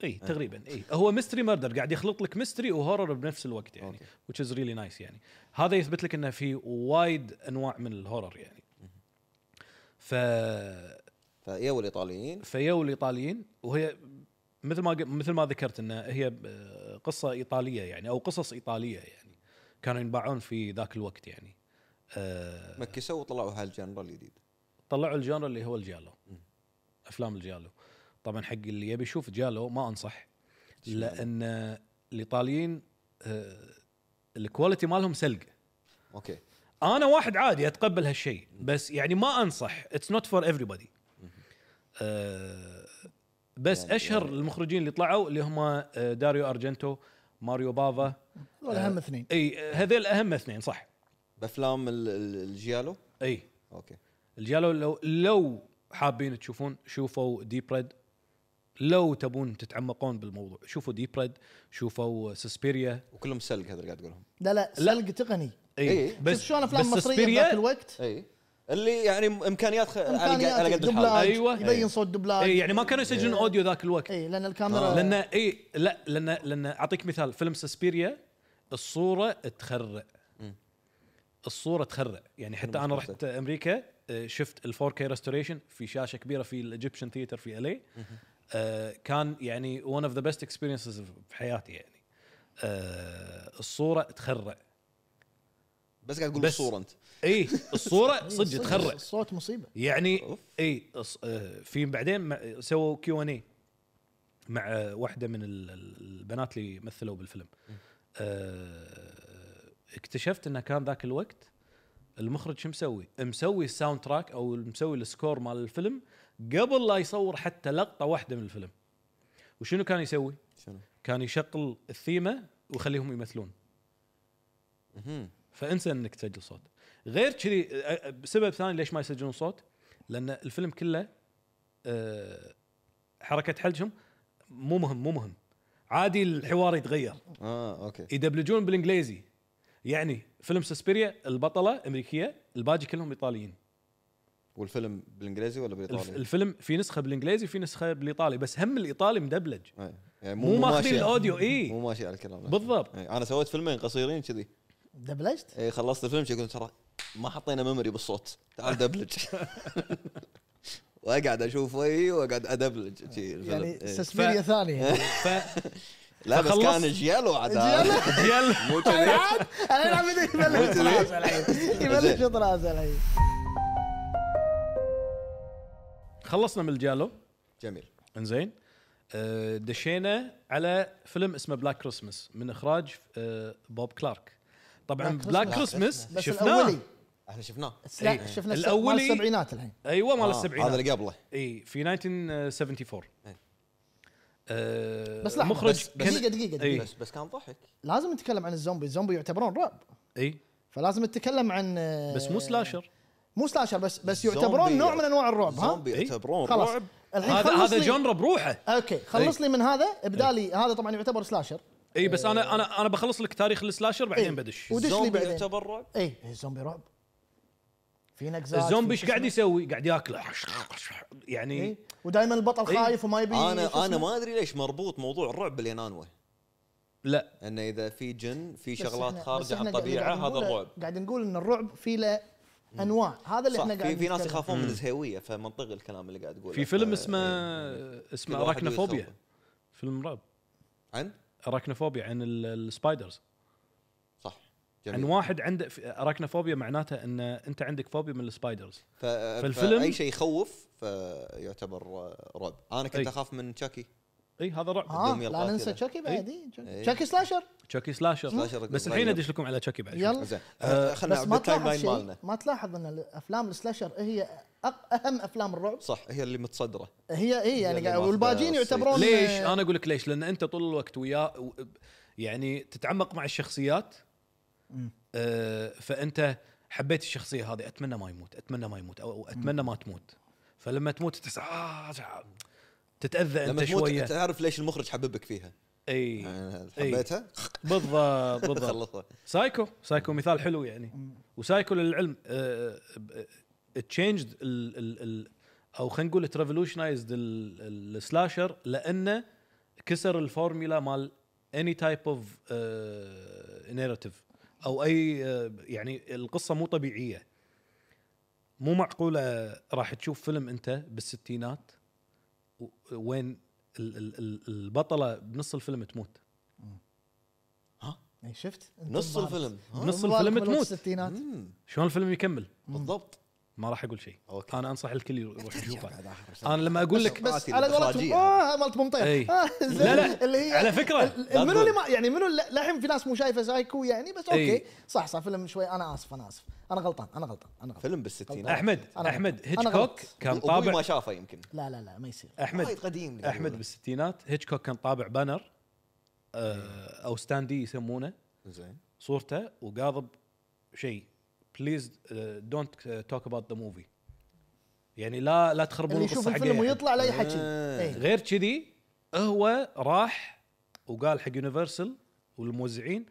Speaker 3: اي تقريبا اي إيه، هو ميستري ميردر قاعد يخلط لك ميستري وهورر بنفس الوقت يعني
Speaker 1: أوكي.
Speaker 3: which is really nice يعني هذا يثبت لك انه في وايد انواع من الهورر يعني ف
Speaker 1: فايوا الايطاليين
Speaker 3: فيو الايطاليين وهي مثل ما ق- مثل ما ذكرت ان هي آه، قصه ايطاليه يعني او قصص ايطاليه يعني كانوا ينباعون في ذاك الوقت يعني آه،
Speaker 1: مكسوا وطلعوا هالجنرال الجديد
Speaker 3: طلعوا الجانر اللي هو الجالو افلام الجالو طبعا حق اللي يبي يشوف جالو ما انصح لان الايطاليين آه، الكواليتي مالهم سلق
Speaker 1: اوكي
Speaker 3: انا واحد عادي اتقبل هالشيء بس يعني ما انصح اتس نوت فور everybody آه، بس
Speaker 1: يعني-
Speaker 3: اشهر
Speaker 1: يعني-
Speaker 3: المخرجين اللي طلعوا اللي هم آه، داريو ارجنتو ماريو بافا
Speaker 2: ولا هم اثنين
Speaker 3: اي آه، هذيل اهم اثنين صح
Speaker 1: بافلام ال- ال- الجيالو
Speaker 3: اي
Speaker 1: اوكي
Speaker 3: الجالو لو لو حابين تشوفون شوفوا ديب ريد لو تبون تتعمقون بالموضوع شوفوا ديب ريد شوفوا سسبيريا
Speaker 1: وكلهم سلق هذا اللي قاعد تقولهم
Speaker 2: لا لا سلق تغني
Speaker 1: إي.
Speaker 2: بس شلون افلام
Speaker 3: بس آه،
Speaker 2: مصريه
Speaker 3: Suspiria-
Speaker 2: بذاك الوقت
Speaker 1: اي اللي يعني امكانيات خ... على قد- على
Speaker 2: امكانيات
Speaker 1: قد الحال
Speaker 2: دبلاج
Speaker 3: أيوة.
Speaker 2: يبين صوت دبلاج
Speaker 3: اي يعني ما آه. كانوا يسجلون اوديو ذاك الوقت
Speaker 2: اي لان الكاميرا
Speaker 3: لان اي لا لان لان اعطيك مثال فيلم سسبيريا الصوره تخرع الصوره تخرع يعني حتى انا رحت امريكا آه، شفت ال 4K ريستوريشن في شاشه كبيره في الايجيبشن ثيتر في الي كان يعني one اوف ذا بيست اكسبيرينسز في حياتي يعني آه، الصوره تخرع
Speaker 1: بس قاعد تقول
Speaker 3: بس.
Speaker 1: الصوره انت
Speaker 3: اي
Speaker 2: [laughs]
Speaker 3: الصوره صدق
Speaker 2: صدق
Speaker 3: تخرع
Speaker 2: الصوت مصيبه
Speaker 3: يعني
Speaker 1: أوف.
Speaker 3: اي أص- آه، في بعدين مع- سووا كيو ان اي مع آه، واحده من ال- ال- البنات اللي مثلوا بالفيلم آه، اكتشفت انه كان ذاك الوقت المخرج شو مسوي؟ مسوي الساوند تراك او مسوي السكور مال الفيلم قبل لا يصور حتى لقطه واحده من الفيلم. وشنو كان يسوي؟
Speaker 1: شنو؟
Speaker 3: كان يشغل الثيمه ويخليهم يمثلون.
Speaker 1: مهم.
Speaker 3: فانسى انك تسجل صوت. غير كذي أ- أ- سبب ثاني ليش ما يسجلون صوت؟ لان الفيلم كله أه، حركه حلجهم مو مهم مو مهم. عادي الحوار يتغير.
Speaker 1: اه اوكي
Speaker 3: يدبلجون بالانجليزي يعني فيلم سسبيريا البطله امريكيه الباقي كلهم ايطاليين
Speaker 1: والفيلم بالانجليزي ولا
Speaker 3: الف-
Speaker 1: بالايطالي؟
Speaker 3: الفيلم في نسخه بالانجليزي في نسخه بالايطالي بس هم الايطالي مدبلج
Speaker 1: أي. يعني
Speaker 3: مو ماخذين
Speaker 1: ماشي-
Speaker 3: الأوديو، إيه. إي.
Speaker 1: مو ماشي على الكلام لا.
Speaker 3: بالضبط
Speaker 1: أي. انا سويت فيلمين قصيرين كذي
Speaker 2: دبلجت
Speaker 1: إي، إيه، خلصت الفيلم شي يقولون ترى ما حطينا ميموري بالصوت تعال
Speaker 2: [laughs]
Speaker 1: دبلج واقعد اشوف وي واقعد ادبلج شي الفيلم.
Speaker 2: يعني
Speaker 1: إي.
Speaker 2: سسبيريا
Speaker 3: [laughs]
Speaker 2: ثانيه
Speaker 3: إيه. ف
Speaker 1: لا بس
Speaker 3: فخلص-
Speaker 1: كان جيالو عاد [laughs]
Speaker 2: جيالو؟
Speaker 3: يلا
Speaker 1: مو كذي
Speaker 2: الحين عم يبلش راسه الحين يبلش
Speaker 1: إيه، زين.
Speaker 2: راسه الحين
Speaker 3: خلصنا من الجالو
Speaker 1: جميل
Speaker 3: انزين أه، دشينا على فيلم اسمه بلاك كريسمس من اخراج أه، بوب كلارك طبعا
Speaker 2: Black
Speaker 3: بلاك
Speaker 2: Christmas.
Speaker 3: كريسمس
Speaker 2: بس
Speaker 3: شفناه
Speaker 2: الاولي
Speaker 1: احنا شفناه
Speaker 2: لا
Speaker 3: إيه.
Speaker 2: شفنا الاولي
Speaker 3: الأولي-
Speaker 2: مال السبعينات الحين
Speaker 3: ايوه مال
Speaker 1: آه،
Speaker 3: السبعينات
Speaker 1: هذا اللي قبله
Speaker 3: اي في 1974
Speaker 1: إيه.
Speaker 3: أه
Speaker 2: بس لحظة،
Speaker 3: مخرج
Speaker 2: بس- بس- دقيقة- دقيقة- دقيقة.
Speaker 3: اي
Speaker 1: بس بس كان ضحك
Speaker 2: لازم نتكلم عن الزومبي الزومبي يعتبرون رعب
Speaker 3: اي
Speaker 2: فلازم نتكلم عن آه،
Speaker 3: بس مو سلاشر
Speaker 2: مو سلاشر بس بس
Speaker 1: زومبي.
Speaker 2: يعتبرون نوع من انواع الرعب ها
Speaker 1: زومبي
Speaker 3: إي.
Speaker 1: يعتبرون
Speaker 2: خلاص
Speaker 1: رعب
Speaker 2: الحين
Speaker 3: هذا
Speaker 2: خلص
Speaker 3: هذا
Speaker 2: لي-
Speaker 3: جنر بروحه
Speaker 1: إيه.
Speaker 2: اوكي خلص لي من هذا ابدالي هذا طبعا يعتبر سلاشر
Speaker 3: اي بس انا انا انا بخلص لك تاريخ السلاشر بعدين
Speaker 2: إي.
Speaker 3: بدش
Speaker 2: ودش لي
Speaker 1: زومبي
Speaker 2: بعدين
Speaker 1: يعتبر رعب
Speaker 2: اي الزومبي إيه، رعب في نقزات
Speaker 3: الزومبي
Speaker 2: في
Speaker 3: ايش
Speaker 2: شو
Speaker 3: قاعد
Speaker 2: اسمه.
Speaker 3: يسوي؟ قاعد ياكله يعني
Speaker 2: إي. ودائما البطل
Speaker 3: إي.
Speaker 2: خايف وما يبي شو
Speaker 1: انا
Speaker 2: اسمه.
Speaker 1: انا ما ادري ليش مربوط موضوع الرعب بالينانوه
Speaker 3: لا
Speaker 1: انه اذا في جن في
Speaker 2: بس
Speaker 1: شغلات
Speaker 2: إحنا- بس
Speaker 1: خارجه عن
Speaker 2: إحنا قاعد-
Speaker 1: الطبيعه
Speaker 2: قاعد
Speaker 1: هذا
Speaker 2: نقول-
Speaker 1: الرعب
Speaker 2: قاعد نقول ان الرعب في له انواع هذا اللي
Speaker 1: صح
Speaker 2: احنا
Speaker 1: في,
Speaker 2: قاعد
Speaker 1: في ناس
Speaker 2: نتكلم.
Speaker 1: يخافون من الزهيويه فمنطقي الكلام اللي قاعد تقوله
Speaker 3: في فيلم
Speaker 1: ف-
Speaker 3: اسمه
Speaker 1: إيه.
Speaker 3: اسمه
Speaker 1: كل واحد
Speaker 3: اراكنافوبيا
Speaker 1: ويخوفه.
Speaker 3: فيلم رعب
Speaker 1: عن
Speaker 3: اراكنافوبيا عن ال- السبايدرز
Speaker 1: صح
Speaker 3: عن
Speaker 1: جميل
Speaker 3: واحد عنده في- اراكنافوبيا معناته ان انت عندك فوبيا من السبايدرز
Speaker 1: ف...
Speaker 3: فالفيلم-
Speaker 1: فالفيلم اي شيء يخوف فيعتبر رعب انا
Speaker 3: إي.
Speaker 1: كنت اخاف من تشاكي
Speaker 3: اي هذا رعب
Speaker 2: ها
Speaker 1: الدمية
Speaker 2: لا
Speaker 1: القاتلة.
Speaker 2: ننسى
Speaker 1: إيه.
Speaker 2: تشاكي بعد إي،
Speaker 1: إي.
Speaker 2: تشاكي تشاكي سلاشر
Speaker 3: تشاكي سلاشر
Speaker 1: سلاشر
Speaker 3: بس الحين
Speaker 1: صغير.
Speaker 3: ادش لكم على تشاكي بعد شوي.
Speaker 2: يلا
Speaker 1: زين
Speaker 3: آه،
Speaker 1: آه، خلنا
Speaker 2: بس ما
Speaker 1: بالتايم
Speaker 2: تلاحظ
Speaker 1: لاين
Speaker 2: شيء
Speaker 1: مالنا
Speaker 2: ما تلاحظ ان الافلام السلاشر هي أق- اهم افلام الرعب
Speaker 1: صح هي اللي متصدره
Speaker 2: هي اي يعني
Speaker 1: اللي
Speaker 2: قاعد-
Speaker 1: ماخذة
Speaker 2: والباجين
Speaker 1: الصيت.
Speaker 2: يعتبرون
Speaker 3: ليش؟
Speaker 2: آه،
Speaker 3: انا اقول لك ليش؟ لان انت طول الوقت وياه و- يعني تتعمق مع الشخصيات آه، فانت حبيت الشخصيه هذه اتمنى ما يموت اتمنى ما يموت او اتمنى ما تموت فلما تموت تحس آه، تتاذى انت
Speaker 1: لما تموت
Speaker 3: شويه
Speaker 1: تعرف ليش المخرج حببك فيها
Speaker 3: اي
Speaker 1: يعني
Speaker 3: إي.
Speaker 1: حبيتها
Speaker 3: بالضبط بالضبط
Speaker 1: خلصها
Speaker 3: سايكو سايكو مثال حلو يعني وسايكو للعلم آه، تشينجد او خلينا نقول تريفولوشنايزد السلاشر لانه كسر الفورميلا مال اني تايب اوف آه، نيراتيف او اي آه، يعني القصه مو طبيعيه مو معقوله راح تشوف فيلم انت بالستينات و- وين ال- ال- ال- البطله بنص الفيلم تموت
Speaker 2: إي، إيه، شفت أنت
Speaker 1: نص
Speaker 2: انبهرت.
Speaker 1: الفيلم ها؟
Speaker 3: نص
Speaker 2: انبهرت
Speaker 3: الفيلم
Speaker 2: من
Speaker 3: تموت.
Speaker 2: الستينات
Speaker 1: مم،
Speaker 3: شلون الفيلم يكمل
Speaker 1: بالضبط
Speaker 3: ما راح اقول شيء
Speaker 1: أوكي.
Speaker 3: انا انصح الكل
Speaker 2: [laughs]
Speaker 3: يروح يشوفه انا لما اقول لك
Speaker 2: بس
Speaker 1: مآتي
Speaker 2: على قولتهم
Speaker 1: الإخراجية.
Speaker 2: اه مالت ممطير
Speaker 3: إي. لا
Speaker 2: لا
Speaker 3: إيه. لا
Speaker 2: اللي هي
Speaker 3: على فكره
Speaker 1: لا
Speaker 2: منو
Speaker 1: تقول.
Speaker 2: اللي ما يعني منو اللي- للحين في ناس مو شايفه سايكو يعني بس
Speaker 3: إي.
Speaker 2: اوكي صح صح فيلم شوي انا اسف انا اسف انا غلطان انا غلطان انا غلطان
Speaker 1: فيلم بالستينات
Speaker 3: احمد
Speaker 2: أنا
Speaker 3: احمد
Speaker 2: غلط. أنا
Speaker 3: هيتشكوك
Speaker 2: غلط. طيب.
Speaker 3: كان
Speaker 1: أبوي ما
Speaker 3: طابع
Speaker 1: شافه يمكن
Speaker 2: لا لا لا ما يصير
Speaker 1: وايد
Speaker 3: احمد
Speaker 1: قديم لي
Speaker 3: احمد
Speaker 1: أقوله.
Speaker 3: بالستينات هيتشكوك كان طابع بانر آه، او ستاندي يسمونه
Speaker 1: زين
Speaker 3: صورته وقاضب شيء آه، بليز دونت توك اباوت ذا موفي يعني لا لا تخربون
Speaker 2: اللي يشوف
Speaker 3: القصه حق
Speaker 2: الفيلم
Speaker 3: أي أحد.
Speaker 2: ويطلع لا يحكي إيه.
Speaker 1: آه.
Speaker 2: إي.
Speaker 3: غير كذي هو راح وقال حق يونيفرسال والموزعين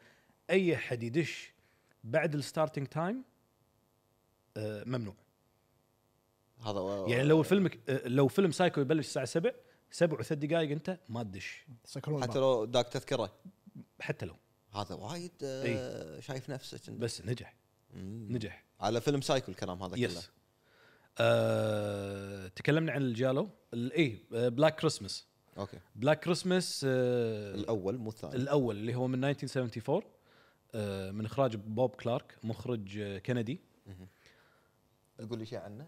Speaker 3: اي حد يدش بعد الستارتنج تايم آه، ممنوع
Speaker 1: هذا و-
Speaker 3: يعني لو الفيلم آه، لو فيلم سايكو يبلش الساعه 7 سبع وثلاث دقائق انت ما تدش
Speaker 2: سكرون
Speaker 1: حتى
Speaker 2: الباب.
Speaker 1: لو داك تذكره
Speaker 3: حتى لو
Speaker 1: هذا وايد آه،
Speaker 3: إي.
Speaker 1: شايف نفسك إنه-
Speaker 3: إيه. بس نجح
Speaker 1: مم.
Speaker 3: نجح
Speaker 1: على فيلم سايكو الكلام هذا كله
Speaker 3: يس آه، تكلمنا عن الجالو إيه، آه، اي بلاك كريسمس
Speaker 1: اوكي
Speaker 3: بلاك كريسمس آه،
Speaker 1: الاول مو الثاني
Speaker 3: الاول اللي هو من 1974 آه، من اخراج بوب كلارك مخرج آه، كندي
Speaker 1: تقول لي شيء عنه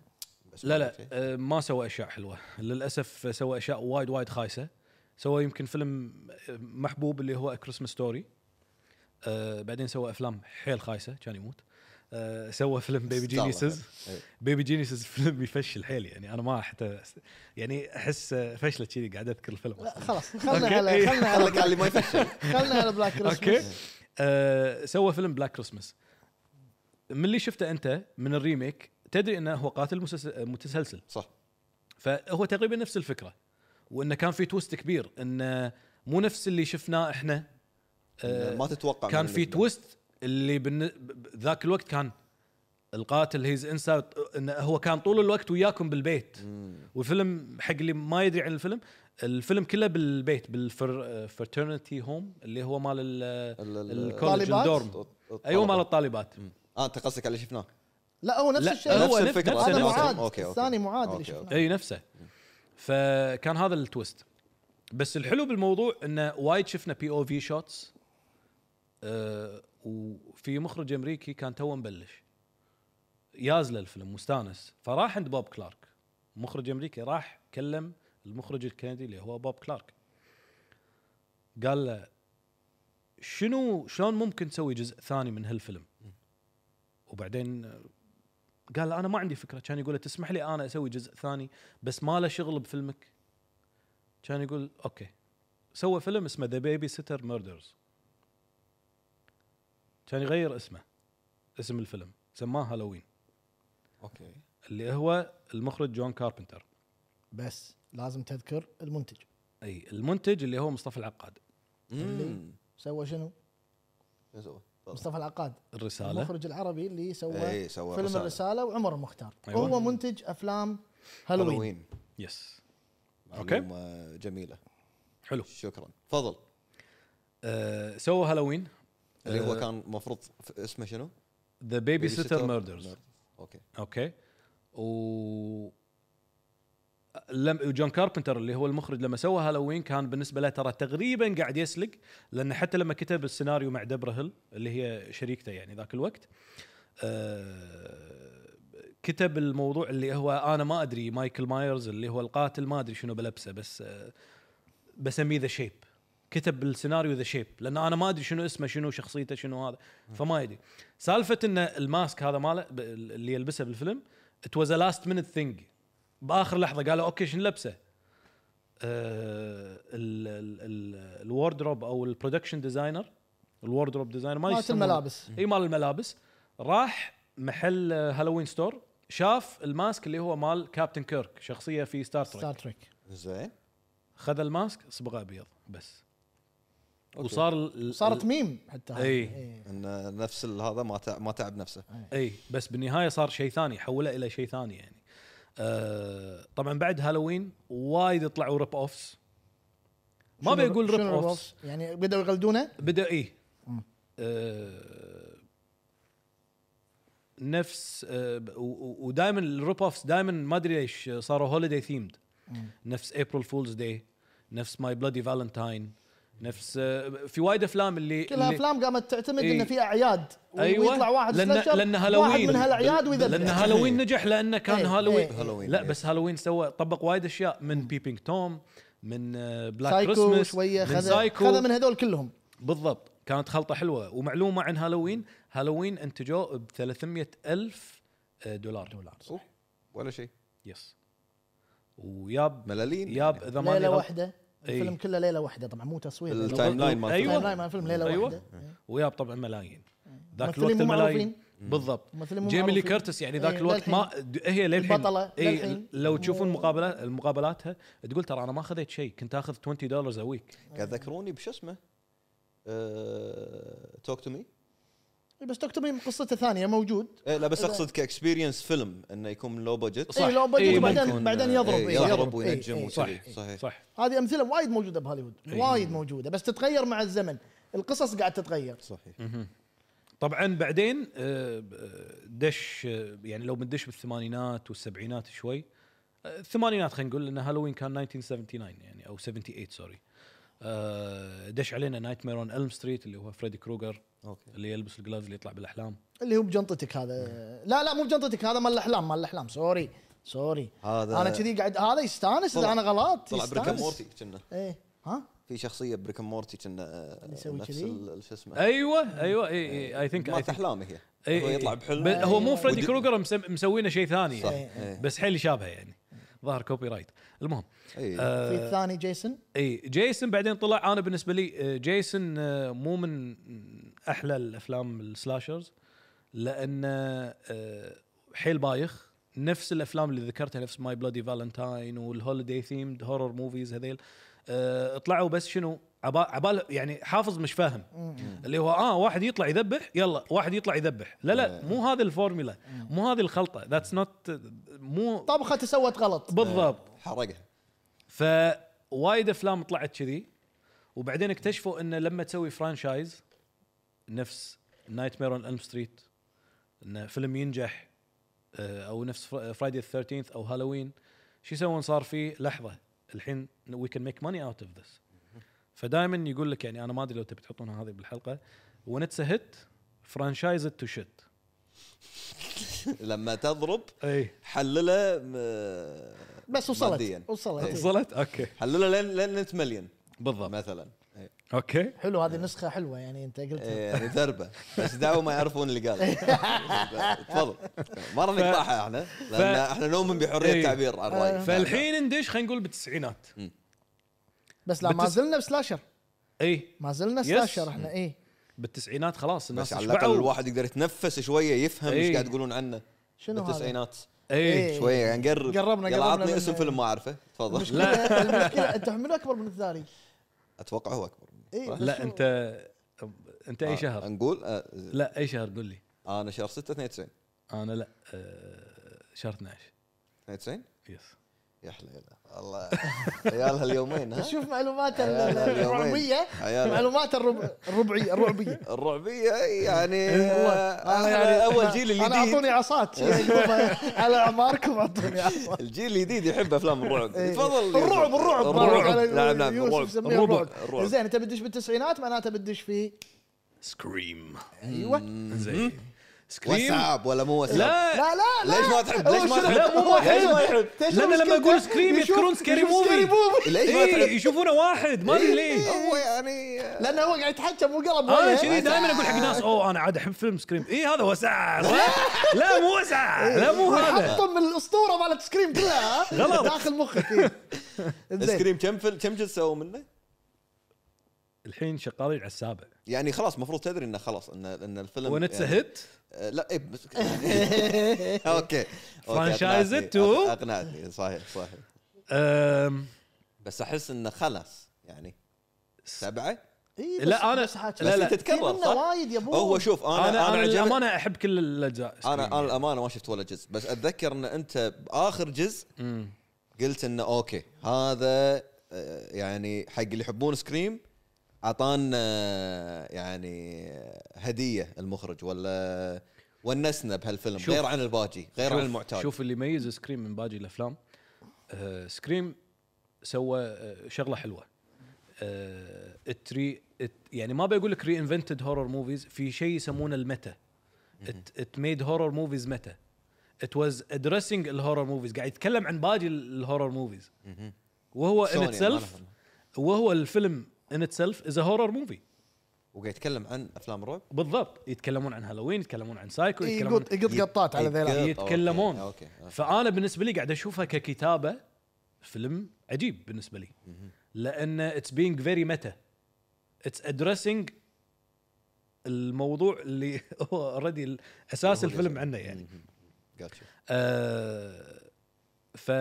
Speaker 1: بس
Speaker 3: لا
Speaker 1: ما
Speaker 3: لا
Speaker 1: أعرف شيء.
Speaker 3: آه، ما سوى اشياء حلوه للاسف سوى اشياء وايد وايد خايسه سوى يمكن فيلم آه، آه، محبوب اللي هو كريسمس ستوري بعدين سوى افلام حيل خايسه كان يموت آه، سوى فيلم بيبي جينيسز
Speaker 1: [laughs] إيه.
Speaker 3: بيبي جينيسز فيلم يفشل حيل يعني انا ما حتى يعني احس آه، فشلت كذي قاعد اذكر الفيلم
Speaker 2: لا
Speaker 3: أصلاً.
Speaker 2: خلاص خلنا
Speaker 3: أوكي.
Speaker 2: على
Speaker 3: إيه.
Speaker 2: خلنا
Speaker 1: خليك على
Speaker 2: على
Speaker 1: اللي ما يفشل
Speaker 2: خلنا على بلاك
Speaker 3: اوكي
Speaker 2: كريسمس
Speaker 3: آه سوى فيلم بلاك كريسمس من اللي شفته انت من الريميك تدري انه هو قاتل مسلسل- متسلسل
Speaker 1: صح
Speaker 3: فهو تقريبا نفس الفكره وانه كان في تويست كبير انه مو نفس اللي شفناه احنا [laughs] آه،
Speaker 1: ما تتوقع
Speaker 3: كان
Speaker 1: من
Speaker 3: في
Speaker 1: اللي-
Speaker 3: تويست اللي بالن... ب- ب- ذاك الوقت كان القاتل هيز انسايد انه هو كان طول الوقت وياكم بالبيت والفيلم حق اللي ما يدري عن الفيلم الفيلم كله بالبيت بالفرترنتي هوم اللي هو مال ال-
Speaker 1: ال- ال-
Speaker 3: الكولج
Speaker 2: طالبات؟
Speaker 3: الدورم ايوه مال الطالبات
Speaker 1: اه انت قصدك على اللي شفناه
Speaker 2: لا هو نفس
Speaker 3: لا،
Speaker 2: الشيء
Speaker 3: أيوة، هو
Speaker 1: نفس
Speaker 3: نف-
Speaker 1: الفكره
Speaker 3: نفسه،
Speaker 2: هذا
Speaker 3: نفسه.
Speaker 2: معاد
Speaker 1: اوكي اوكي
Speaker 2: الثاني معاد اللي
Speaker 1: أوكي، أوكي.
Speaker 2: شفناه
Speaker 3: اي نفسه فكان هذا التويست بس الحلو بالموضوع انه وايد شفنا بي او في شوتس آه، وفي مخرج امريكي كان تو مبلش يازله الفيلم مستانس فراح عند بوب كلارك مخرج امريكي راح كلم المخرج الكندي اللي هو بوب كلارك قال له شنو شلون ممكن تسوي جزء ثاني من هالفيلم وبعدين آه، قال له انا ما عندي فكره كان يقول له تسمح لي انا اسوي جزء ثاني بس ما له شغل بفيلمك كان يقول اوكي سوى فيلم اسمه ذا بيبي سيتر ميردرز كان يغير اسمه اسم الفيلم سماه هالوين
Speaker 1: اوكي
Speaker 3: اللي هو المخرج جون كاربنتر
Speaker 2: بس لازم تذكر المنتج
Speaker 3: اي المنتج اللي هو مصطفى العقاد
Speaker 1: أمم.
Speaker 2: سوى شنو؟
Speaker 1: شو سوى؟
Speaker 2: مصطفى العقاد
Speaker 3: الرساله
Speaker 2: المخرج العربي اللي سوى
Speaker 1: اي إيه، سوى
Speaker 2: فيلم
Speaker 1: رسالة.
Speaker 2: الرساله وعمر المختار
Speaker 3: أيوة.
Speaker 2: وهو منتج افلام هالوين
Speaker 3: يس
Speaker 1: اوكي
Speaker 3: أوكي.
Speaker 1: جميله
Speaker 3: حلو
Speaker 1: شكرا تفضل
Speaker 3: آه سوى هالوين
Speaker 1: اللي
Speaker 3: آه،
Speaker 1: هو كان المفروض اسمه شنو؟
Speaker 3: ذا بيبي سيتر ميردرز
Speaker 1: ميردرز اوكي
Speaker 3: اوكي و لم جون كاربنتر اللي هو المخرج لما سوى هالوين كان بالنسبه له ترى تقريبا قاعد يسلق لان حتى لما كتب السيناريو مع دبره هيل اللي هي شريكته يعني ذاك الوقت آه كتب الموضوع اللي هو انا ما ادري مايكل مايرز اللي هو القاتل ما ادري شنو بلبسه بس آه بسميه ذا شيب كتب السيناريو ذا شيب لان انا ما ادري شنو اسمه شنو شخصيته شنو هذا فما يدري سالفه ان الماسك هذا ماله ب- اللي يلبسه بالفيلم ات واز لاست مينت ثينج باخر لحظه قالوا اوكي شنو لبسه؟ آه ال- ال- ال- الواردروب او البرودكشن ديزاينر الواردروب ديزاينر ما
Speaker 2: مالت
Speaker 3: يسمونه.
Speaker 2: الملابس
Speaker 3: اي مال الملابس راح محل آه، هالوين ستور شاف الماسك اللي هو مال كابتن كيرك شخصيه في ستار
Speaker 2: ستار
Speaker 3: تريك
Speaker 2: تريك
Speaker 1: زين
Speaker 3: خذ الماسك صبغه ابيض بس
Speaker 1: أوكي.
Speaker 3: وصار ال-
Speaker 2: صارت ميم حتى إيه. هذه.
Speaker 3: إي.
Speaker 2: إي.
Speaker 1: ان نفس ال- هذا ما تع- ما تعب نفسه
Speaker 3: اي بس بالنهايه صار شيء ثاني حوله الى شيء ثاني يعني آه طبعا بعد هالوين وايد طلعوا ريب اوفس ما
Speaker 2: شنو-
Speaker 3: بيقول ريب
Speaker 2: شنو
Speaker 3: اوفس
Speaker 2: rip-offs؟ يعني بدأوا يقلدونه
Speaker 3: بدا اي
Speaker 2: مم.
Speaker 3: إيه؟ آه نفس آه ودائما الريب اوفس دائما ما ادري ليش صاروا هوليداي ثيمد
Speaker 2: مم.
Speaker 3: نفس ابريل فولز داي نفس ماي بلادي فالنتاين نفس آه في وايد افلام اللي
Speaker 2: كل
Speaker 3: اللي-
Speaker 2: الافلام قامت تعتمد
Speaker 3: إي.
Speaker 2: ان في اعياد و-
Speaker 3: ايوه
Speaker 2: ويطلع واحد
Speaker 3: لان
Speaker 2: slasher،
Speaker 3: لان
Speaker 2: واحد
Speaker 3: هالوين
Speaker 2: من هالاعياد
Speaker 3: لان
Speaker 2: ويذبح
Speaker 3: هالوين نجح لانه كان
Speaker 2: إيه،
Speaker 3: هالوين
Speaker 2: إيه.
Speaker 1: هالوين
Speaker 3: لا بس هالوين سوى طبق وايد اشياء من بيبينج توم من آه، بلاك
Speaker 2: سايكو
Speaker 3: كريسمس
Speaker 2: شويه
Speaker 3: من
Speaker 2: خذ خذ من هذول كلهم
Speaker 3: بالضبط كانت خلطه حلوه ومعلومه عن هالوين هالوين انتجوه ب 300 الف دولار دولار
Speaker 1: أوه. ولا شيء
Speaker 3: يس وياب
Speaker 1: ملالين
Speaker 3: ياب اذا ماني
Speaker 2: ليله
Speaker 3: غلط-
Speaker 2: واحده
Speaker 3: إي.
Speaker 2: الفيلم كله ليله واحده طبعا مو تصوير ليلة واحدة.
Speaker 1: إيه. التايم لاين مال
Speaker 3: أيوة.
Speaker 1: الفيلم.
Speaker 2: تايم لاين مال الفيلم إيه. ليله
Speaker 3: أيوة.
Speaker 2: واحده
Speaker 3: وياب طبعا ملايين ذاك
Speaker 2: ممثلين
Speaker 3: الوقت
Speaker 2: مو
Speaker 3: الملايين
Speaker 2: معروفين.
Speaker 3: بالضبط
Speaker 2: ممثلين مو
Speaker 3: جيمي لي
Speaker 2: معروفين.
Speaker 3: كيرتس يعني ذاك
Speaker 2: إيه،
Speaker 3: الوقت ما د- هي للحين
Speaker 2: البطلة
Speaker 3: اي
Speaker 2: للحين.
Speaker 3: لو تشوفون
Speaker 2: مو-
Speaker 3: مقابلات مقابلاتها تقول ترى انا ما خذيت شيء كنت اخذ 20 دولار ا ويك
Speaker 1: قاعد ذكروني بشو اسمه آه، توك تو مي
Speaker 2: إي بس تكتب قصته ثانيه موجود إيه،
Speaker 1: إيه، لا بس اقصد كاكسبيرينس فيلم انه يكون لو بادجت
Speaker 3: صح.
Speaker 2: اي لو
Speaker 3: إي،
Speaker 2: بدت
Speaker 1: إيه، ممكن.
Speaker 2: بعدين بعدين يضرب
Speaker 1: إي،
Speaker 2: إي،
Speaker 1: يضرب
Speaker 2: إي،
Speaker 1: وينجم إيه.
Speaker 2: إي،
Speaker 1: وكذي.
Speaker 2: إي.
Speaker 3: صح
Speaker 1: صحيح.
Speaker 3: صح
Speaker 2: هذه امثله وايد موجوده بهوليوود
Speaker 3: إي.
Speaker 2: وايد موجوده بس تتغير مع الزمن القصص قاعد تتغير
Speaker 1: صحيح
Speaker 3: طبعا بعدين آه، آه، دش آه، يعني لو بندش بالثمانينات والسبعينات شوي آه، الثمانينات خلينا نقول لان هالوين كان 1979 يعني او 78 سوري آه، دش علينا نايت مير اون الم ستريت اللي هو فريدي كروجر
Speaker 1: اوكي
Speaker 3: اللي يلبس الجلافز اللي يطلع بالاحلام
Speaker 2: اللي هو بجنطتك هذا لا لا مو بجنطتك هذا مال الاحلام مال الاحلام سوري سوري
Speaker 1: هذا
Speaker 2: انا كذي قاعد هذا يستانس اذا
Speaker 1: طلع-
Speaker 2: انا غلط
Speaker 1: طلع بريكا
Speaker 2: يستانس
Speaker 1: مورتي كنا
Speaker 2: ايه ها
Speaker 1: في شخصيه بريك مورتي كنا آه،
Speaker 2: اللي يسوي
Speaker 1: نفس
Speaker 2: كذي؟
Speaker 1: ال- شو اسمه
Speaker 3: ايوه ايوه اي ثينك
Speaker 1: مات احلامي هي هو يطلع بحلم
Speaker 3: هو مو
Speaker 2: أيوة.
Speaker 3: فريدي
Speaker 1: ودي-
Speaker 3: كروجر مسم- مسوينه شيء ثاني
Speaker 1: صح
Speaker 3: يعني.
Speaker 1: إيه.
Speaker 3: بس حيل يشابهه يعني ظهر كوبي رايت المهم
Speaker 1: إيه.
Speaker 2: في
Speaker 3: آه،
Speaker 2: الثاني جيسون
Speaker 3: اي جيسون بعدين طلع انا بالنسبه لي آه، جيسون آه، مو من احلى الافلام السلاشرز لان آه، حيل بايخ نفس الافلام اللي ذكرتها نفس ماي بلادي فالنتاين والهوليدي ثيمد هورر موفيز هذيل آه، طلعوا بس شنو عبال عبال يعني حافظ مش فاهم اللي هو اه واحد يطلع يذبح يلا واحد يطلع يذبح لا لا مو هذا الفورمولا مو هذه الخلطه ذاتس نوت مو
Speaker 2: طبخته سوت غلط
Speaker 3: بالضبط
Speaker 1: حرقها [laughs]
Speaker 3: فوايد افلام طلعت كذي وبعدين اكتشفوا انه لما تسوي فرانشايز نفس نايت مير اون الم ستريت انه فيلم ينجح آه، او نفس فرايدي 13 او هالوين شو يسوون صار في لحظه الحين وي كان ميك ماني اوت اوف ذس فدائما يقول لك يعني انا ما ادري لو تبي تحطونها هذه بالحلقه ونتس هيت فرانشايز تو شيت
Speaker 1: لما تضرب
Speaker 3: اي
Speaker 1: حلله م-
Speaker 2: بس وصلت
Speaker 1: مادياً. إيه.
Speaker 2: وصلت إيه.
Speaker 3: وصلت اوكي
Speaker 1: حلله لين لين انت مليون
Speaker 3: بالضبط
Speaker 1: مثلا إيه.
Speaker 3: اوكي
Speaker 2: حلو هذه نسخه حلوه يعني انت قلتها
Speaker 1: إيه، يعني ذربه بس دعوه ما يعرفون اللي
Speaker 2: [laughs]
Speaker 1: قال تفضل ما راح نقطعها احنا لان احنا نؤمن بحريه
Speaker 3: إيه.
Speaker 1: التعبير عن راينا
Speaker 3: فالحين ندش خلينا نقول بالتسعينات
Speaker 2: بس لا ما
Speaker 3: بتس-
Speaker 2: زلنا بسلاشر
Speaker 3: اي
Speaker 2: ما زلنا سلاشر احنا إيه. اي
Speaker 3: بالتسعينات خلاص الناس
Speaker 1: بس على الاقل
Speaker 3: شبعوا
Speaker 1: الواحد يقدر يتنفس شويه يفهم ايش
Speaker 3: إيه.
Speaker 1: قاعد تقولون عنه
Speaker 2: شنو هذا؟
Speaker 1: بالتسعينات
Speaker 3: اي
Speaker 2: إيه.
Speaker 1: شويه يعني نقرب
Speaker 2: قربنا-
Speaker 1: يلا
Speaker 2: قربنا
Speaker 1: عطني
Speaker 2: من-
Speaker 1: اسم فيلم ما اعرفه تفضل
Speaker 2: [laughs] لا المشكله انت من اكبر من الثاني إيه،
Speaker 1: اتوقع هو اكبر
Speaker 2: اي بس
Speaker 3: لا
Speaker 2: هو-
Speaker 3: انت انت اي إيه، شهر
Speaker 1: نقول آه،
Speaker 3: لا اي شهر قول لي
Speaker 1: انا شهر 6 92
Speaker 3: انا لا آه، شهر 12
Speaker 1: 92
Speaker 3: يس
Speaker 1: يا حليله الله عيالها اليومين
Speaker 2: [laughs]
Speaker 1: ها
Speaker 2: شوف معلوماته ال-
Speaker 1: عيال
Speaker 2: ال-
Speaker 1: اليومين.
Speaker 2: الرعبيه
Speaker 1: عيال.
Speaker 2: معلوماته الربع-
Speaker 1: [laughs]
Speaker 2: الربعيه الرعبيه
Speaker 1: الرعبيه
Speaker 3: إيه،
Speaker 1: يعني
Speaker 2: والله.
Speaker 1: آه،
Speaker 2: أنا
Speaker 1: أحلى اول جيل
Speaker 2: انا
Speaker 1: الجديد
Speaker 2: اعطوني عصات
Speaker 1: [laughs]
Speaker 2: شي أقوم على اعماركم اعطوني عصات
Speaker 1: الجيل الجديد يحب افلام الرعب
Speaker 2: إيه.
Speaker 1: تفضل
Speaker 2: الرعب الرعب
Speaker 1: الرعب نعم نعم الرعب
Speaker 2: الرعب
Speaker 1: الرعب.
Speaker 2: زين انت بتدش بالتسعينات معناته بتدش في
Speaker 3: سكريم
Speaker 2: ايوه
Speaker 3: زين سكريم
Speaker 1: وساب ولا مو وساب
Speaker 3: لا
Speaker 2: لا لا لا
Speaker 1: ليش ما تحب ليش ما
Speaker 2: هو شنو-
Speaker 1: تحب
Speaker 3: لا، مو واحد.
Speaker 1: ليش ما يحب
Speaker 2: تدري
Speaker 3: لأن لما
Speaker 2: مشكلته؟
Speaker 3: يقول سكريم
Speaker 2: يشوف-
Speaker 3: يذكرون سكيري
Speaker 2: يشوف
Speaker 3: موفي.
Speaker 2: سكيري موفي
Speaker 1: ليش ما إيه.
Speaker 3: إيه،
Speaker 1: تحب
Speaker 3: يشوفونه واحد ما ادري ليش
Speaker 1: هو يعني
Speaker 2: لانه هو قاعد يتحكى مو قلب
Speaker 1: آه،
Speaker 3: انا
Speaker 2: وجهه.
Speaker 3: كذي دائما اقول حق ناس اوه انا عاد احب فيلم سكريم اي هذا
Speaker 1: [laughs]
Speaker 3: وسع صح؟ لا مو
Speaker 1: إيه.
Speaker 3: وسع لا مو هذا
Speaker 2: حطهم من الاسطوره مالت سكريم كلها ها؟
Speaker 3: غلط.
Speaker 2: داخل مخك إيه. زين
Speaker 1: سكريم كم فيلم- كم جزء سووا منه؟
Speaker 3: الحين شغالين على السابع
Speaker 1: يعني خلاص المفروض تدري انه خلاص ان ان الفيلم
Speaker 3: ونتس
Speaker 1: يعني-
Speaker 3: هيت
Speaker 1: آه، لا اي بس
Speaker 2: [laughs]
Speaker 1: اوكي
Speaker 3: Franchise
Speaker 1: أقنعتني.
Speaker 3: it to-
Speaker 1: اقنعتني صحيح صحيح
Speaker 3: أم،
Speaker 1: بس احس انه خلاص يعني سبعه
Speaker 2: إيه، بس-
Speaker 3: لا انا
Speaker 2: بس حاجة.
Speaker 3: لا لا
Speaker 1: بس تتكرر
Speaker 2: منه
Speaker 1: صح؟
Speaker 2: وايد يا أبوي.
Speaker 1: هو شوف انا
Speaker 3: انا انا
Speaker 1: عجبني-
Speaker 3: للامانه احب كل الاجزاء
Speaker 1: انا انا الامانه ما شفت ولا جزء بس اتذكر ان انت باخر جزء
Speaker 3: مم.
Speaker 1: قلت انه اوكي هذا آه، يعني حق اللي يحبون سكريم اعطانا آه، يعني هديه المخرج ولا ونسنا بهالفيلم
Speaker 3: شوف.
Speaker 1: غير عن الباجي غير عن
Speaker 3: شوف-
Speaker 1: المعتاد شوف
Speaker 3: شوف اللي يميز سكريم من باقي الافلام آه سكريم سوى آه شغله حلوه آه التري الت يعني ما بقول لك ري انفنتد هورر موفيز في شيء يسمونه الميتا ات ميد هورر موفيز ميتا ات واز ادريسنج الهورر موفيز قاعد يتكلم عن باقي الهورر موفيز وهو ان
Speaker 1: سوني، ما
Speaker 3: اتسلف
Speaker 1: لهم.
Speaker 3: وهو الفيلم ان اتسلف از هورر موفي
Speaker 1: وقاعد يتكلم عن افلام رعب
Speaker 3: بالضبط يتكلمون عن هالوين يتكلمون عن سايكو
Speaker 2: إيه،
Speaker 3: يتكلمون
Speaker 2: يقط يقط قطات على ذيلا
Speaker 1: يقط.
Speaker 3: يتكلمون
Speaker 1: أوكي، أوكي.
Speaker 3: فانا بالنسبه لي قاعد اشوفها ككتابه فيلم عجيب بالنسبه لي لان اتس بينج فيري ميتا اتس ادريسنج الموضوع اللي [laughs] هو اوريدي اساس الفيلم عنه يعني
Speaker 1: Gotcha.
Speaker 3: آه ف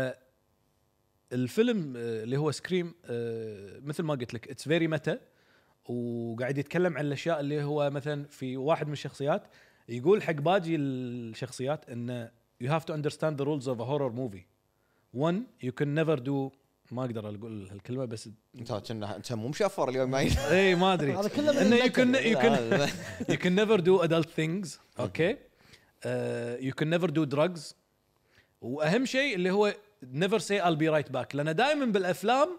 Speaker 3: الفيلم آه، اللي هو سكريم آه مثل ما قلت لك اتس فيري متى وقاعد يتكلم عن الاشياء اللي هو مثلا في واحد من الشخصيات يقول حق باقي الشخصيات انه يو هاف تو اندرستاند ذا رولز اوف ا هورر موفي 1 يو كان نيفر دو ما اقدر اقول هالكلمه بس
Speaker 1: انت كنا انت مو مشفر اليوم
Speaker 3: [laughs]
Speaker 1: معي
Speaker 3: اي ما ادري
Speaker 2: هذا كله من
Speaker 3: انه يو
Speaker 2: المتعة.
Speaker 3: كان يو كان you can never do adult things اوكي uh, you can never do drugs واهم شيء اللي هو never say I'll be right back لان دائما بالافلام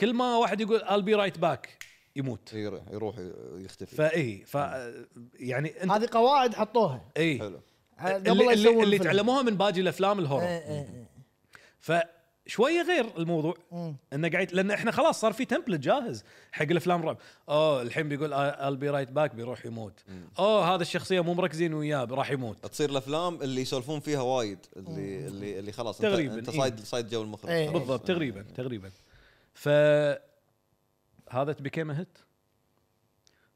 Speaker 3: كل ما واحد يقول I'll be right back يموت
Speaker 1: يروح يروح يختفي
Speaker 3: فاي ف يعني انت
Speaker 2: هذه قواعد حطوها
Speaker 3: اي
Speaker 1: حلو
Speaker 2: قبل
Speaker 3: اللي,
Speaker 2: لا
Speaker 3: اللي,
Speaker 2: يسوون
Speaker 3: اللي
Speaker 2: الفيلم.
Speaker 3: تعلموها من باقي الافلام
Speaker 2: إيه،
Speaker 3: الهورر
Speaker 2: إيه، إيه.
Speaker 3: شويه غير الموضوع
Speaker 2: مم.
Speaker 3: انه قاعد لان احنا خلاص صار في تمبلت جاهز حق الافلام رعب اوه الحين بيقول I'll be right back بيروح يموت اوه هذا الشخصيه مو مركزين وياه راح يموت
Speaker 1: تصير الافلام اللي يسولفون فيها وايد اللي اللي اللي خلاص أنت-
Speaker 3: تقريباً،
Speaker 1: انت
Speaker 3: إيه.
Speaker 1: صايد صايد جو المخرج
Speaker 2: إيه.
Speaker 1: خلاص.
Speaker 3: بالضبط تقريبا تقريبا ف هذا بيكيم هيت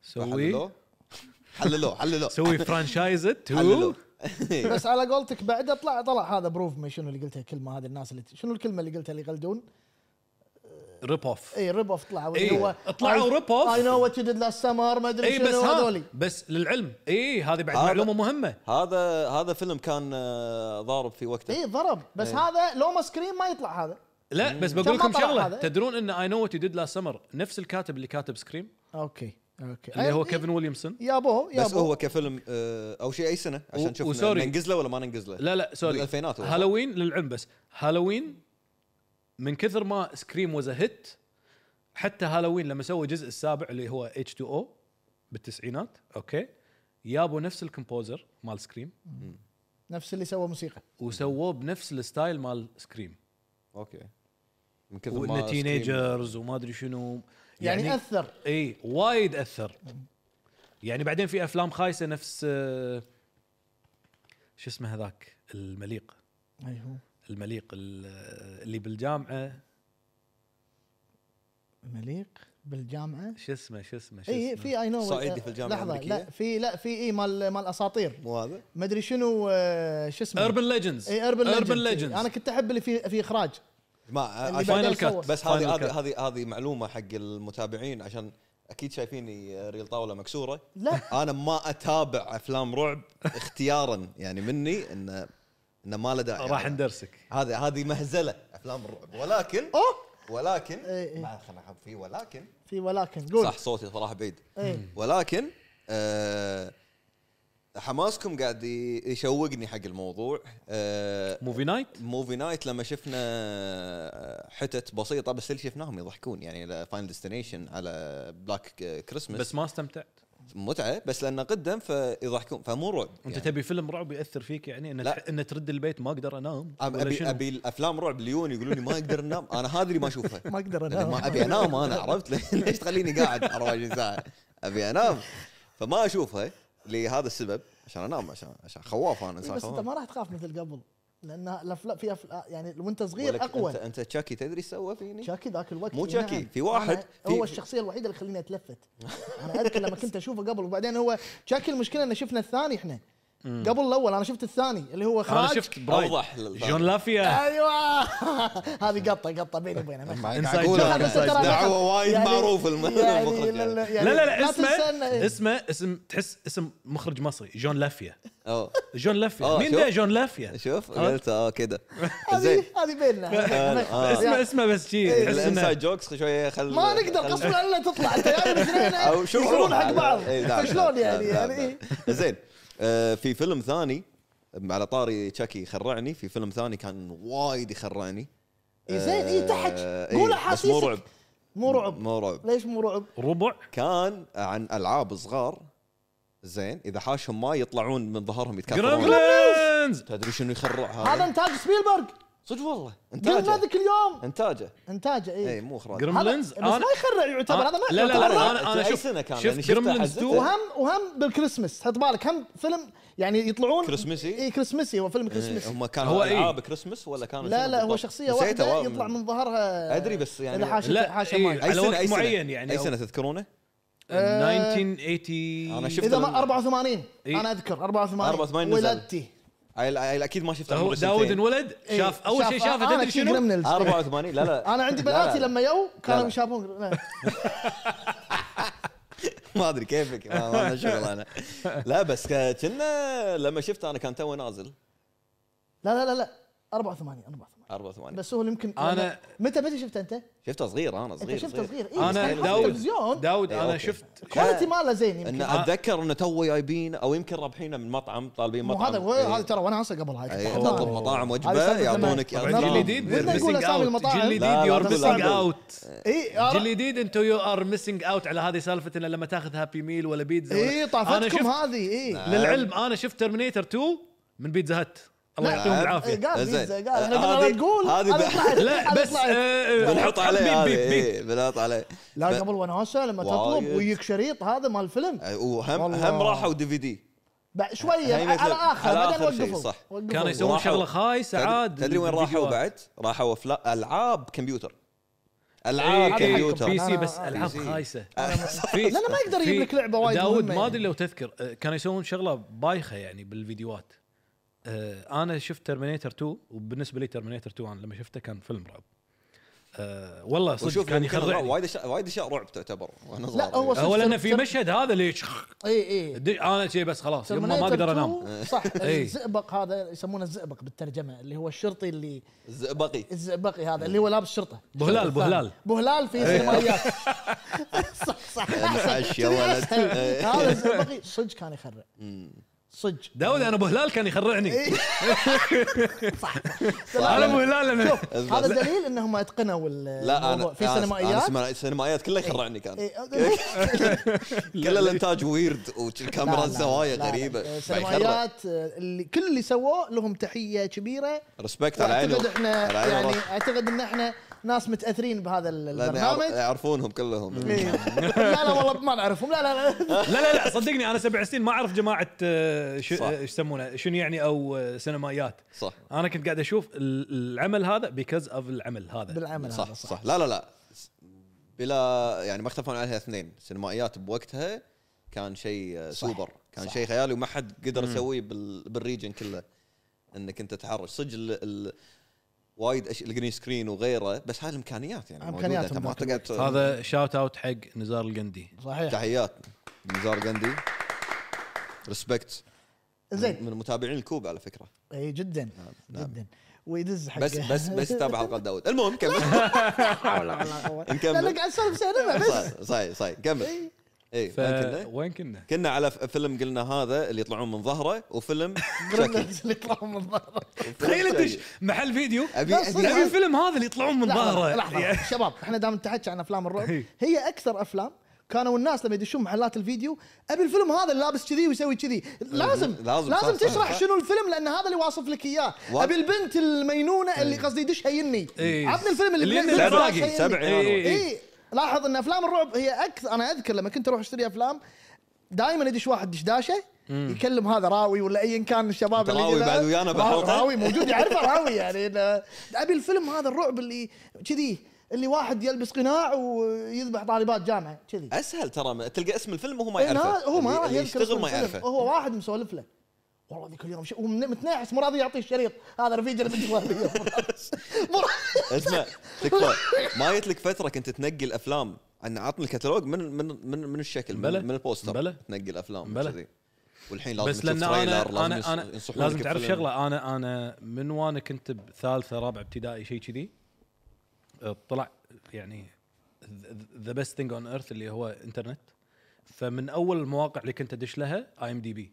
Speaker 3: سوي
Speaker 1: فحللوه حللوه حللوه
Speaker 3: سوي فرانشايز تو
Speaker 2: [laughs]
Speaker 1: حللوه [laughs]
Speaker 2: إيه. بس على قولتك بعد اطلع طلع هذا بروف ما شنو اللي قلتها كلمه هذه الناس اللي شنو الكلمه اللي قلتها اللي يقلدون
Speaker 3: ريب اوف
Speaker 2: اي ريب اوف إيه، طلعوا
Speaker 3: إي، إيه، طلعوا rip off.
Speaker 2: اي نو وات يو ديد لاست سمر ما ادري
Speaker 3: اي
Speaker 2: إيه، شنو
Speaker 3: إيه، بس ها
Speaker 2: هذولي
Speaker 3: بس للعلم اي هذه بعد
Speaker 1: هذا-
Speaker 3: معلومه مهمه
Speaker 1: هذا هذا فيلم كان آه، ضارب في وقته
Speaker 2: اي إيه، ضرب بس
Speaker 3: إيه.
Speaker 2: هذا لو ما سكرين ما يطلع هذا
Speaker 3: لا بس
Speaker 2: كم
Speaker 3: بقول
Speaker 2: ما
Speaker 3: لكم
Speaker 2: طلع
Speaker 3: شغله
Speaker 2: هذا؟
Speaker 3: تدرون ان اي نو وات يو ديد لاست سمر نفس الكاتب اللي كاتب سكريم
Speaker 2: اوكي اوكي
Speaker 3: اللي هو
Speaker 2: أي-
Speaker 3: كيفن ويليامسون
Speaker 2: يابوه
Speaker 1: بس
Speaker 2: يابوه
Speaker 1: هو كفيلم آه، او شيء اي سنه
Speaker 3: و-
Speaker 1: عشان نشوف
Speaker 3: وسوري.
Speaker 1: ننقز له ولا ما ننقز له
Speaker 3: لا لا سوري
Speaker 1: بالألفينات هو.
Speaker 3: هالوين للعلم بس هالوين من كثر ما سكريم وز هيت حتى هالوين لما سوى الجزء السابع اللي هو اتش 2 او بالتسعينات اوكي يابوا نفس الكومبوزر مال سكريم
Speaker 2: نفس اللي سوى موسيقى
Speaker 3: وسووه بنفس الستايل مال سكريم
Speaker 1: اوكي من كثر ما
Speaker 3: وانه
Speaker 1: سكريم-
Speaker 3: تينيجرز وما ادري شنو
Speaker 2: يعني, اثر
Speaker 3: اي وايد اثر يعني بعدين في افلام خايسه نفس آه، شو اسمه هذاك المليق
Speaker 2: اي هو
Speaker 3: المليق ال- اللي بالجامعه
Speaker 2: مليق بالجامعه
Speaker 3: شو اسمه شو اسمه شو
Speaker 2: اي
Speaker 3: اسمه
Speaker 2: إيه، في اي نو
Speaker 1: صعيدي في الجامعة
Speaker 2: لحظه لا
Speaker 1: الأمريكية؟
Speaker 2: في لا في اي مال مال اساطير
Speaker 1: مو هذا
Speaker 2: ما ادري شنو آه، شو اسمه إيه،
Speaker 3: اربن ليجندز
Speaker 2: اي اربن
Speaker 3: اربن
Speaker 2: ليجندز انا
Speaker 3: ليجندز
Speaker 2: كنت احب اللي فيه في اخراج
Speaker 1: جماعه
Speaker 2: اللي
Speaker 1: آه، عشان-
Speaker 2: بعدين
Speaker 3: Final Cut.
Speaker 2: سوى.
Speaker 1: بس
Speaker 3: Final
Speaker 1: هذه هذه
Speaker 3: Cut.
Speaker 1: هذه هذه معلومه حق المتابعين عشان اكيد شايفيني آه، ريل طاوله مكسوره
Speaker 2: لا [laughs]
Speaker 1: انا ما اتابع افلام رعب اختيارا يعني مني انه انه ما له داعي يعني
Speaker 3: راح ندرسك
Speaker 1: هذه هذه مهزله افلام الرعب ولكن
Speaker 2: اوه
Speaker 1: ولكن
Speaker 2: إيه إيه.
Speaker 1: ما خلنا نحط فيه ولكن
Speaker 2: في ولكن قول
Speaker 1: صح صوتي صراحه بعيد
Speaker 2: اي
Speaker 1: ولكن آه حماسكم قاعد ي- يشوقني حق الموضوع آه
Speaker 3: موفي نايت
Speaker 1: موفي نايت لما شفنا حتت بسيطه بس اللي شفناهم يضحكون يعني فاينل ديستنيشن على بلاك كريسمس
Speaker 3: بس ما استمتعت
Speaker 1: يعني. متعه بس لانه قدم فيضحكون فمو رعب
Speaker 3: انت
Speaker 1: يعني.
Speaker 3: تبي فيلم رعب ياثر فيك يعني ان
Speaker 1: لا.
Speaker 3: تح- ان ترد البيت ما اقدر انام
Speaker 1: أب-
Speaker 3: ولا
Speaker 1: ابي
Speaker 3: شنو؟
Speaker 1: ابي الافلام رعب اليون يقولون لي ما اقدر انام انا هذه اللي ما اشوفها
Speaker 2: ما اقدر
Speaker 1: لأني
Speaker 2: انام
Speaker 1: [laughs] ما ابي انام انا عرفت ليش تخليني قاعد 24 ساعه ابي انام فما اشوفها لهذا السبب عشان انام عشان عشان خواف انا انسان
Speaker 2: إيه، بس انت
Speaker 1: خواف
Speaker 2: ما راح تخاف مثل قبل لان الافلام في أفلام يعني وانت صغير
Speaker 1: ولك
Speaker 2: اقوى
Speaker 1: انت انت تشاكي تدري ايش سوى فيني؟
Speaker 2: شاكي ذاك الوقت
Speaker 1: مو
Speaker 2: إي
Speaker 1: شاكي،
Speaker 2: نعم.
Speaker 1: في واحد
Speaker 2: أنا
Speaker 1: في-
Speaker 2: هو الشخصيه الوحيده اللي خليني اتلفت انا اذكر لما كنت اشوفه قبل وبعدين هو شاكي المشكله ان شفنا الثاني احنا قبل الاول انا شفت الثاني اللي هو اخراج
Speaker 3: انا شفت برايد
Speaker 1: اوضح لل-
Speaker 3: جون لافيا
Speaker 2: ايوه [laughs] هذه قطه قطه بيني وبينه [laughs] ما يخالف.
Speaker 3: Inside
Speaker 1: أقول
Speaker 3: joke.
Speaker 1: أنا
Speaker 2: بس ترى
Speaker 3: Inside joke.
Speaker 1: دعوة وايد
Speaker 2: يعني-
Speaker 1: معروف الم-
Speaker 2: يعني
Speaker 1: المخرج يعني.
Speaker 3: لا
Speaker 2: لا
Speaker 3: لا لا اسمه
Speaker 2: تنسى إنه-
Speaker 3: اسمه اسم تحس اسم مخرج مصري جون لافيا
Speaker 1: أوه.
Speaker 3: جون لافيا
Speaker 1: آه،
Speaker 3: مين
Speaker 1: شوف.
Speaker 3: ده جون لافيا
Speaker 1: شوف
Speaker 3: ها؟
Speaker 1: قلت اه كذا زين
Speaker 2: [laughs]
Speaker 1: آه،
Speaker 2: هذه هذه بيننا [laughs]
Speaker 3: اسمه اسمه بس شي تحس
Speaker 1: الانسايد
Speaker 3: إنه-
Speaker 1: جوكس شويه خل
Speaker 2: ما نقدر قصبا الا تطلع يعني انت جايب اثنين
Speaker 1: [laughs]
Speaker 2: [laughs]
Speaker 1: او شو
Speaker 2: يصيرون حق
Speaker 1: على-
Speaker 2: بعض
Speaker 1: إي نعم،
Speaker 2: فشلون
Speaker 1: نعم،
Speaker 2: يعني
Speaker 1: نعم،
Speaker 2: يعني
Speaker 1: نعم.
Speaker 2: إيه؟
Speaker 1: [laughs] زين آه، في فيلم ثاني على طاري تشاكي يخرعني في فيلم ثاني كان وايد يخرعني
Speaker 2: إي إيه، زين، إي تحج.
Speaker 1: آه،
Speaker 2: قول
Speaker 1: إي، بس مو
Speaker 2: أحاسيسك.
Speaker 1: رعب
Speaker 2: مو رعب
Speaker 1: مو رعب
Speaker 2: ليش مو رعب؟
Speaker 3: ربع
Speaker 1: كان عن العاب صغار زين اذا حاشهم ما يطلعون من ظهرهم يتكاثرون
Speaker 3: جرملينز
Speaker 1: تدري شنو يخرع
Speaker 2: هذا
Speaker 1: هذا
Speaker 2: انتاج سبيلبرغ
Speaker 1: صدق والله
Speaker 2: قلنا
Speaker 1: انتاجه
Speaker 2: ذاك اليوم
Speaker 1: انتاجه
Speaker 2: انتاجه اي
Speaker 1: اي مو اخراج
Speaker 2: هذا-
Speaker 3: جرملينز
Speaker 2: بس ما يخرع يعتبر هذا ما
Speaker 3: آه، لا لا
Speaker 2: يعتبر رعب.
Speaker 3: لا انا انا
Speaker 1: أي
Speaker 3: شفت
Speaker 1: سنة كان،
Speaker 3: شفت
Speaker 1: يعني شفته،
Speaker 3: جرملينز
Speaker 1: حزته.
Speaker 3: 2
Speaker 2: وهم وهم بالكريسماس حط بالك هم فيلم يعني يطلعون
Speaker 1: كريسمسي؟
Speaker 2: اي كريسمسي هو فيلم
Speaker 1: إيه،
Speaker 2: إيه، كريسمسي
Speaker 1: هم كان
Speaker 3: هو
Speaker 1: هو
Speaker 3: إيه؟
Speaker 1: العاب كريسمس ولا كان
Speaker 2: لا لا هو شخصيه واحده يطلع من ظهرها
Speaker 1: أدري بس يعني-
Speaker 2: اللي حاشته
Speaker 3: لا
Speaker 2: حاشه
Speaker 3: إيه،
Speaker 2: ماي
Speaker 3: على وقت
Speaker 1: أي سنة؟
Speaker 3: معين يعني
Speaker 1: اي
Speaker 3: أو-
Speaker 1: سنه تذكرونه؟
Speaker 3: 1980
Speaker 1: أنا شفت
Speaker 2: اذا
Speaker 1: لما-
Speaker 2: ما 84
Speaker 3: إيه.
Speaker 2: انا اذكر 84
Speaker 1: 84 نزل.
Speaker 2: ولدتي
Speaker 1: عيل- عيل اكيد ما شفته
Speaker 3: هو
Speaker 1: عمره
Speaker 3: داود
Speaker 1: سنتين.
Speaker 3: انولد
Speaker 2: إيه،
Speaker 3: شاف اول شيء شافه
Speaker 2: أنا
Speaker 3: تدري
Speaker 2: كي
Speaker 3: شنو؟
Speaker 2: criminals.
Speaker 1: 84 لا لا
Speaker 2: [laughs] انا عندي
Speaker 1: لا،
Speaker 2: بناتي
Speaker 1: لا.
Speaker 2: لما يو
Speaker 1: لا.
Speaker 2: كانوا يشافون لا.
Speaker 1: [laughs] ما ادري كيفك ما ما لنا شغل انا لا بس ك- كنا لما شفته انا كان تو نازل
Speaker 2: لا لا لا لا 84 84
Speaker 1: 84
Speaker 2: بس هو يمكن
Speaker 3: أنا-
Speaker 2: متى متى شفته انت؟
Speaker 1: شفته صغير انا صغير
Speaker 2: انت شفته صغير إيه، بس
Speaker 3: انا
Speaker 2: كان في
Speaker 3: داود
Speaker 2: التلفزيون.
Speaker 3: داود
Speaker 1: إيه،
Speaker 3: انا
Speaker 1: أوكي.
Speaker 3: شفت
Speaker 2: كواليتي ماله زين
Speaker 1: ان
Speaker 2: يمكن
Speaker 1: اتذكر انه تو جايبين او يمكن رابحينه من مطعم طالبين
Speaker 2: مو
Speaker 1: مطعم
Speaker 2: هذا
Speaker 1: إيه.
Speaker 2: هذا ترى وانا عصا قبل هاي
Speaker 1: إيه،
Speaker 2: كنت
Speaker 1: تطلب
Speaker 2: أحضرها.
Speaker 1: مطاعم
Speaker 2: هذه
Speaker 1: وجبه
Speaker 2: سالفة
Speaker 1: يعطونك
Speaker 2: زمان.
Speaker 3: طبعا
Speaker 2: نعم.
Speaker 3: جيل جديد
Speaker 2: ودنا
Speaker 3: they're
Speaker 2: نقول
Speaker 3: missing
Speaker 2: أسامي
Speaker 3: out.
Speaker 2: المطاعم.
Speaker 3: جيل جديد
Speaker 1: لا، لا،
Speaker 3: يور
Speaker 1: لا،
Speaker 3: ميسنج
Speaker 1: لا.
Speaker 3: اوت
Speaker 2: اي
Speaker 3: جيل
Speaker 2: أنا-
Speaker 3: جديد انتو يو ار ميسنج اوت على هذه سالفه انه لما تاخذ هابي ميل ولا بيتزا ولا-
Speaker 2: اي
Speaker 3: انا
Speaker 2: إيه، طافتكم
Speaker 3: شفت
Speaker 1: نعم.
Speaker 2: هذه إيه. اي
Speaker 3: للعلم انا شفت ترمينيتر 2 من بيتزا هت الله
Speaker 2: لا.
Speaker 3: يعطيهم
Speaker 1: آه،
Speaker 3: العافيه
Speaker 2: إيه، قال
Speaker 1: زين. آه،
Speaker 2: ميزه قال احنا
Speaker 1: هذه-
Speaker 2: كنا نقول
Speaker 1: هذه
Speaker 2: أنا
Speaker 1: بح-
Speaker 2: طلعت-
Speaker 3: لا
Speaker 2: أنا
Speaker 3: بس
Speaker 2: طلعت.
Speaker 3: آه،
Speaker 1: بنحط
Speaker 3: حط بيب،
Speaker 1: عليه
Speaker 3: بيب،
Speaker 1: هذه
Speaker 3: بيب.
Speaker 1: إيه، بنحط عليه
Speaker 2: لا
Speaker 1: ب-
Speaker 2: قبل وناسه لما تطلب
Speaker 1: وايد.
Speaker 2: ويك شريط هذا مال الفيلم
Speaker 1: آه، وهم
Speaker 2: والله.
Speaker 1: هم راحوا دي في دي
Speaker 2: بعد شويه
Speaker 1: هاي
Speaker 2: على
Speaker 1: مثل-
Speaker 2: اخر
Speaker 1: على
Speaker 2: بعدين
Speaker 1: آخر شيء،
Speaker 2: وقفوا
Speaker 1: صح.
Speaker 2: وقفوا.
Speaker 3: كانوا يسوون
Speaker 1: وراحوا.
Speaker 3: شغله خايسه عاد
Speaker 1: تدري وين راحوا
Speaker 3: الفيديوهات.
Speaker 1: بعد؟ راحوا فلا العاب كمبيوتر العاب
Speaker 3: إيه، إيه،
Speaker 1: كمبيوتر أه،
Speaker 3: بي سي
Speaker 2: أنا-
Speaker 3: بس
Speaker 2: أنا-
Speaker 3: العاب
Speaker 1: بي سي.
Speaker 3: خايسه
Speaker 2: آه، لا، لا، ما يقدر يجيب
Speaker 3: في-
Speaker 2: لك لعبة وايد
Speaker 3: داود
Speaker 2: مهمة
Speaker 3: ما
Speaker 2: يعني.
Speaker 3: ادري لو تذكر آه، كانوا يسوون شغله بايخه يعني بالفيديوهات آه، انا شفت ترمينيتر 2 وبالنسبه لي ترمينيتر 2 انا لما شفته كان فيلم رعب آه، والله صدق
Speaker 1: وشوف
Speaker 3: كان
Speaker 1: يمكن
Speaker 3: يخرعني
Speaker 1: وايد اشياء وايد اشياء رعب تعتبر وانا صغير
Speaker 2: لا، هو-
Speaker 3: هو لان في
Speaker 2: تر-
Speaker 3: مشهد هذا ليش
Speaker 2: اي اي
Speaker 3: انا شي بس خلاص يما ما إيه.
Speaker 2: Terminator
Speaker 3: اقدر انام
Speaker 2: 2
Speaker 3: [laughs]
Speaker 2: صح
Speaker 3: إي.
Speaker 2: الزئبق هذا يسمونه الزئبق بالترجمه اللي هو الشرطي اللي
Speaker 1: الزئبقي
Speaker 2: إيه، الزئبقي هذا اللي هو لابس شرطه
Speaker 3: بهلال،
Speaker 2: الشرطي الثاني.
Speaker 3: بهلال. إيه.
Speaker 2: بهلال في
Speaker 3: [laughs]
Speaker 2: سينمائيات صح صح
Speaker 1: انعش يا إيه، ولد إيه.
Speaker 2: هذا الزئبقي صدق كان يخرع صدج
Speaker 3: داود انا ابو هلال كان
Speaker 2: إيه.
Speaker 3: يخرعني
Speaker 2: [laughs] لا،
Speaker 3: انا
Speaker 2: لا،
Speaker 3: ابو هلال انا
Speaker 2: هذا دليل انهم اتقنوا ال-
Speaker 1: لا
Speaker 2: الموضوع
Speaker 1: انا
Speaker 2: في
Speaker 1: أنا-
Speaker 2: سينمائيات
Speaker 1: انا سمع- السينمائيات كلها يخرعني كان [laughs]
Speaker 2: [laughs] إيه.
Speaker 1: كل الانتاج ويرد والكاميرا
Speaker 2: لا، لا،
Speaker 1: الزوايا
Speaker 2: لا، لا.
Speaker 1: غريبه فيخرع.
Speaker 2: سينمائيات آه، اللي كل اللي سووه لهم تحيه كبيره
Speaker 1: ريسبكت على عينه
Speaker 2: واعتقد احنا
Speaker 1: على عينه
Speaker 2: يعني
Speaker 1: وراسه.
Speaker 2: اعتقد ان احنا ناس متاثرين بهذا ال-
Speaker 1: لأن يعر-
Speaker 2: البرنامج
Speaker 1: يعرفونهم كلهم
Speaker 2: إيه.
Speaker 1: [laughs]
Speaker 2: لا لا والله ما نعرفهم لا لا لا
Speaker 3: لا لا لا صدقني انا سبع سنين ما اعرف جماعه آه، شو
Speaker 1: صح.
Speaker 3: آه، إيش يسمونه شنو يعني او آه، سينمائيات
Speaker 1: صح
Speaker 3: انا كنت قاعد اشوف ال- العمل هذا بيكز اوف العمل هذا
Speaker 2: بالعمل
Speaker 1: صح
Speaker 2: هذا
Speaker 1: صح لا لا لا بلا يعني ما اختلفون عليها اثنين سينمائيات بوقتها كان شيء آه،
Speaker 2: صح،
Speaker 1: سوبر كان
Speaker 2: صح.
Speaker 1: شيء خيالي وما حد قدر يسويه بال- بالريجن كله انك انت تتحرش صدق ال- ال- وايد أش... الجرين سكرين وغيره بس هاي الامكانيات يعني موجودة.
Speaker 2: إمكانياتهم
Speaker 1: انت ما
Speaker 2: ذاك الوقت.
Speaker 1: تقعد
Speaker 3: هذا شاوت اوت حق نزار القندي
Speaker 2: صحيح
Speaker 1: تحيات نزار قندي ريسبكت
Speaker 2: زين
Speaker 1: من متابعين الكوب على فكره
Speaker 2: اي جدا
Speaker 1: نعم.
Speaker 2: جدا ويدز حق
Speaker 1: بس
Speaker 2: [laughs]
Speaker 1: بس بس تابع حلقه داود المهم كمل نكمل.
Speaker 2: انا قاعد اسولف سينما بس إيه.
Speaker 1: صحيح صحيح صحيح كمل إيه، اي
Speaker 3: ف...
Speaker 1: وين كنا؟
Speaker 3: وين كنا؟
Speaker 1: كنا على ف- فيلم قلنا هذا اللي يطلعون من ظهره
Speaker 2: [laughs]
Speaker 1: وفيلم شكل
Speaker 2: اللي يطلعون من ظهره
Speaker 3: تخيل انت محل فيديو
Speaker 1: ابي
Speaker 2: بس
Speaker 1: ابي
Speaker 3: ابي الفيلم هذا اللي يطلعون من
Speaker 2: لحظة، لحظة
Speaker 3: [laughs]
Speaker 2: [laughs]
Speaker 3: ظهره
Speaker 2: شباب احنا دام نتحكي عن افلام الرعب
Speaker 3: إي.
Speaker 2: يعني. هي اكثر افلام كانوا الناس لما يدشون محلات الفيديو ابي الفيلم هذا اللي لابس كذي ويسوي كذي لازم
Speaker 1: [laughs] لازم،
Speaker 2: لازم,
Speaker 1: صح، صح،
Speaker 2: لازم تشرح
Speaker 1: صح.
Speaker 2: شنو الفيلم لان هذا اللي واصف لك اياه
Speaker 1: و-
Speaker 2: ابي البنت المينونه
Speaker 1: إيه.
Speaker 2: اللي قصدي يدش هيني
Speaker 3: إي.
Speaker 2: عطني الفيلم إيه. اللي
Speaker 3: اللي
Speaker 2: بنت
Speaker 3: إنه
Speaker 1: العراقي،
Speaker 2: الفيلم هيني.
Speaker 1: سبع
Speaker 3: إي، إي، إي.
Speaker 2: اي إيه، لاحظ ان افلام الرعب هي اكثر انا اذكر لما كنت اروح اشتري افلام دائما يدش واحد دشداشه يكلم هذا راوي ولا ايا كان الشباب
Speaker 1: أنت راوي
Speaker 2: كذا.
Speaker 1: بعد ويانا
Speaker 2: راوي-
Speaker 1: بحلقة؟
Speaker 2: راوي
Speaker 1: [laughs]
Speaker 2: موجود يعرفه راوي يعني أنا ابي الفيلم هذا الرعب اللي كذي اللي واحد يلبس قناع ويذبح طالبات جامعه كذي
Speaker 1: اسهل ترى ما- تلقى اسم الفيلم وهو ما
Speaker 2: إيه،
Speaker 1: يعرفه
Speaker 2: لا، هو ما
Speaker 1: اللي-
Speaker 2: راح
Speaker 1: اللي
Speaker 2: يذكر
Speaker 1: يشتغل ما
Speaker 2: اسم الفيلم.
Speaker 1: يعرفه
Speaker 2: هو واحد مسولف له والله ذيك اليوم شيء ومتناحس مو راضي يعطيه الشريط هذا رفيجي اللي بنت والدي
Speaker 1: [laughs]
Speaker 2: اليوم مو راضي- [laughs]
Speaker 1: اسمع تكفى ما جت لك فتره كنت تنقي الافلام عن عطني الكتالوج من من من, من الشكل
Speaker 3: بلى.
Speaker 1: من, من البوستر
Speaker 3: بلى.
Speaker 1: تنقي الافلام
Speaker 3: بلى.
Speaker 1: كذي والحين لازم
Speaker 3: بس
Speaker 1: تشوف
Speaker 3: لان
Speaker 1: تريلر،
Speaker 3: انا
Speaker 1: يص-
Speaker 3: انا انا
Speaker 1: ينصحونك
Speaker 3: لازم تعرف
Speaker 1: بفيلم.
Speaker 3: شغله انا انا من وانا كنت بثالثه رابعه ابتدائي شيء كذي أه، طلع يعني ذا بيست ثينج اون ايرث اللي هو انترنت فمن اول المواقع اللي كنت ادش لها اي ام دي بي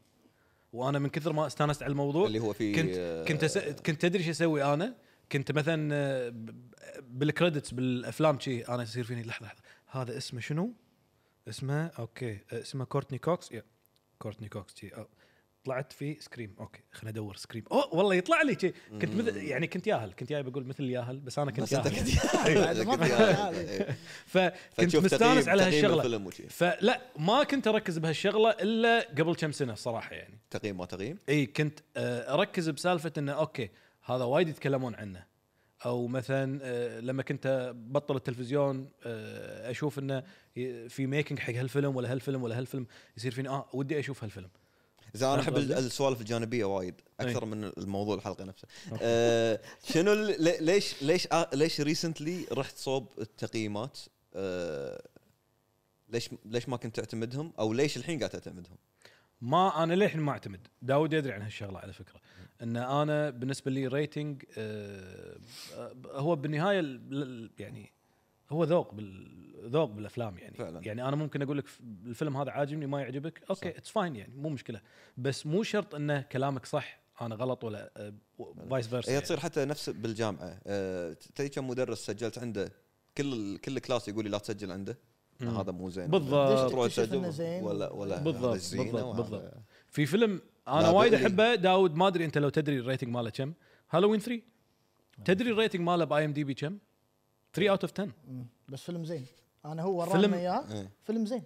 Speaker 3: وانا من كثر ما استانست على الموضوع
Speaker 1: اللي هو فيه، آه،
Speaker 3: كنت كنت أس... كنت ادري شو اسوي انا كنت مثلا آه، ب- ب- بالكريدتس بالافلام شي انا يصير فيني لحظه لحظه هذا اسمه شنو؟ اسمه اوكي آه، اسمه كورتني كوكس يا كورتني كوكس شي أو. طلعت في سكريم اوكي خليني ادور سكريم اوه والله يطلع لي شي كنت مثل يعني كنت ياهل كنت جاي بقول مثل ياهل بس انا كنت
Speaker 1: بس
Speaker 3: [laughs]
Speaker 1: انت
Speaker 3: ياهل
Speaker 1: كنت [laughs]
Speaker 2: يعني ما في هذا.
Speaker 1: إيه. [laughs]
Speaker 3: فكنت
Speaker 1: فتشوف
Speaker 3: مستانس
Speaker 1: تقييم-
Speaker 3: على
Speaker 1: تقييم
Speaker 3: هالشغله
Speaker 1: الفيلم وشي.
Speaker 3: فلا ما كنت اركز بهالشغله الا قبل كم سنه صراحه يعني
Speaker 1: تقييم ما تقييم
Speaker 3: اي كنت آه، اركز بسالفه انه اوكي هذا وايد يتكلمون عنه او مثلا آه، لما كنت بطل التلفزيون آه، اشوف انه ي- في ميكنج حق هالفيلم ولا هالفيلم ولا هالفيلم يصير فيني اه ودي اشوف هالفيلم
Speaker 1: زين انا احب
Speaker 3: قصدي؟
Speaker 1: السوالف الجانبيه وايد اكثر
Speaker 3: أي.
Speaker 1: من الموضوع الحلقه نفسها آه شنو ال- لي- ليش ليش آه ليش ريسنتلي رحت صوب التقييمات آه ليش ليش ما كنت تعتمدهم او ليش الحين قاعد تعتمدهم
Speaker 3: ما انا للحين ما اعتمد داود يدري عن هالشغله على فكره ان انا بالنسبه لي ريتنج آه، آه، هو بالنهايه ال- ال- يعني هو ذوق بال ذوق بالافلام يعني
Speaker 1: فعلاً.
Speaker 3: يعني انا ممكن اقول لك ف- الفيلم هذا عاجبني ما يعجبك اوكي اتس فاين يعني مو مشكله بس مو شرط انه كلامك صح انا غلط ولا آه، و- فايس فيرسا
Speaker 1: هي
Speaker 3: يعني.
Speaker 1: تصير حتى نفس بالجامعه آه تدري كم مدرس سجلت عنده كل ال- كل كلاس يقول لي لا تسجل عنده
Speaker 3: مم.
Speaker 1: هذا مو زين
Speaker 3: بالضبط.
Speaker 1: تروح
Speaker 2: تكتشف
Speaker 1: تسجل
Speaker 2: إنه زين.
Speaker 1: ولا ولا هذا
Speaker 3: بالضبط
Speaker 1: زينة
Speaker 3: بالضبط
Speaker 1: وهذا-
Speaker 3: بالضبط في فيلم انا
Speaker 1: لا،
Speaker 3: وايد
Speaker 1: بألي.
Speaker 3: احبه داود ما ادري انت لو تدري الريتنج ماله كم هالوين 3 تدري الريتنج ماله باي ام دي بي كم 3 اوت اوف 10
Speaker 2: مم. بس فيلم زين انا هو
Speaker 3: فيلم-
Speaker 2: ورانا اياه
Speaker 1: إيه.
Speaker 2: فيلم زين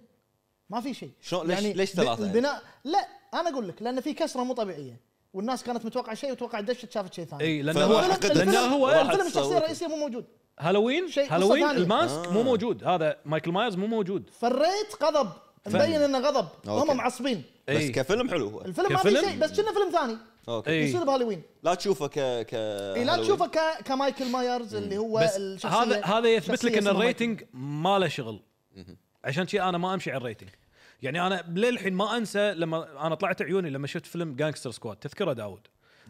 Speaker 2: ما في شيء
Speaker 1: شلون- ليش- ليش
Speaker 2: ب-
Speaker 1: ثلاثة يعني؟
Speaker 2: البناء لا انا اقول لك لان في كسره مو طبيعيه والناس كانت متوقعه شيء وتوقع دشت شافت شيء ثاني
Speaker 3: اي لانه
Speaker 1: فلا
Speaker 3: هو
Speaker 1: أعتقد
Speaker 2: الفيلم,
Speaker 3: لانه
Speaker 1: إنه
Speaker 3: هو
Speaker 1: واحد
Speaker 2: الفيلم الشخصيه
Speaker 1: صوت.
Speaker 2: الرئيسيه مو موجود
Speaker 3: هالوين
Speaker 2: شيء قصة
Speaker 3: هالوين
Speaker 2: ثانية.
Speaker 3: الماسك
Speaker 1: آه.
Speaker 3: مو موجود هذا مايكل مايرز مو موجود
Speaker 2: فريت غضب
Speaker 3: فن.
Speaker 2: مبين انه غضب
Speaker 1: أوكي.
Speaker 2: هم معصبين
Speaker 1: بس
Speaker 3: اي
Speaker 1: كفيلم حلو هو
Speaker 2: الفيلم ما في
Speaker 3: كفيلم؟
Speaker 2: شيء بس كنا فيلم ثاني
Speaker 1: اوكي
Speaker 3: إيه.
Speaker 2: يصير بهالوين
Speaker 1: لا تشوفه ك ك
Speaker 2: اي لا
Speaker 1: آه، هالوين.
Speaker 2: تشوفه ك... كمايكل مايرز اللي هو
Speaker 3: بس
Speaker 2: الشخصيه
Speaker 3: هذا هذا يثبت لك
Speaker 2: شخصية
Speaker 3: ان
Speaker 2: اسمها
Speaker 3: الريتنج ما له شغل عشان شي انا ما امشي على الريتنج يعني انا للحين ما انسى لما انا طلعت عيوني لما شفت فيلم جانكستر سكواد تذكره داود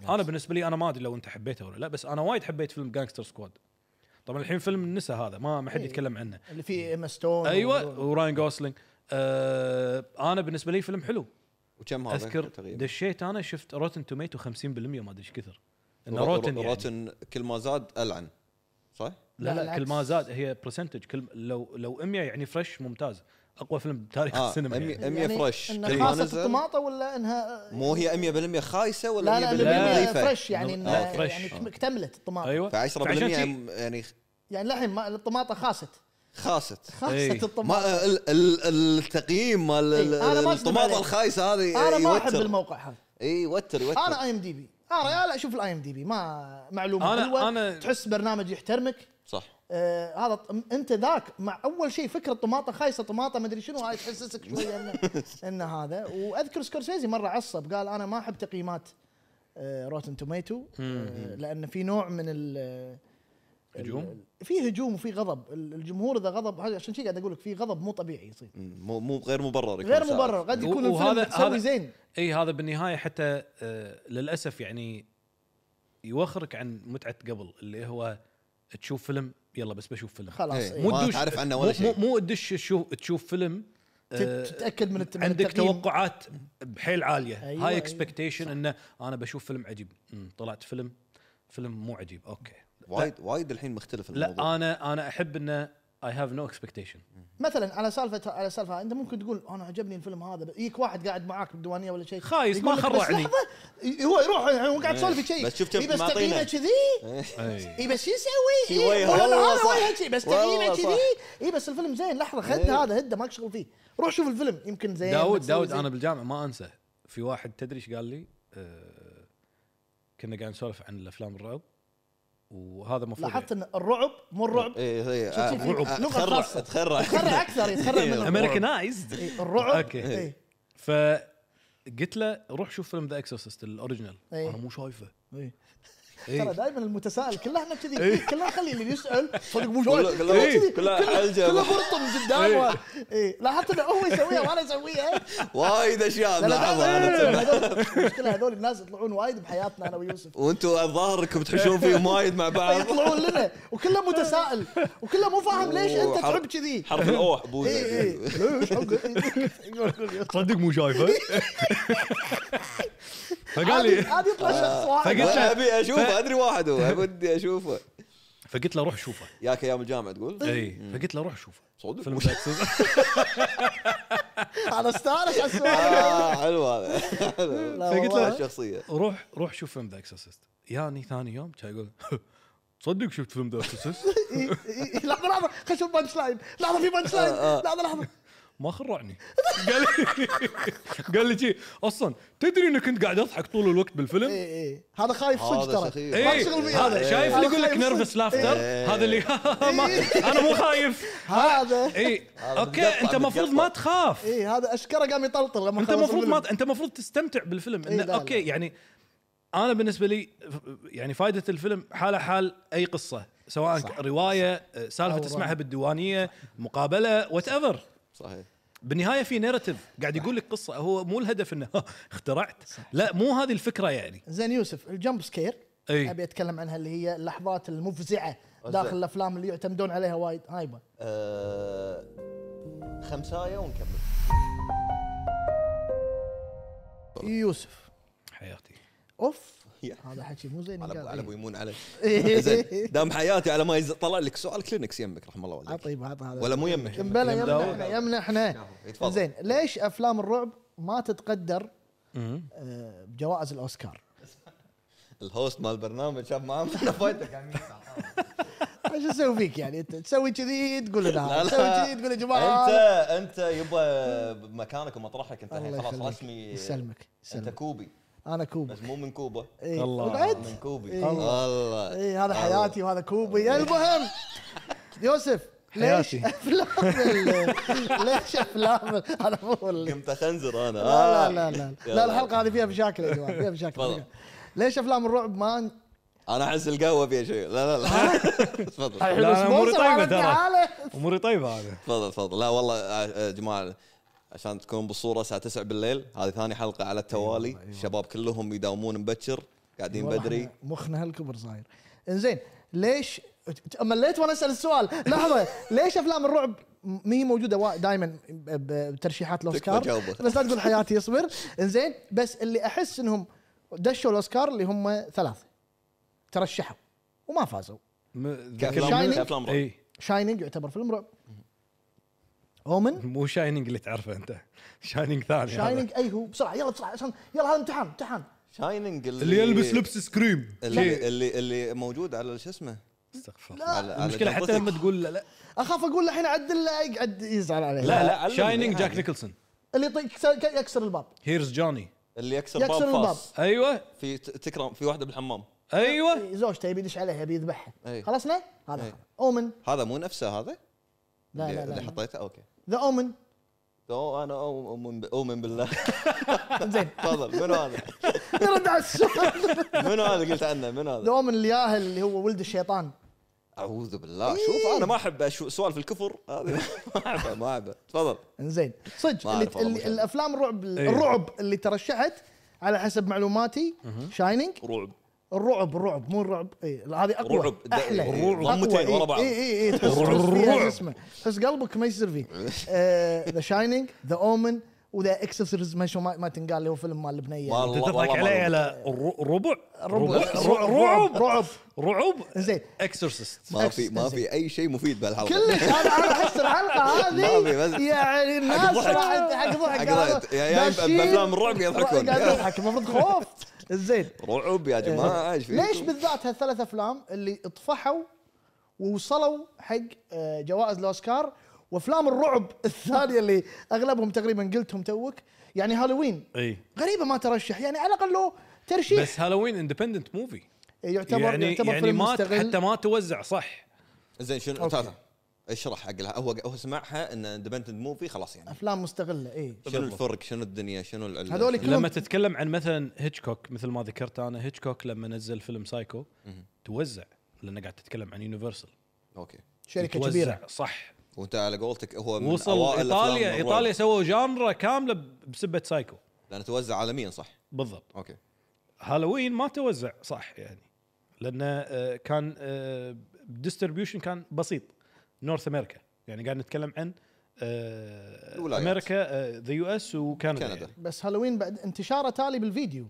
Speaker 3: انا بالنسبه لي انا ما ادري لو انت حبيته ولا لا بس انا وايد حبيت فيلم جانكستر سكواد طبعا الحين فيلم النسا هذا ما ما حد
Speaker 2: إيه.
Speaker 3: يتكلم عنه
Speaker 2: مايكل. اللي فيه ايما ستون
Speaker 3: ايوه
Speaker 2: و-
Speaker 3: وراين جوسلينج آه انا بالنسبه لي فيلم حلو
Speaker 1: وكم هذا
Speaker 3: اذكر
Speaker 1: تقريبا
Speaker 3: دشيت انا شفت روتن توميتو 50% ما ادري ايش كثر انه
Speaker 1: رو-
Speaker 3: روتن
Speaker 1: رو-
Speaker 3: يعني.
Speaker 1: روتن كل ما زاد العن صح؟
Speaker 3: لا
Speaker 2: لا،
Speaker 3: لا كل ما
Speaker 2: العكس.
Speaker 3: زاد هي برسنتج كل لو لو 100 يعني فريش ممتاز اقوى فيلم بتاريخ
Speaker 1: آه،
Speaker 3: السينما يعني.
Speaker 1: 100 فريش.
Speaker 2: إن
Speaker 1: كل ما
Speaker 2: خاصه
Speaker 1: نزل.
Speaker 2: الطماطه ولا انها
Speaker 1: مو هي 100% خايسه
Speaker 2: لا
Speaker 1: ولا
Speaker 2: لا
Speaker 1: 100%
Speaker 3: لا،
Speaker 2: لا
Speaker 1: نظيفه؟
Speaker 2: فريش يعني إن
Speaker 1: آه،
Speaker 3: فريش.
Speaker 2: يعني كم- اكتملت الطماطه
Speaker 3: ايوه
Speaker 1: ف 10%
Speaker 3: فعشان شي-
Speaker 1: يعني
Speaker 2: يعني للحين ما- الطماطه خاست
Speaker 1: خاست
Speaker 3: إيه.
Speaker 2: خاست الطماطه
Speaker 1: ما ال- ال- التقييم مال ال-
Speaker 2: إي، إيه، أنا ما أكذب
Speaker 1: الطماطه
Speaker 2: عليك.
Speaker 1: الخايسه هذه
Speaker 2: انا ما احب
Speaker 1: إيه، يوتر.
Speaker 2: الموقع هذا
Speaker 1: اي يوتر يوتر
Speaker 2: انا اي ام دي بي انا لا اشوف الاي ام دي بي ما معلومه
Speaker 3: أنا-
Speaker 2: حلوه
Speaker 3: أنا-
Speaker 2: تحس برنامج يحترمك
Speaker 1: صح
Speaker 2: آه هذا ط- انت ذاك مع اول شيء فكره طماطه خايسه طماطه مدري شنو هاي تحسسك شويه انه
Speaker 3: [laughs]
Speaker 2: إن هذا واذكر سكورسيزي مره عصب قال انا ما احب تقييمات آه، روتن توميتو لان في نوع من ال
Speaker 3: هجوم
Speaker 2: في هجوم وفي غضب ال- الجمهور اذا غضب هذا- عشان شي قاعد اقول لك في غضب مو طبيعي يصير
Speaker 1: مم، مو مو غير مبرر يكون
Speaker 2: غير
Speaker 1: ساعات.
Speaker 2: مبرر قد
Speaker 3: و-
Speaker 2: يكون
Speaker 3: وهذا-
Speaker 2: الفيلم
Speaker 3: هذا-
Speaker 2: متسوي زين
Speaker 3: اي هذا بالنهايه حتى آه للاسف يعني يوخرك عن متعه قبل اللي هو تشوف فيلم يلا بس بشوف فيلم
Speaker 2: خلاص
Speaker 1: إيه.
Speaker 2: إيه.
Speaker 1: ما تعرف عنه ولا
Speaker 3: مو-
Speaker 1: شيء.
Speaker 3: مو مو تدش تشوف تشوف فيلم آه،
Speaker 2: تت- تتاكد من الت- من
Speaker 3: عندك
Speaker 2: التقييم.
Speaker 3: توقعات بحيل عاليه
Speaker 2: أيوة،
Speaker 3: هاي
Speaker 2: أيوة.
Speaker 3: اكسبكتيشن انه انا بشوف فيلم عجيب مم، طلعت فيلم فيلم مو عجيب اوكي
Speaker 1: وايد وايد الحين مختلف الموضوع
Speaker 3: لا انا انا احب انه اي هاف نو اكسبكتيشن
Speaker 2: مثلا على سالفه على سالفه انت ممكن تقول انا عجبني الفيلم هذا بس يجيك واحد قاعد معاك بالديوانيه ولا شيء
Speaker 3: خايس، ما
Speaker 2: يقول لك بس
Speaker 3: خرعني.
Speaker 2: لحظة، ي- هو يروح يعني هو قاعد
Speaker 1: إيه.
Speaker 2: يسولف شيء
Speaker 1: بس شوف كيف
Speaker 2: إيه بس
Speaker 1: معطينا.
Speaker 2: تقييمه كذي اي بس شو يسوي؟
Speaker 1: شي
Speaker 2: إيه،
Speaker 1: وجهه.
Speaker 2: والله
Speaker 1: والله
Speaker 2: هذا
Speaker 1: صح.
Speaker 2: وجهه شي، بس
Speaker 1: والله
Speaker 2: تقييمه
Speaker 1: صح.
Speaker 2: كذي اي بس الفيلم زين لحظه خد
Speaker 1: إيه.
Speaker 2: هذا هده ماك شغل فيه روح شوف الفيلم يمكن زين
Speaker 3: داود
Speaker 2: بتسوي
Speaker 3: داود
Speaker 2: إيه، زين.
Speaker 3: انا بالجامعه ما انسى في واحد تدري ايش قال لي آه كنا قاعد نسولف عن الافلام الرعب وهذا المفروض يعني.
Speaker 2: لاحظت ان الرعب مو الرعب
Speaker 1: اي اي
Speaker 2: شو في
Speaker 1: آه،
Speaker 2: لغة
Speaker 1: تخرع
Speaker 2: خاصة.
Speaker 1: تخرع
Speaker 2: يتخرع اكثر يتخرع
Speaker 1: إيه.
Speaker 2: من الرعب.
Speaker 3: امريكانايزد
Speaker 2: إيه، الرعب
Speaker 3: أوكي.
Speaker 2: إيه.
Speaker 3: فقلت له روح شوف فيلم ذا اكسورسيست الاوريجنال
Speaker 2: إيه.
Speaker 3: انا مو شايفه
Speaker 2: إيه.
Speaker 3: إيه.
Speaker 2: ترى دائما المتسائل كله احنا كذي كله خلي اللي يسال صدق مو
Speaker 1: كله-
Speaker 2: شوي.
Speaker 1: كله-
Speaker 2: كذي،
Speaker 1: كله حلجة.
Speaker 2: كله برطم قدامه
Speaker 3: إيه.
Speaker 2: اي لاحظت انه هو يسويها وانا اسويها
Speaker 1: وايد اشياء
Speaker 2: لا، لا،
Speaker 1: ملاحظها أنا.
Speaker 2: دائماً هذول- المشكله هذول الناس يطلعون وايد بحياتنا انا ويوسف
Speaker 1: وانتوا الظاهر انكم تحشون فيهم وايد مع
Speaker 2: [laughs]
Speaker 1: بعض
Speaker 2: يطلعون لنا وكله متسائل وكله مو فاهم ليش انت
Speaker 1: وحر-
Speaker 2: تحب كذي
Speaker 1: حرف [laughs] الاوح بوزة
Speaker 2: اي اي ليش حق- يقول-
Speaker 1: [laughs]
Speaker 2: يقول- يقول.
Speaker 3: تصدق مو
Speaker 2: [laughs]
Speaker 3: شايفه فقال
Speaker 2: عادي
Speaker 3: لي
Speaker 2: عادي يطلع
Speaker 1: آه.
Speaker 2: شخص واحد
Speaker 3: فقلت له-
Speaker 1: ابي اشوفه ادري واحد [laughs] هو ودي اشوفه
Speaker 3: فقلت له روح شوفه
Speaker 1: ياك ايام الجامعه تقول
Speaker 2: طيب.
Speaker 3: اي فقلت له روح شوفه
Speaker 1: صدق
Speaker 3: فيلم
Speaker 1: مش-
Speaker 3: ذا اكسورسيست
Speaker 2: انا استانس على السؤال
Speaker 1: آه، حلو هذا
Speaker 2: لا
Speaker 3: فقلت
Speaker 2: والله.
Speaker 3: له
Speaker 1: الشخصيه
Speaker 3: روح روح شوف فيلم ذا اكسورسيست ياني ثاني يوم كان يقول [laughs] تصدق شفت فيلم ذا اكسورسيست
Speaker 2: إي- إي- إي. لحظه لحظه إيه، خلينا نشوف بانش لاين لحظه في بانش لاين
Speaker 1: آه،
Speaker 2: لحظه لحظه
Speaker 3: ما خرعني [laughs] قال لي [laughs] قال لي شي اصلا تدري انك كنت قاعد اضحك طول الوقت بالفيلم
Speaker 2: اي اي هذا خايف صدق
Speaker 1: هذا إيه. سخيف
Speaker 2: ترى إيه. ما
Speaker 3: اي
Speaker 2: تشغل فيه.
Speaker 3: إيه، هذا شايف اللي
Speaker 2: هذا
Speaker 3: يقول لك
Speaker 2: إيه. خايف
Speaker 3: نيرفس
Speaker 2: صدق.
Speaker 3: لافتر
Speaker 1: إيه.
Speaker 3: هذا اللي [laughs] ما- انا مو خايف إيه.
Speaker 2: هذا
Speaker 3: اي
Speaker 1: هذا
Speaker 3: اوكي
Speaker 1: متقطع،
Speaker 3: انت المفروض
Speaker 1: متقطع.
Speaker 3: ما تخاف
Speaker 2: اي هذا اشكره قام يطلطل لما
Speaker 3: انت
Speaker 2: خلص
Speaker 3: المفروض
Speaker 2: الفيلم.
Speaker 3: ما انت المفروض تستمتع بالفيلم
Speaker 2: إيه، لا،
Speaker 3: إن
Speaker 2: لا.
Speaker 3: اوكي يعني انا بالنسبه لي يعني فائده الفيلم حاله حال اي قصه سواء
Speaker 2: صح.
Speaker 3: روايه آه، سالفه
Speaker 2: أو
Speaker 3: تسمعها
Speaker 2: رواية.
Speaker 3: بالديوانيه مقابله وات ايفر
Speaker 1: صحيح
Speaker 3: بالنهايه في نيراتيف قاعد يقول لك قصه هو مو الهدف انه [laughs] اخترعت لا مو هذه الفكره يعني
Speaker 2: زين يوسف الجمب سكير
Speaker 3: إي.
Speaker 2: ابي اتكلم عنها اللي هي اللحظات المفزعه داخل الافلام اللي يعتمدون عليها وايد هايبه
Speaker 1: آه، خمسايه ونكمل
Speaker 2: يوسف
Speaker 3: حياتي
Speaker 2: اوف
Speaker 1: يا.
Speaker 2: هذا حكي مو زين
Speaker 1: على
Speaker 2: ينقال.
Speaker 1: أبو- على
Speaker 2: إي.
Speaker 1: ابو يمون علي [laughs]
Speaker 2: إيه.
Speaker 1: زين دام حياتي على ما يز- طلع لك سؤال كلينكس يمك رحم الله والديك
Speaker 2: عطي عطي هذا
Speaker 1: ولا مو يمك
Speaker 2: بلا
Speaker 3: يم
Speaker 2: يمنا
Speaker 3: داود.
Speaker 2: احنا يمنا احنا
Speaker 1: يتفضل.
Speaker 2: زين ليش افلام الرعب ما تتقدر
Speaker 3: مم.
Speaker 2: آه، بجوائز الاوسكار
Speaker 1: الهوست مال البرنامج شاف معاه [laughs] من فايتك يعني.
Speaker 2: شو اسوي فيك يعني انت تسوي كذي تقول
Speaker 1: لا،
Speaker 2: لا
Speaker 1: لا.
Speaker 2: تسوي كذي تقول يا جماعه
Speaker 1: انت
Speaker 2: هذا-
Speaker 1: انت يبا بمكانك ومطرحك انت الحين
Speaker 2: الله
Speaker 1: خلاص
Speaker 2: يخليك.
Speaker 1: رسمي
Speaker 2: يسلمك
Speaker 1: انت
Speaker 2: يسلمك
Speaker 1: كوبي
Speaker 2: انا كوب
Speaker 1: بس مو من كوبا
Speaker 2: إيه،
Speaker 3: الله.
Speaker 2: وبعد
Speaker 1: من كوبي
Speaker 2: إيه.
Speaker 1: الله
Speaker 2: اي إيه، هذا حياتي وهذا كوبي المهم يوسف ليش
Speaker 3: حياتي.
Speaker 2: افلام ال- ليش افلام ال- انا مو ال-
Speaker 1: قمت اخنزر انا
Speaker 2: لا
Speaker 1: آه.
Speaker 2: لا لا لا,
Speaker 1: يلا.
Speaker 2: لا الحلقه هذه فيها مشاكل يا جماعه فيها مشاكل
Speaker 1: تفضل.
Speaker 2: ليش افلام الرعب ما
Speaker 1: انا احس القهوه فيها شيء لا لا لا [laughs] تفضل
Speaker 3: لا، أنا أموري
Speaker 2: سبونسر
Speaker 3: طيبة
Speaker 2: على
Speaker 3: ترى.
Speaker 2: تعالى
Speaker 3: اموري طيبه هذا
Speaker 1: تفضل تفضل لا والله يا جماعه عشان تكون بالصوره الساعه 9 بالليل هذه ثاني حلقه على التوالي الشباب كلهم يداومون مبكر قاعدين
Speaker 2: أيوة، والله
Speaker 1: بدري
Speaker 2: إحنا مخنا هالكبر صاير انزين ليش ت- مليت وانا اسال السؤال
Speaker 1: [laughs]
Speaker 2: لحظه ليش افلام الرعب م- هي موجوده دائما بترشيحات الاوسكار
Speaker 1: تكفى جاوبه.
Speaker 2: بس لا تقول
Speaker 1: [laughs]
Speaker 2: حياتي يصبر انزين بس اللي احس انهم دشوا الاوسكار اللي هم ثلاثه ترشحوا وما فازوا
Speaker 3: م-
Speaker 1: كافلام
Speaker 2: Shining.
Speaker 1: كافلام رعب.
Speaker 3: اي
Speaker 2: شاينينج يعتبر فيلم رعب اومن
Speaker 3: مو شاينينج اللي تعرفه انت شاينينج ثاني شاينينج
Speaker 2: شاينينج اي هو بسرعه يلا بسرعه عشان يلا هذا امتحان امتحان
Speaker 1: شايننج
Speaker 3: اللي يلبس لبس سكريم
Speaker 1: اللي اللي, اللي موجود على شو اسمه
Speaker 3: استغفر
Speaker 2: آه،
Speaker 3: الله.
Speaker 1: على- على
Speaker 3: المشكله حتى
Speaker 1: جنبتك.
Speaker 3: لما تقول لا لا
Speaker 2: اخاف اقول الحين عدل لا يقعد يزعل علي
Speaker 3: لا,
Speaker 1: لا، يعني.
Speaker 3: لا
Speaker 1: علمني
Speaker 3: شاينينج
Speaker 1: عادي.
Speaker 3: جاك نيكلسون
Speaker 2: اللي يطق- يكسر الباب
Speaker 3: هيرز جوني
Speaker 1: اللي يكسر
Speaker 2: يكسر
Speaker 1: باب
Speaker 2: الباب.
Speaker 1: فاس
Speaker 3: ايوه
Speaker 1: في ت- تكرم في واحده بالحمام أيوة.
Speaker 3: ايوه
Speaker 2: زوجته يبي يدش عليها يبي يذبحها
Speaker 1: أي.
Speaker 2: خلصنا؟ هذا
Speaker 1: أي.
Speaker 2: خلاص. اومن
Speaker 1: هذا مو نفسه هذا
Speaker 2: لا
Speaker 1: اللي-
Speaker 2: لا
Speaker 1: اللي
Speaker 2: لا
Speaker 1: حطيته اوكي
Speaker 2: ذا اومن
Speaker 1: أو انا أو- اؤمن ب- اؤمن بالله
Speaker 2: زين
Speaker 1: تفضل منو هذا؟
Speaker 2: نرد على السؤال [laughs]
Speaker 1: منو هذا قلت عنه منو
Speaker 2: ذا
Speaker 1: هذا؟
Speaker 2: اومن الياهل اللي هو ولد الشيطان
Speaker 1: اعوذ بالله شوف انا ما احب أشو- سوالف الكفر هذه ما احبه ما احبه تفضل
Speaker 2: زين صدق
Speaker 1: ما
Speaker 2: اللي,
Speaker 1: أعرف والله
Speaker 2: اللي
Speaker 1: شيء.
Speaker 2: الافلام الرعب
Speaker 3: أي.
Speaker 2: الرعب اللي ترشحت على حسب معلوماتي شاينينج
Speaker 1: رعب
Speaker 2: الرعب الرعب مو الرعب اي هذه اقوى
Speaker 1: رعب. ده-
Speaker 2: احلى
Speaker 1: الرعب.
Speaker 2: أقوى.
Speaker 1: ضمتين
Speaker 2: إي،
Speaker 1: ورا بعض.
Speaker 2: اي اي اي تحس تحس فيها شو اسمه تحس قلبك ما يصير
Speaker 1: [laughs]
Speaker 2: فيه آه، ذا شاينينج ذا اومن وذا اكسسوارز ما شو ما ما تنقال اللي هو فيلم مال البنيه
Speaker 3: انت
Speaker 1: والله
Speaker 3: تضحك
Speaker 1: والله
Speaker 3: علي
Speaker 1: ما أؤمن.
Speaker 3: على الر- ربع
Speaker 2: رعب
Speaker 3: رعب
Speaker 2: رعب
Speaker 3: رعب
Speaker 2: زين.
Speaker 3: اكسورسيست
Speaker 1: ما في ما في اي شيء مفيد بهالحلقه
Speaker 2: كلش انا انا احس الحلقه
Speaker 1: [laughs] ما في بس-
Speaker 2: هذه يعني الناس
Speaker 1: ضحك.
Speaker 2: راح حق ضحك
Speaker 1: حق ضحك. يا- يا
Speaker 2: داشين.
Speaker 1: بأفلام الرعب يضحكون.
Speaker 2: قاعد يضحك المفروض خوف زين
Speaker 1: [laughs] رعب يا جماعه ايش فيكم؟
Speaker 2: إيه. ليش بالذات هالثلاث افلام اللي اطفحوا ووصلوا حق آه، جوائز الاوسكار وافلام الرعب الثانيه اللي اغلبهم تقريبا قلتهم توك يعني هالوين
Speaker 3: اي
Speaker 1: إيه.
Speaker 2: غريبه ما ترشح يعني على الاقل له ترشيح
Speaker 3: بس هالوين اندبندنت موفي
Speaker 2: يعتبر
Speaker 3: يعني
Speaker 2: يعتبر
Speaker 3: يعني
Speaker 2: فيلم
Speaker 3: ما
Speaker 2: مستغل
Speaker 3: حتى ما توزع صح
Speaker 1: زين شنو
Speaker 2: أوكي.
Speaker 1: تعال اشرح حق الها- هو هو سمعها ان اندبندنت موفي خلاص يعني
Speaker 2: افلام مستغله اي
Speaker 1: شنو الفرق شنو الدنيا شنو العله
Speaker 2: هذول
Speaker 1: شنو-
Speaker 2: كلهم
Speaker 3: لما تتكلم عن مثلا هيتشكوك مثل ما ذكرت انا هيتشكوك لما نزل فيلم سايكو توزع لانه قاعد تتكلم عن يونيفرسال
Speaker 1: اوكي
Speaker 2: شركه كبيره
Speaker 3: صح
Speaker 1: وانت على قولتك هو من
Speaker 3: وصل
Speaker 1: أوائل
Speaker 3: ايطاليا
Speaker 1: أفلام الرعب.
Speaker 3: ايطاليا سووا جانرا كامله بسبه سايكو
Speaker 1: لانه توزع عالميا صح
Speaker 3: بالضبط
Speaker 1: اوكي
Speaker 3: هالوين ما توزع صح يعني لانه آه، كان ديستربيوشن كان بسيط نورث امريكا يعني قاعد نتكلم عن آه،
Speaker 1: الولايات.
Speaker 3: امريكا ذا يو اس وكندا
Speaker 1: كندا.
Speaker 3: يعني.
Speaker 2: بس هالوين بعد انتشاره تالي بالفيديو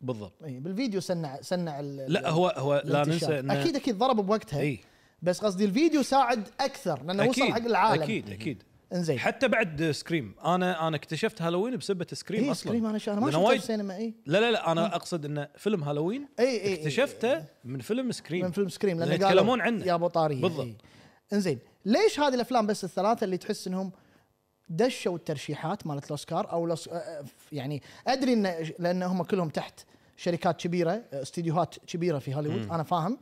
Speaker 3: بالضبط
Speaker 2: اي بالفيديو سنع سنع ال-
Speaker 3: لا هو هو لا
Speaker 2: الانتشار.
Speaker 3: ننسى انه
Speaker 2: اكيد اكيد ضرب بوقتها
Speaker 3: اي
Speaker 2: بس قصدي الفيديو ساعد اكثر لانه وصل
Speaker 3: اكيد
Speaker 2: حق العالم
Speaker 3: اكيد اكيد
Speaker 2: انزين
Speaker 3: حتى بعد سكريم انا انا اكتشفت هالوين بسبه سكريم
Speaker 2: اي
Speaker 3: اصلا
Speaker 2: سكريم انا شا- إيه، أنا ما
Speaker 3: لأنه
Speaker 2: شفته إيه،
Speaker 3: وايد-
Speaker 2: في السينما اي
Speaker 3: لا لا لا انا اقصد انه فيلم هالوين
Speaker 2: إي، إي، إي، إي.
Speaker 3: اكتشفته من فيلم سكريم
Speaker 2: من فيلم سكريم لانه
Speaker 3: لأن
Speaker 2: قالوا
Speaker 3: يتكلمون إيه. عنه.
Speaker 2: يا ابو طاريه
Speaker 3: بالضبط.
Speaker 2: إي. انزين ليش هذه الافلام بس الثلاثه اللي تحس انهم دشوا الترشيحات مالت الاوسكار او الأوس- آه، آه، يعني ادري ان لان هم كلهم تحت شركات كبيره آه، استديوهات كبيره في هوليوود انا فاهم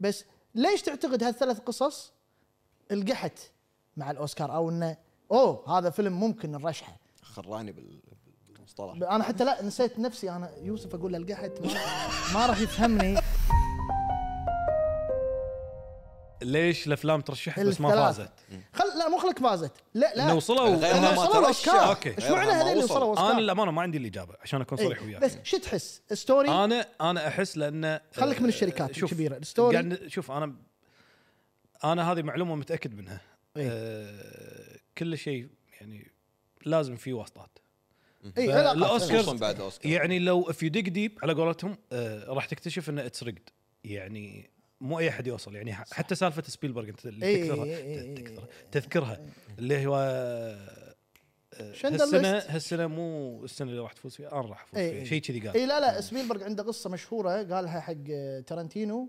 Speaker 2: بس ليش تعتقد هالثلاث قصص القحت مع الاوسكار او انه اوه هذا فيلم ممكن نرشحه
Speaker 1: خراني بال- بالمصطلح
Speaker 2: انا حتى لا نسيت نفسي انا يوسف اقول له القحت ما, ما راح يفهمني
Speaker 3: ليش الافلام ترشحت بس ما
Speaker 2: الثلاث.
Speaker 3: فازت
Speaker 2: خل لا مو خلك فازت لا لا
Speaker 3: انه وصلوا
Speaker 1: غير
Speaker 2: لأن
Speaker 1: ما
Speaker 2: وصلوا
Speaker 1: ترشح.
Speaker 2: أوسكار.
Speaker 3: أوكي.
Speaker 2: ايش
Speaker 1: غيرها
Speaker 2: معنى
Speaker 1: إيوه، ما
Speaker 2: هذول اللي
Speaker 1: وصلوا.
Speaker 2: وصلوا
Speaker 3: انا
Speaker 2: اوسكار
Speaker 3: للامانه ما عندي الاجابه عشان اكون صريح
Speaker 2: إيه.
Speaker 3: وياك
Speaker 2: بس شو تحس ستوري
Speaker 3: انا انا احس لانه
Speaker 2: خليك من الشركات
Speaker 3: آه، شوف،
Speaker 2: الكبيرة، الستوري.
Speaker 3: قاعد ن- شوف انا انا هذه معلومه متاكد منها
Speaker 2: إيه.
Speaker 3: آه، كل شيء يعني لازم في واسطات
Speaker 2: اي
Speaker 3: فالأوسكار-
Speaker 2: علاقات
Speaker 1: خصوصا بعد اوسكار
Speaker 3: يعني لو اف يو ديك ديب على قولتهم آه، راح تكتشف انه اتس ريجد يعني مو اي احد يوصل يعني ح- حتى سالفه سبيلبرج انت اللي
Speaker 2: إيه،
Speaker 3: تكثرها
Speaker 2: إيه، إيه،
Speaker 3: تكثرها تذكرها اللي هو
Speaker 2: شندلر
Speaker 3: هالسنه
Speaker 2: ليست.
Speaker 3: هالسنه مو السنه اللي راح تفوز فيها انا راح افوز
Speaker 2: إي
Speaker 3: فيها
Speaker 2: إي.
Speaker 3: شيء كذي قال
Speaker 2: اي إيه، لا لا سبيلبرغ عنده قصه مشهوره قالها حق آه، ترنتينو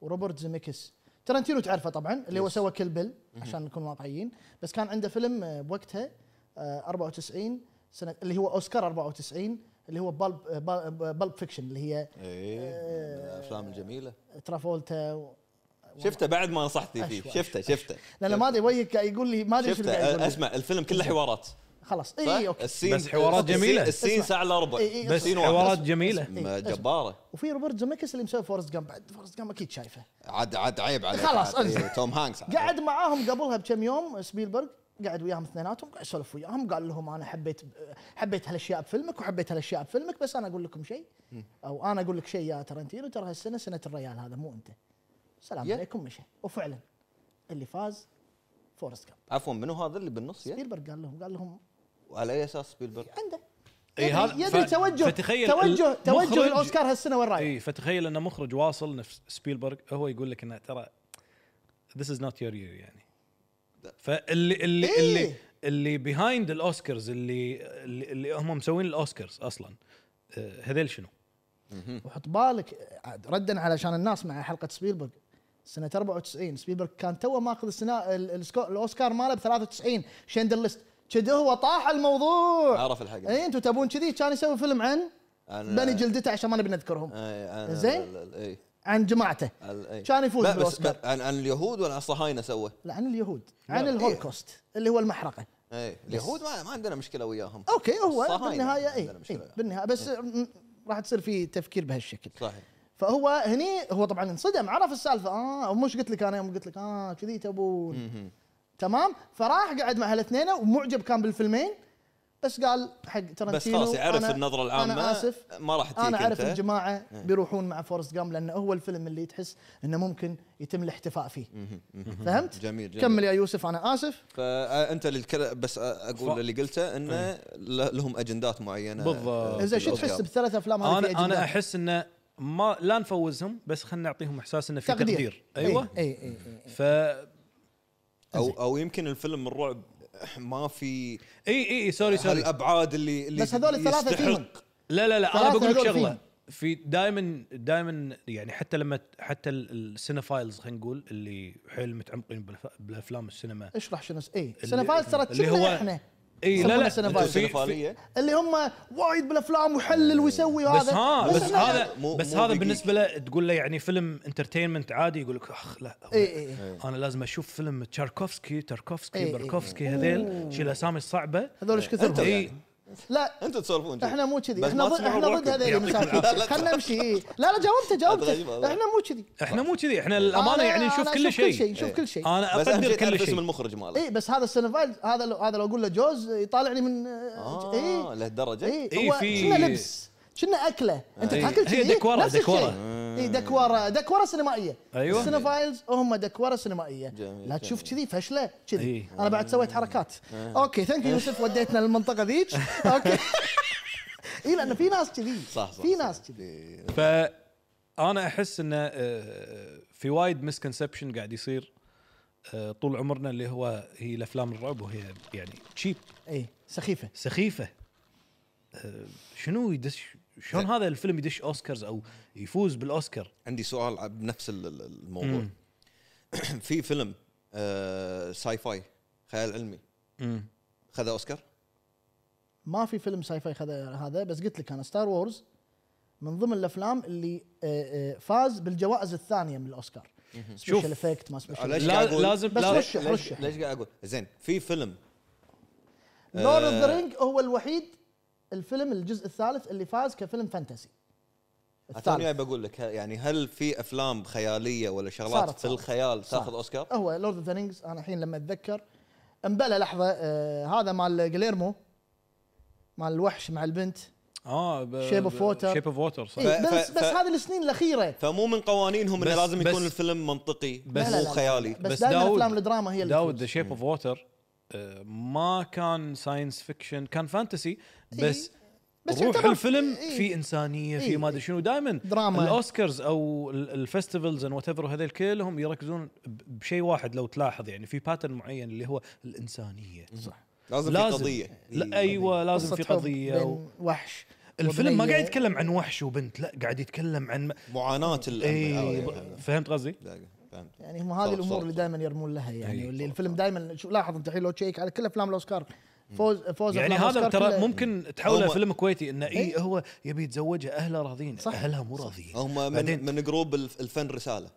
Speaker 2: وروبرت زيميكس ترنتينو تعرفه طبعا اللي هو
Speaker 1: Yes.
Speaker 2: سوى كل بل عشان نكون واقعيين بس كان عنده فيلم آه، بوقتها آه، 94 سنه اللي هو اوسكار 94 اللي هو آه، بالب بالب فيكشن اللي هي
Speaker 1: ايه من الافلام الجميله
Speaker 2: ترافولتا و-
Speaker 1: شفته بعد ما نصحتي
Speaker 2: أشوى،
Speaker 1: فيه شفته شفته
Speaker 2: لان ما ادري وجهك قاعد يقول لي ما ادري شو
Speaker 1: شفته
Speaker 2: قاعد يقول
Speaker 1: أه،
Speaker 2: لي.
Speaker 1: اسمع الفيلم كله حوارات
Speaker 2: خلاص
Speaker 1: صح؟
Speaker 2: اي اوكي
Speaker 1: السين
Speaker 3: بس حوارات
Speaker 1: السين-
Speaker 3: جميلة.
Speaker 1: السين
Speaker 2: اسمع.
Speaker 1: ساعه الا ربع
Speaker 2: إي إي،
Speaker 3: بس
Speaker 1: السين
Speaker 3: حوارات
Speaker 1: واحد.
Speaker 3: جميله
Speaker 1: م-
Speaker 2: إي، اسمع.
Speaker 1: جباره
Speaker 2: وفي روبرت زيميكس اللي مسوي فورست جامب بعد فورست جامب اكيد شايفه
Speaker 1: عاد عاد عيب عليك
Speaker 2: خلاص،
Speaker 1: عاد. إي،
Speaker 2: انزل.
Speaker 1: توم هانكس عاد.
Speaker 2: قعد معاهم قبلها بكم يوم سبيلبرغ قعد وياهم اثنيناتهم قاعد يسولف وياهم قال لهم انا حبيت حبيت هالاشياء بفيلمك وحبيت هالاشياء بفيلمك بس انا اقول لكم شيء او انا اقول لك شيء يا ترنتينو ترى هالسنه سنه الريال هذا مو انت سلام
Speaker 1: يا.
Speaker 2: عليكم مشى وفعلا اللي فاز فورست كاب
Speaker 1: عفوا منو هذا اللي بالنص يا؟
Speaker 2: سبيلبرغ قال لهم قال لهم
Speaker 1: وعلى اي اساس سبيلبرغ؟
Speaker 2: عنده
Speaker 3: إي
Speaker 2: يدري-
Speaker 3: إيه، هذا-
Speaker 2: يدري
Speaker 3: ف-
Speaker 2: توجه
Speaker 3: فتخيل
Speaker 2: توجه
Speaker 3: المخرج-
Speaker 2: توجه الاوسكار هالسنه وين رايح؟
Speaker 3: اي فتخيل ان مخرج واصل نفس سبيلبرغ هو يقول لك انه ترى ذيس از نوت يور يير يعني فاللي اللي
Speaker 2: إيه.
Speaker 3: اللي اللي بيهايند الاوسكارز اللي اللي, اللي هم مسوين الاوسكارز اصلا آه، هذيل شنو؟ إيه.
Speaker 2: وحط بالك عاد ردا علشان الناس مع حلقه سبيلبرغ سنه 94 سبيلبرغ كان توه ماخذ السنا ال- السكو- الاوسكار ماله ب 93 شندر ليست كد هو طاح الموضوع
Speaker 1: عرف الحق
Speaker 2: اي انتم تبون كذي كان يسوي فيلم عن
Speaker 1: أنا-
Speaker 2: بني جلدته عشان ما نبي نذكرهم
Speaker 1: إي، أنا-
Speaker 2: زين؟
Speaker 1: ال- ال- إي.
Speaker 2: عن جماعته
Speaker 1: ال- إي.
Speaker 2: كان يفوز
Speaker 1: لا، بس-
Speaker 2: بالأوسكار.
Speaker 1: بس عن عن اليهود ولا عن الصهاينه سوى؟
Speaker 2: لا عن اليهود
Speaker 1: إيه.
Speaker 2: عن الهولوكوست اللي هو المحرقه
Speaker 1: اي إيه، اليهود ما, ما عندنا مشكله وياهم
Speaker 2: اوكي هو إيه،
Speaker 1: الصهاينة
Speaker 2: بالنهايه
Speaker 1: عندنا
Speaker 2: اي
Speaker 1: مشكلة.
Speaker 2: إي، بالنهايه بس م- راح تصير في تفكير بهالشكل
Speaker 1: صحيح
Speaker 2: فهو هني هو طبعا انصدم عرف السالفه اه مش قلت لك انا يوم قلت لك اه كذي تبون تمام فراح قعد مع هالاثنين ومعجب كان بالفيلمين بس قال حق ترنتينو
Speaker 1: بس خلاص يعرف
Speaker 2: أنا-
Speaker 1: النظره العامه
Speaker 2: انا اسف
Speaker 1: ما راح تجيك
Speaker 2: انا اعرف
Speaker 1: انت
Speaker 2: الجماعه
Speaker 1: إيه.
Speaker 2: بيروحون مع فورست جام لانه هو الفيلم اللي تحس انه ممكن يتم الاحتفاء فيه فهمت؟
Speaker 1: جميل جميل
Speaker 2: كمل يا يوسف انا اسف
Speaker 1: فانت اللي الكل- آه، بس
Speaker 3: ف- إيه.
Speaker 1: اقول اللي قلته انه ل- لهم اجندات معينه
Speaker 3: بالضبط.
Speaker 1: آه،
Speaker 2: زين شو تحس
Speaker 1: بالأوسكار.
Speaker 2: بالثلاث افلام هذه في
Speaker 3: انا
Speaker 2: أجندات؟
Speaker 3: انا احس انه ما لا نفوزهم بس خلينا نعطيهم احساس انه في تقدير, تقدير. ايوه
Speaker 2: اي اي, أي, أي.
Speaker 3: ف اي
Speaker 1: او او يمكن الفيلم الرعب ما في
Speaker 3: اي اي سوري سوري
Speaker 1: هالابعاد اللي اللي
Speaker 2: بس هذول الثلاثه
Speaker 1: يستحق.
Speaker 2: فيهم
Speaker 3: لا لا لا انا
Speaker 2: ثلاثة
Speaker 3: بقول لك
Speaker 2: هذول
Speaker 3: شغله
Speaker 2: فيهم.
Speaker 3: في دائما دائما يعني حتى لما حتى ال- السينفايلز خلينا نقول اللي حيل متعمقين بالف- بالافلام السينما
Speaker 2: اشرح شنو س- اي
Speaker 3: اللي-
Speaker 2: سينفايلز ترى
Speaker 3: اللي هو-
Speaker 2: كنا احنا
Speaker 3: اي لا
Speaker 2: يسمونه
Speaker 3: لا
Speaker 2: سينفايلز.
Speaker 3: في- في-
Speaker 1: سينفالية.
Speaker 2: اللي هم وايد بالافلام ويحلل ويسوي وهذا
Speaker 3: بس ها بس
Speaker 2: إحنا-
Speaker 3: هذا
Speaker 1: مو-
Speaker 3: بس
Speaker 1: مو
Speaker 3: هذا
Speaker 1: بيجيك.
Speaker 3: بالنسبه له تقول له يعني فيلم انترتينمنت عادي يقول لك اخ لا هو-
Speaker 2: إي إي إي.
Speaker 3: انا لازم اشوف فيلم تشاركوفسكي تاركوفسكي
Speaker 2: إي إي.
Speaker 3: باركوفسكي هذيل
Speaker 2: أوه.
Speaker 3: شي الاسامي الصعبه
Speaker 2: هذول ايش كثر
Speaker 3: اي
Speaker 2: لا
Speaker 1: انتم تسولفون
Speaker 2: احنا مو كذي
Speaker 1: بس
Speaker 2: احنا
Speaker 1: ما
Speaker 2: ضد
Speaker 1: تسمعون
Speaker 2: احنا ضد
Speaker 1: روحكم.
Speaker 2: هذول
Speaker 1: يعطيكم
Speaker 2: المساكين
Speaker 1: العافية.
Speaker 2: خلنا نمشي إي. لا لا جاوبته
Speaker 1: أتغيب
Speaker 2: جاوبته
Speaker 1: والله.
Speaker 2: احنا مو كذي
Speaker 3: احنا مو كذي احنا للامانه يعني
Speaker 2: أنا-
Speaker 3: نشوف
Speaker 2: أنا
Speaker 3: كل
Speaker 2: أشوف
Speaker 3: شيء
Speaker 2: نشوف كل شيء
Speaker 3: انا
Speaker 1: بس اهم
Speaker 3: اقدر
Speaker 1: شيء
Speaker 3: كل
Speaker 1: تعرف اسم
Speaker 3: شيء
Speaker 1: المخرج ماله
Speaker 2: اي بس هذا السينفايلز هذا لو هذا لو اقول له جوز يطالعني من
Speaker 3: آه.
Speaker 2: إيه.
Speaker 1: اه
Speaker 2: اي
Speaker 1: لهالدرجه
Speaker 2: اي
Speaker 3: إي،
Speaker 2: هو
Speaker 3: إيه، في-
Speaker 2: كنا لبس كنا اكله انت
Speaker 3: إي.
Speaker 2: تاكل
Speaker 3: هي
Speaker 2: كذي،
Speaker 3: دكورة،
Speaker 2: نفس الشيء. إيه،
Speaker 3: دكورة.
Speaker 2: اي دكوره دكوره سينمائيه
Speaker 3: أيوة.
Speaker 2: السينفايلز هم دكوره سينمائيه
Speaker 1: جميل، آه.
Speaker 2: لا تشوف كذي فشله كذي
Speaker 3: إي.
Speaker 2: انا بعد سويت حركات اوكي ثانك يو يوسف وديتنا للمنطقه
Speaker 1: [laughs]
Speaker 2: ذيك اوكي اي لان في ناس كذي
Speaker 1: صح صح
Speaker 2: في
Speaker 1: صح.
Speaker 2: ناس كذي
Speaker 3: فانا احس انه آه، في وايد مسكونسبشن قاعد يصير آه، طول عمرنا اللي هو هي الافلام الرعب وهي يعني تشيب
Speaker 2: اي سخيفه
Speaker 3: سخيفه آه، شنو يدش شلون هذا الفيلم يدش اوسكارز او يفوز بالاوسكار
Speaker 1: عندي سؤال ع- بنفس ال- ال- الموضوع [clears throat] في فيلم آه ساي فاي خيال علمي خذ اوسكار
Speaker 2: ما في فيلم ساي فاي خذ هذا بس قلت لك انا ستار وورز من ضمن الافلام اللي آه، آه، فاز بالجوائز الثانيه من الاوسكار
Speaker 3: شوف.
Speaker 2: سبيشل افكت ما سبيشل
Speaker 1: ليش
Speaker 3: لا-
Speaker 1: قاعد أقول-
Speaker 3: لازم-
Speaker 2: بس
Speaker 3: لا-
Speaker 1: ليش-
Speaker 2: رشح
Speaker 1: ليش-
Speaker 2: رشح
Speaker 1: ليش قاعد اقول زين في فيلم
Speaker 2: لورد اوف ذا
Speaker 1: آه.
Speaker 2: رينج هو الوحيد الفيلم الجزء الثالث اللي فاز كفيلم فانتسي
Speaker 1: اتوني جاي
Speaker 2: الثالث
Speaker 1: بقول لك ه- يعني هل في افلام خياليه ولا
Speaker 2: صارت-
Speaker 1: شغلات في
Speaker 2: صارت.
Speaker 1: الخيال تاخذ
Speaker 2: صارت.
Speaker 1: اوسكار؟
Speaker 2: هو لورد اوف ذا رينجز انا الحين لما اتذكر امبلى لحظه آه هذا مال جليرمو مال الوحش مع البنت
Speaker 3: اه
Speaker 2: Shape of Water.
Speaker 3: شيب اوف ووتر صح
Speaker 2: إيه
Speaker 1: ف- ف-
Speaker 2: بس بس
Speaker 1: ف-
Speaker 2: هذه السنين الاخيره
Speaker 1: فمو من قوانينهم انه
Speaker 3: بس-
Speaker 1: لازم
Speaker 3: بس-
Speaker 1: يكون الفيلم منطقي
Speaker 3: بس- لا، لا،
Speaker 1: مو
Speaker 2: لا،
Speaker 1: خيالي
Speaker 2: بس,
Speaker 3: بس
Speaker 2: دائما
Speaker 3: داود-
Speaker 2: افلام الدراما هي اللي
Speaker 3: داود ذا
Speaker 2: تفوز.
Speaker 3: شيب اوف ووتر آه، ما كان ساينس فيكشن كان فانتسي بس
Speaker 2: إيه. بس
Speaker 3: بس روح
Speaker 2: يعتبر-
Speaker 3: الفيلم
Speaker 2: إيه.
Speaker 3: في انسانيه في
Speaker 2: إيه.
Speaker 3: ما ادري شنو دائما
Speaker 2: دراما.
Speaker 3: الاوسكارز او ال- الفستيفالز ان وات ايفر هذول كلهم يركزون ب- بشيء واحد لو تلاحظ يعني في باترن معين اللي هو الانسانيه صح
Speaker 1: لازم,
Speaker 3: لازم.
Speaker 1: في يعني قضيه
Speaker 3: لا ايوه لازم
Speaker 2: قصة
Speaker 3: في
Speaker 2: حب
Speaker 3: قضيه و...
Speaker 2: بين وحش إيه،
Speaker 3: الفيلم ما
Speaker 2: وبنية.
Speaker 3: قاعد يتكلم عن وحش وبنت لا قاعد يتكلم عن
Speaker 1: معاناه ال-
Speaker 3: اي
Speaker 1: أيوة.
Speaker 3: فهمت قصدي؟
Speaker 1: دقيقة، فهمت.
Speaker 2: يعني هم هذه
Speaker 1: صوت-
Speaker 2: الامور
Speaker 1: صوت-
Speaker 2: اللي دائما يرمون لها يعني
Speaker 3: إي،
Speaker 2: واللي
Speaker 1: صوت-
Speaker 2: الفيلم
Speaker 1: صوت.
Speaker 2: دائما شو لاحظ انت الحين لو تشيك على كل افلام الاوسكار فوز فوز
Speaker 3: يعني
Speaker 2: أفلام
Speaker 3: هذا
Speaker 2: الأوسكار
Speaker 3: ترى
Speaker 2: كلها-
Speaker 3: ممكن تحوله
Speaker 1: هم-
Speaker 3: فيلم كويتي انه
Speaker 2: إي.
Speaker 3: اي هو يبي يتزوجها اهله راضيين
Speaker 2: صح.
Speaker 3: صح اهلها مو راضيين
Speaker 1: هم
Speaker 3: بعدين-
Speaker 1: من, من جروب الف- الفن رساله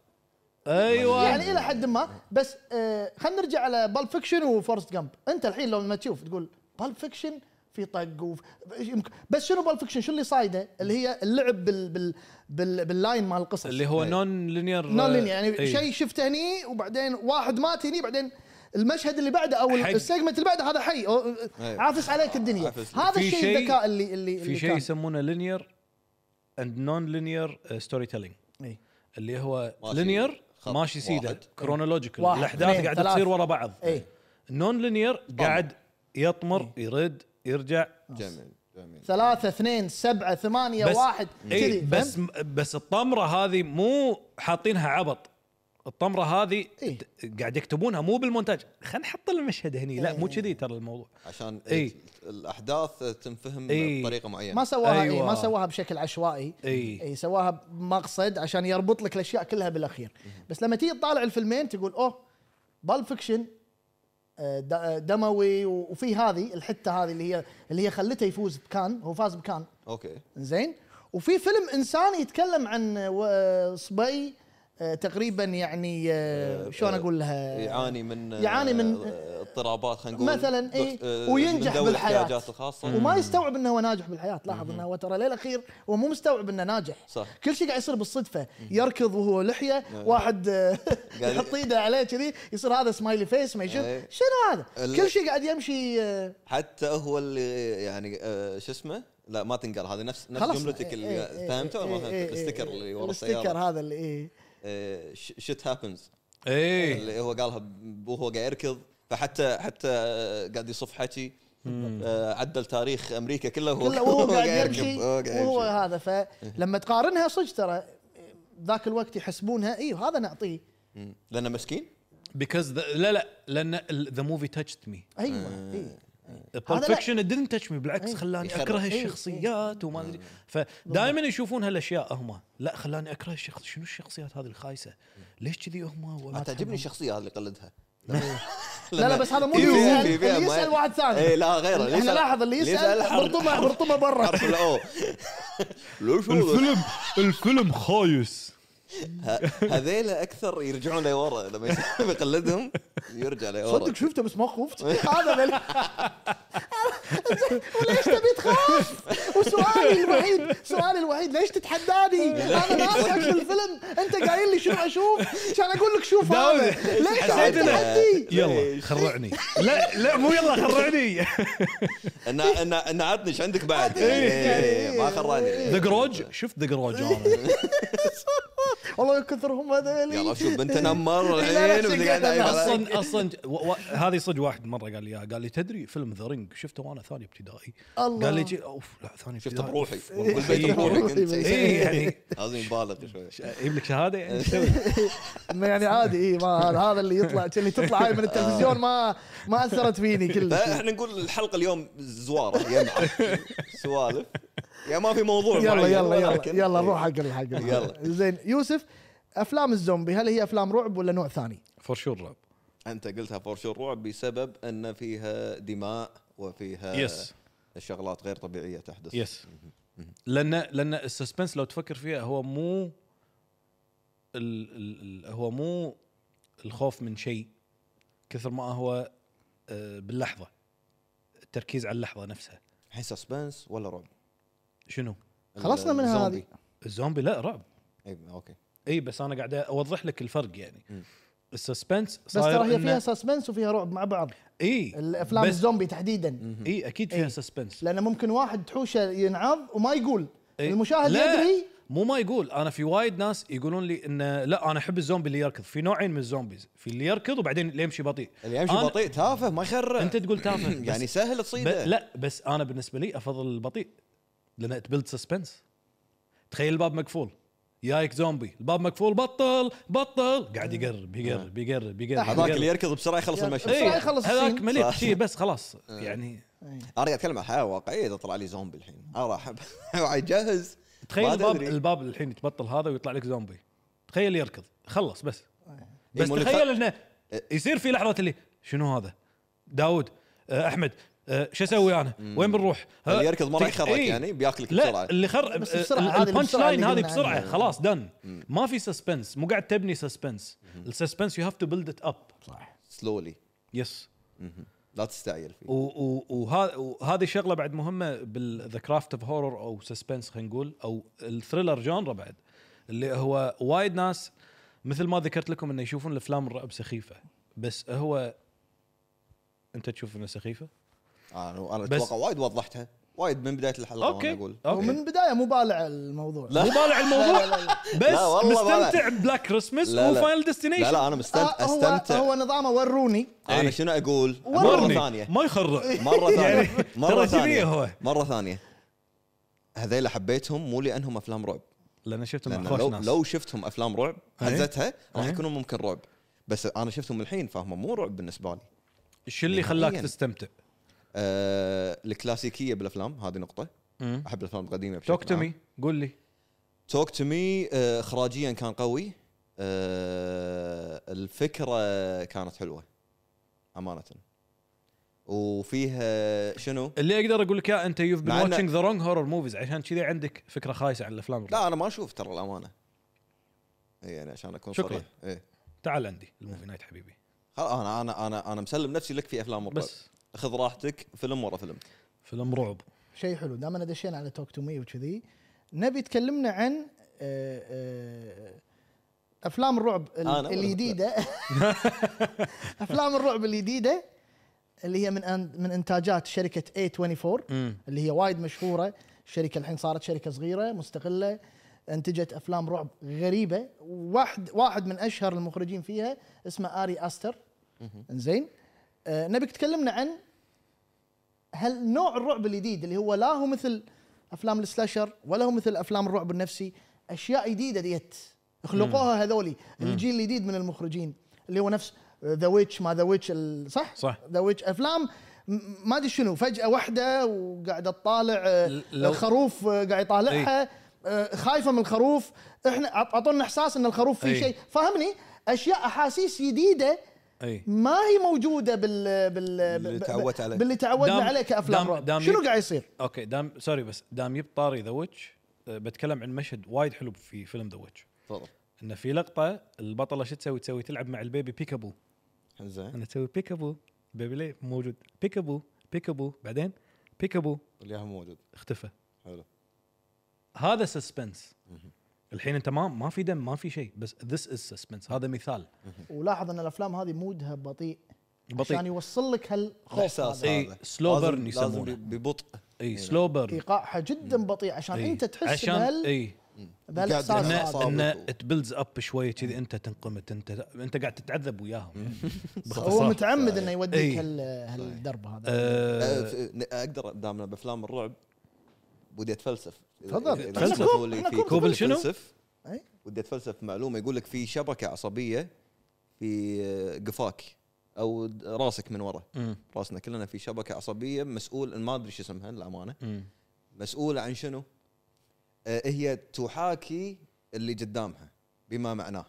Speaker 3: ايوه
Speaker 2: يعني الى حد ما بس آه خلينا نرجع على بالب فيكشن وفورست جامب انت الحين لو ما تشوف تقول بالب فيكشن في طق وف... يمكن- بس شنو بالب فيكشن شو اللي صايده اللي هي اللعب بال بال, بال... باللاين مال القصص
Speaker 3: اللي هو إيه.
Speaker 1: أي.
Speaker 3: نون لينير
Speaker 2: نون لينير يعني
Speaker 3: إي.
Speaker 2: شيء شفته هني وبعدين واحد مات هني بعدين المشهد اللي بعده او
Speaker 3: حق.
Speaker 2: السيجمنت اللي بعده هذا حي أو-
Speaker 1: أيوة.
Speaker 2: عافس عليك الدنيا
Speaker 1: عافس.
Speaker 2: هذا
Speaker 3: إيه. في
Speaker 2: الشيء
Speaker 3: شيء-
Speaker 2: الذكاء اللي اللي
Speaker 3: في
Speaker 2: اللي
Speaker 3: شيء
Speaker 2: كان.
Speaker 3: يسمونه لينير اند نون لينير ستوري تيلينج
Speaker 2: إي.
Speaker 3: آه، اللي هو
Speaker 1: ماشي
Speaker 3: لينير
Speaker 1: خط
Speaker 3: ماشي سيده
Speaker 1: واحد. إيه.
Speaker 3: كرونولوجيكال
Speaker 2: واحد،
Speaker 3: الاحداث
Speaker 2: اثنين، إيه.
Speaker 3: قاعده
Speaker 2: ثلاث.
Speaker 3: تصير ورا بعض
Speaker 2: اي
Speaker 3: نون لينير قاعد يطمر
Speaker 2: إيه.
Speaker 3: يرد يرجع
Speaker 1: جميل جميل
Speaker 2: ثلاثة اثنين سبعة ثمانية
Speaker 3: بس-
Speaker 2: واحد
Speaker 3: اي
Speaker 2: كذي
Speaker 3: بس بس الطمره هذه مو حاطينها عبط الطمره هذه
Speaker 2: إي.
Speaker 3: ت- قاعد يكتبونها مو بالمونتاج خلينا نحط المشهد هني لا
Speaker 2: إيه.
Speaker 3: مو كذي ترى الموضوع
Speaker 1: عشان
Speaker 3: إي.
Speaker 1: ت- الاحداث تنفهم
Speaker 3: إي.
Speaker 1: بطريقه معينه
Speaker 2: ما سواها أيوة.
Speaker 3: أيوة.
Speaker 2: ما سواها بشكل عشوائي
Speaker 3: اي
Speaker 2: اي سواها بمقصد عشان يربط لك الاشياء كلها بالاخير بس لما تيجي تطالع الفيلمين تقول اوه بال فيكشن آه، دموي و- وفي هذه الحته هذه اللي هي اللي هي خلته يفوز بكان هو فاز بكان
Speaker 1: اوكي
Speaker 2: زين وفي فيلم انساني يتكلم عن آه، و- صبي آه، تقريبا يعني آه، شلون اقول لها
Speaker 1: يعاني من
Speaker 2: يعاني من-
Speaker 1: آه، اضطرابات خلينا نقول
Speaker 2: مثلا إي،
Speaker 1: ضغط- آه،
Speaker 2: وينجح
Speaker 1: من ذوي
Speaker 2: بالحياة.
Speaker 1: الاحتياجات الخاصه
Speaker 2: وما يستوعب انه هو ناجح بالحياه لاحظ انه هو ترى للاخير هو مو مستوعب انه ناجح
Speaker 1: صح نعم.
Speaker 2: كل شيء قاعد يصير بالصدفه يركض وهو لحيه واحد آه،
Speaker 1: [laughs] قاعد-
Speaker 2: يحط ايده عليه كذي يصير هذا سمايلي فيس ما يشوف
Speaker 1: إيه.
Speaker 2: شنو هذا
Speaker 1: ال-
Speaker 2: كل شيء قاعد يمشي آه،
Speaker 1: حتى هو اللي يعني آه، شو اسمه لا ما تنقال هذه نفس نفس
Speaker 2: خلاص
Speaker 1: جملتك
Speaker 2: إيه،
Speaker 1: اللي
Speaker 2: إيه،
Speaker 1: فهمته ولا ما
Speaker 2: إيه، إيه،
Speaker 1: فهمته
Speaker 2: إيه،
Speaker 1: الستيكر
Speaker 2: إيه،
Speaker 1: اللي ورا آه،
Speaker 2: الستيكر
Speaker 1: السياره
Speaker 2: هذا اللي
Speaker 1: [laughs]
Speaker 2: ايه
Speaker 1: شيت هابنز
Speaker 3: اي
Speaker 1: اللي هو قالها ب- وهو قاعد يركض فحتى حتى آه، قاعد يصف حكي آه، عدل تاريخ امريكا كله وهو
Speaker 2: كله
Speaker 1: [laughs]
Speaker 2: وهو قاعد
Speaker 1: يركض،
Speaker 2: يمشي
Speaker 1: وهو قاعد
Speaker 2: وهو
Speaker 1: يمشي. إيه.
Speaker 2: هذا فلما تقارنها صدق ترى ذاك الوقت يحسبونها ايوه هذا نعطيه
Speaker 1: مم. لانه مسكين
Speaker 3: بيكوز لا لا لان ذا موفي تاتشت مي
Speaker 1: آه.
Speaker 2: ايوه اي
Speaker 3: بالب فيكشن didn't touch me بالعكس
Speaker 2: إيه.
Speaker 3: خلاني
Speaker 1: يخرب.
Speaker 3: اكره
Speaker 1: إيه.
Speaker 3: الشخصيات وما ادري فدائما يشوفون هالاشياء هم لا خلاني اكره الشخص شنو الشخصيات هذه الخايسه ليش كذي هم ولا
Speaker 1: أنا تعجبني الشخصيه هذه اللي قلدها [laughs]
Speaker 2: لا لا بس هذا مو
Speaker 1: في-
Speaker 2: اللي
Speaker 1: في-
Speaker 2: يسال
Speaker 1: في- في-
Speaker 2: اللي يسال
Speaker 1: ما-
Speaker 2: واحد ثاني
Speaker 1: اي لا غيره اللي
Speaker 2: احنا
Speaker 1: يسأل-
Speaker 2: لاحظ اللي يسال
Speaker 1: حر-
Speaker 2: برطمه
Speaker 1: [laughs]
Speaker 2: برطمه برا
Speaker 1: حرف
Speaker 2: [laughs]
Speaker 1: الاو ليش هذا؟
Speaker 3: الفيلم خايس
Speaker 1: ه- هذيلا اكثر يرجعون لورا لما يس- [laughs] لما يقلدهم يرجع لورا
Speaker 2: صدق شفته بس ما خفت هذا ذا اللي- [laughs] وليش تبي تخاف؟ وسؤالي الوحيد سؤالي الوحيد ليش تتحداني؟ انا ناسك في الفيلم انت قايل لي شنو اشوف؟ كان اقول لك شوف هذا
Speaker 3: داود،
Speaker 2: ليش
Speaker 3: حسيت
Speaker 2: قاعد
Speaker 3: إنه-
Speaker 2: تتحدي؟
Speaker 3: يلا خرعني لا لا مو يلا [laughs] خرعني
Speaker 1: ان ان ان عطني ايش عندك بعد
Speaker 2: إيه،
Speaker 1: إيه، إيه،
Speaker 2: إيه،
Speaker 1: ما
Speaker 3: ذا
Speaker 1: خراني
Speaker 3: جروج شفت ذا جروج [laughs]
Speaker 2: والله كثرهم هذول
Speaker 1: يلا شوف بنت نمر
Speaker 2: لا، لا،
Speaker 1: الحين وبدي قاعد
Speaker 2: شكلها
Speaker 1: أعيب عليك.
Speaker 3: اصلا اصلا و- و- هذه صدق واحد مره قال لي إياها، قال لي تدري فيلم ذا رينج شفته وانا ثاني ابتدائي
Speaker 2: الله.
Speaker 3: قال لي جي- اوف لا ثاني
Speaker 1: شفته
Speaker 3: ابتدائي.
Speaker 1: بروحي
Speaker 2: إيه.
Speaker 3: والله.
Speaker 1: والبيت بروحي كنت
Speaker 3: إيه، يعني
Speaker 1: لازم يبالغ شوي
Speaker 3: اجيب لك شهاده
Speaker 1: [laughs]
Speaker 3: يعني
Speaker 2: ما [laughs] يعني عادي اي ما هذا- هذا اللي يطلع اللي تطلع هاي من التلفزيون ما ما اثرت فيني كلش
Speaker 1: فاحنا نقول الحلقه اليوم زواره يا سوالف يا ما في موضوع
Speaker 2: يلا
Speaker 1: معين،
Speaker 2: يلا يلا
Speaker 1: ولكن-
Speaker 2: يلا نروح حق الحق
Speaker 1: يلا.
Speaker 2: زين يوسف افلام الزومبي هل هي افلام رعب ولا نوع ثاني؟
Speaker 3: فور شور رعب
Speaker 1: انت قلتها فور شور رعب بسبب ان فيها دماء وفيها
Speaker 3: يس
Speaker 1: الشغلات غير طبيعيه تحدث
Speaker 3: يس لان لان السسبنس لو تفكر فيها هو مو ال ال ال هو مو الخوف من شيء كثر ما هو آه، باللحظه التركيز على اللحظه نفسها
Speaker 1: الحين سسبنس ولا رعب؟
Speaker 3: شنو
Speaker 2: خلصنا من
Speaker 1: الزومبي.
Speaker 2: هذه.
Speaker 3: الزومبي لا رعب
Speaker 1: اي اوكي
Speaker 3: اي بس انا قاعد اوضح لك الفرق يعني
Speaker 1: مم.
Speaker 3: السسبنس
Speaker 2: بس ترى هي فيها سسبنس وفيها رعب مع بعض
Speaker 3: اي
Speaker 2: الافلام
Speaker 3: بس-
Speaker 2: الزومبي تحديدا
Speaker 3: اي اكيد فيها سسبنس
Speaker 2: لان ممكن واحد تحوشه ينعض وما يقول
Speaker 3: إيه.
Speaker 2: المشاهد
Speaker 3: لا.
Speaker 2: يدري
Speaker 3: مو ما يقول انا في وايد ناس يقولون لي انه لا انا احب الزومبي اللي يركض في نوعين من الزومبيز في اللي يركض وبعدين اللي يمشي بطيء
Speaker 1: اللي يمشي
Speaker 3: أنا-
Speaker 1: بطيء تافه ما يخرع
Speaker 3: انت تقول تافه بس-
Speaker 1: [clears throat] يعني سهل
Speaker 3: ب...
Speaker 1: تصيده
Speaker 3: لا بس انا بالنسبه لي افضل البطيء لان تبلد سسبنس تخيل الباب مقفول جايك زومبي الباب مقفول بطل بطل قاعد يقرب يقرب يقرب يقرب
Speaker 1: هذاك
Speaker 3: يقرب.
Speaker 1: اللي يركض بسرعه يخلص
Speaker 2: يلا.
Speaker 1: المشهد
Speaker 3: إيه،
Speaker 2: بسرعة يخلص
Speaker 3: هذاك
Speaker 2: السين.
Speaker 3: مليت
Speaker 1: صح. آه.
Speaker 3: شيء بس خلاص يعني
Speaker 1: انا قاعد اتكلم عن حياه واقعيه اذا طلع لي زومبي الحين انا [laughs] راح اجهز
Speaker 3: تخيل
Speaker 1: ما
Speaker 3: الباب
Speaker 1: تدري.
Speaker 3: الباب الحين يتبطل هذا ويطلع لك زومبي تخيل يركض خلص بس بس
Speaker 1: إيه، مو اللي إيه.
Speaker 3: تخيل انه يصير في لحظه اللي شنو هذا داود آه، احمد آه، شو اسوي انا؟ وين بنروح؟ ها؟
Speaker 1: اللي يركض مره
Speaker 3: تك-
Speaker 1: يخرج
Speaker 3: إيه.
Speaker 1: يعني بياكلك
Speaker 3: لا
Speaker 1: بسرعه
Speaker 3: اللي خر
Speaker 2: بس بسرعة، هذه اللي
Speaker 3: البانش
Speaker 2: بسرعة
Speaker 3: لاين
Speaker 2: اللي
Speaker 3: هذه
Speaker 2: قلنا
Speaker 3: بسرعه
Speaker 2: عنها.
Speaker 3: خلاص دن ما في سسبنس مو قاعد تبني سسبنس السسبنس يو هاف تو بيلد ات اب
Speaker 2: صح
Speaker 1: سلولي
Speaker 3: يس
Speaker 1: لا تستعجل فيه
Speaker 3: و- و- وه- وهذه الشغله بعد مهمه بالذا كرافت اوف هورر او سسبنس خلينا نقول او الثريلر جانرا بعد اللي هو وايد ناس مثل ما ذكرت لكم انه يشوفون الافلام الرعب سخيفه بس هو انت تشوف انها سخيفه؟
Speaker 1: انا انا
Speaker 3: بس-
Speaker 1: اتوقع وايد وضحتها وايد من بدايه الحلقه وانا
Speaker 3: اوكي
Speaker 1: اقول
Speaker 3: اوكي
Speaker 2: ومن البدايه مو بالع الموضوع
Speaker 1: لا.
Speaker 3: مو بالع الموضوع بس
Speaker 1: لا والله
Speaker 3: مستمتع ببلاك كريسمس
Speaker 1: لا، لا.
Speaker 3: وفاينل
Speaker 1: لا
Speaker 3: ديستنيشن
Speaker 1: لا انا مستمتع
Speaker 2: آه، هو
Speaker 1: استمتع
Speaker 2: هو نظامه وروني
Speaker 1: انا
Speaker 3: إيه.
Speaker 1: شنو اقول مره
Speaker 3: ورني
Speaker 1: ثانيه [laughs]
Speaker 3: ما يخرع
Speaker 1: مره
Speaker 3: [laughs] يعني
Speaker 1: ثانيه مره
Speaker 3: ترى كذي
Speaker 1: ثانيه
Speaker 3: هو.
Speaker 1: مره ثانيه هذيلا حبيتهم مو لانهم افلام رعب
Speaker 3: لان شفت
Speaker 1: لان
Speaker 3: مع
Speaker 1: لو
Speaker 3: خوش ناس إيه.
Speaker 1: لو شفتهم افلام رعب هزتها راح
Speaker 3: أي.
Speaker 1: يكونون ممكن رعب بس انا شفتهم الحين فهم مو رعب بالنسبه لي
Speaker 3: شو اللي خلاك
Speaker 1: نهائياً.
Speaker 3: تستمتع؟
Speaker 1: آه الكلاسيكيه بالافلام هذه نقطه
Speaker 3: مم.
Speaker 1: احب الافلام القديمه بشكل
Speaker 3: توك تو مي قول لي
Speaker 1: توك تو مي اخراجيا آه، كان قوي آه، الفكره كانت حلوه امانه وفيها شنو؟
Speaker 3: اللي اقدر اقول لك اياه انت يوف بن
Speaker 1: مع إن-
Speaker 3: واتشنج ذا رونج هورر موفيز عشان كذي عندك فكره خايسه عن الافلام الرعب.
Speaker 1: لا انا ما اشوف ترى الامانه إي، يعني عشان اكون
Speaker 3: شكراً.
Speaker 1: صريح إيه.
Speaker 3: تعال عندي الموفي نايت حبيبي
Speaker 1: خلاص انا انا انا انا مسلم نفسي لك في افلام الرعب
Speaker 3: بس
Speaker 1: خذ راحتك فيلم ورا فيلم
Speaker 3: فيلم رعب
Speaker 2: شيء حلو دام دشينا على توك تو مي وكذي نبي تكلمنا عن آه، آه، افلام الرعب ال-
Speaker 1: أنا ولا
Speaker 2: [laughs] الجديده افلام الرعب الجديده اللي هي من أن- من انتاجات شركه A24
Speaker 3: مم.
Speaker 2: اللي هي وايد مشهوره الشركه الحين صارت شركه صغيره مستقله انتجت افلام رعب غريبه واحد واحد من اشهر المخرجين فيها اسمه اري استر زين آه نبيك تكلمنا عن هل نوع الرعب الجديد اللي هو لا هو مثل افلام السلاشر ولا هو مثل افلام الرعب النفسي اشياء جديده ديت خلقوها هذولي الجيل الجديد من المخرجين اللي هو نفس ذا ويتش ما ذا ويتش صح؟
Speaker 3: صح.
Speaker 2: ذا ويتش افلام م- ما ادري شنو فجاه واحده وقاعده تطالع آه،
Speaker 3: لو-
Speaker 2: خروف آه، قاعد يطالعها آه، خايفه من الخروف احنا أعط- اعطونا احساس ان الخروف فيه
Speaker 3: أي.
Speaker 2: شيء فهمني اشياء احاسيس جديده
Speaker 3: اي
Speaker 2: ما هي موجوده بال بال
Speaker 1: باللي
Speaker 2: بال-
Speaker 1: تعودت عليه.
Speaker 2: باللي تعودنا
Speaker 3: دام-
Speaker 2: عليه كافلام
Speaker 3: دام-
Speaker 2: رعب
Speaker 3: دام
Speaker 2: شنو
Speaker 3: يب-
Speaker 2: قاعد يصير؟
Speaker 3: اوكي دام سوري بس دام جبت طاري ذا ويتش بتكلم عن مشهد وايد حلو في فيلم ذا ويتش
Speaker 1: تفضل
Speaker 3: انه في لقطه البطله شو تسوي؟ تسوي تلعب مع البيبي بيكابو
Speaker 1: زين
Speaker 3: انا تسوي بيكابو بيبي ليه مو موجود بيكابو بيكابو بعدين بيكابو
Speaker 1: اللي هم موجود
Speaker 3: اختفى
Speaker 1: حلو
Speaker 3: هذا سسبنس الحين انت ما ما في دم ما في شيء بس ذس از سسبنس هذا مثال
Speaker 2: ولاحظ ان الافلام هذه مودها بطيء
Speaker 3: بطيء.
Speaker 2: عشان يوصل لك هالخوف
Speaker 1: الاحساس
Speaker 2: هذا
Speaker 3: إي،
Speaker 1: هذا
Speaker 3: إيه، slow
Speaker 1: لازم-
Speaker 3: burn
Speaker 1: لازم
Speaker 3: يسمونه.
Speaker 1: ب- ببطء
Speaker 3: اي سلو بيرن
Speaker 2: ايقاعها جدا بطيء إيه. عشان
Speaker 3: إيه.
Speaker 2: انت تحس عشان بهال
Speaker 3: اي
Speaker 2: بهالاحساس
Speaker 1: قاعد
Speaker 2: هذا
Speaker 1: ينعصر.
Speaker 3: ان ان
Speaker 1: أعصابك و-
Speaker 3: تبلز اب شويه كذي انت تنقمت انت انت قاعد تتعذب وياهم يعني
Speaker 2: هو
Speaker 3: باختصار
Speaker 2: متعمد انه يوديك
Speaker 3: إي.
Speaker 2: هال- هالدرب هذا
Speaker 3: آه،
Speaker 1: أه،
Speaker 2: [laughs]
Speaker 1: ف- اقدر دامنا بافلام الرعب ودي اتفلسف
Speaker 2: تفضل.
Speaker 1: إذا- إذا
Speaker 3: تفلسف.
Speaker 1: سمحوا لي
Speaker 2: إحنا
Speaker 1: في
Speaker 2: كوب-
Speaker 3: كوب
Speaker 1: كوب
Speaker 3: شنو؟
Speaker 1: الفلسف.
Speaker 2: أي.
Speaker 1: ودي اتفلسف معلومه يقول لك في شبكه عصبيه في آه، قفاك او د- راسك من ورا
Speaker 3: مم.
Speaker 1: راسنا كلنا في شبكه عصبيه مسؤول ما ادري شو اسمها للامانه
Speaker 3: مم.
Speaker 1: مسؤوله عن شنو؟ آه، هي تحاكي اللي قدامها بما معناه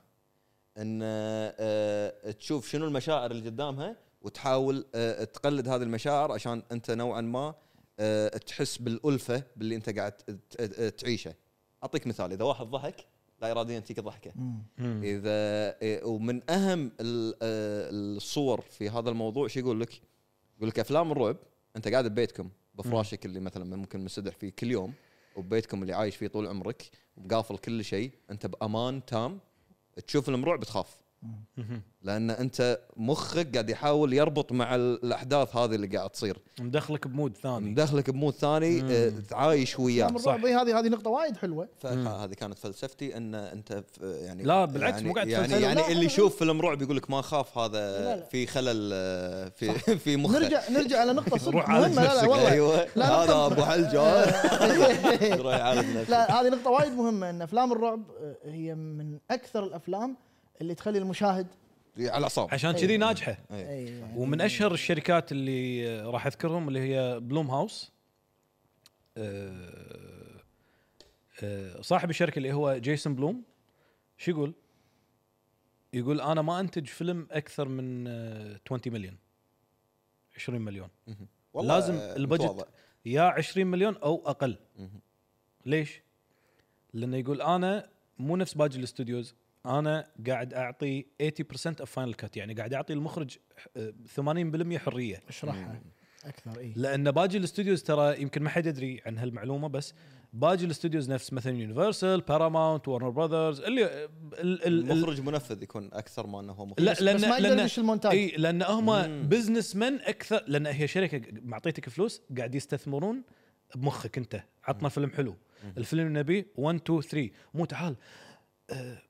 Speaker 1: ان آه، تشوف شنو المشاعر اللي قدامها وتحاول آه، تقلد هذه المشاعر عشان انت نوعا ما آه، تحس بالالفه باللي انت قاعد ت- ت- تعيشه. اعطيك مثال اذا واحد ضحك لا اراديا تجيك الضحكه.
Speaker 3: مم.
Speaker 1: اذا إيه، ومن اهم ال- آه، الصور في هذا الموضوع شو يقول لك؟ يقول لك افلام الرعب انت قاعد ببيتكم بفراشك اللي مثلا ممكن منسدح فيه كل يوم وببيتكم اللي عايش فيه طول عمرك ومقافل كل شيء انت بامان تام تشوف فيلم رعب تخاف لان انت مخك قاعد يحاول يربط مع ال- الاحداث هذه اللي قاعد تصير
Speaker 3: مدخلك بمود ثاني
Speaker 1: مدخلك بمود ثاني آه، تعايش وياه
Speaker 2: افلام
Speaker 3: صح.
Speaker 2: الرعب إي، هذه هذه نقطه وايد حلوه
Speaker 1: فهذه كانت فلسفتي ان انت ف- يعني
Speaker 3: لا، بالعكس،
Speaker 1: يعني
Speaker 3: مو قاعد
Speaker 1: يعني,
Speaker 2: تفلسف. لا،
Speaker 1: يعني اللي
Speaker 2: لا.
Speaker 1: يشوف فيلم رعب يقول لك ما اخاف
Speaker 2: لا،
Speaker 1: هذا
Speaker 2: لا.
Speaker 1: في خلل آه، في [laughs] في مخه
Speaker 2: نرجع نرجع على
Speaker 3: [laughs]
Speaker 2: نقطه صدق
Speaker 3: روح عالج
Speaker 2: مهمه لا لا
Speaker 1: [laughs]
Speaker 3: نفسك.
Speaker 2: والله [laughs]
Speaker 1: ايوه
Speaker 2: لا، إيه.
Speaker 1: هذا ابو
Speaker 2: [laughs]
Speaker 1: حلجه [laughs] يروح يعالج نفسه
Speaker 2: لا هذه نقطه وايد مهمه ان افلام الرعب آه، هي من اكثر الافلام اللي تخلي المشاهد إيه،
Speaker 1: على الاعصاب
Speaker 3: عشان كذي ناجحه
Speaker 1: إيه.
Speaker 2: أي-
Speaker 3: ومن اشهر الشركات اللي آه، راح اذكرهم اللي هي بلوم هاوس آه، آه، صاحب الشركه اللي هو جيسون بلوم شو يقول؟ يقول انا ما انتج فيلم اكثر من آه، 20 مليون 20 مليون
Speaker 1: والله
Speaker 3: لازم
Speaker 1: آه،
Speaker 3: البجت-
Speaker 1: متواضع.
Speaker 3: يا 20 مليون او اقل
Speaker 1: مهم.
Speaker 3: ليش؟ لانه يقول انا مو نفس باقي الاستوديوز انا قاعد اعطي 80% اوف فاينل كات يعني قاعد اعطي المخرج آه، 80% حريه
Speaker 2: اشرحها إيه. اكثر اي
Speaker 3: لان باقي الاستوديوز ترى يمكن ما حد يدري عن هالمعلومه بس باقي الاستوديوز نفس مثلا يونيفرسال باراماونت ورنر براذرز اللي ال ال ال
Speaker 1: المخرج منفذ يكون اكثر ما انه هو مخرج إيه.
Speaker 3: لا
Speaker 2: بس
Speaker 3: لان
Speaker 2: ما يقدر
Speaker 3: لان
Speaker 2: يدش المونتاج
Speaker 3: اي لان هم
Speaker 1: مم.
Speaker 3: بزنس مان اكثر لان هي شركه معطيتك فلوس قاعد يستثمرون بمخك انت عطنا فيلم حلو الفيلم اللي نبيه 1 2 3 مو تعال أه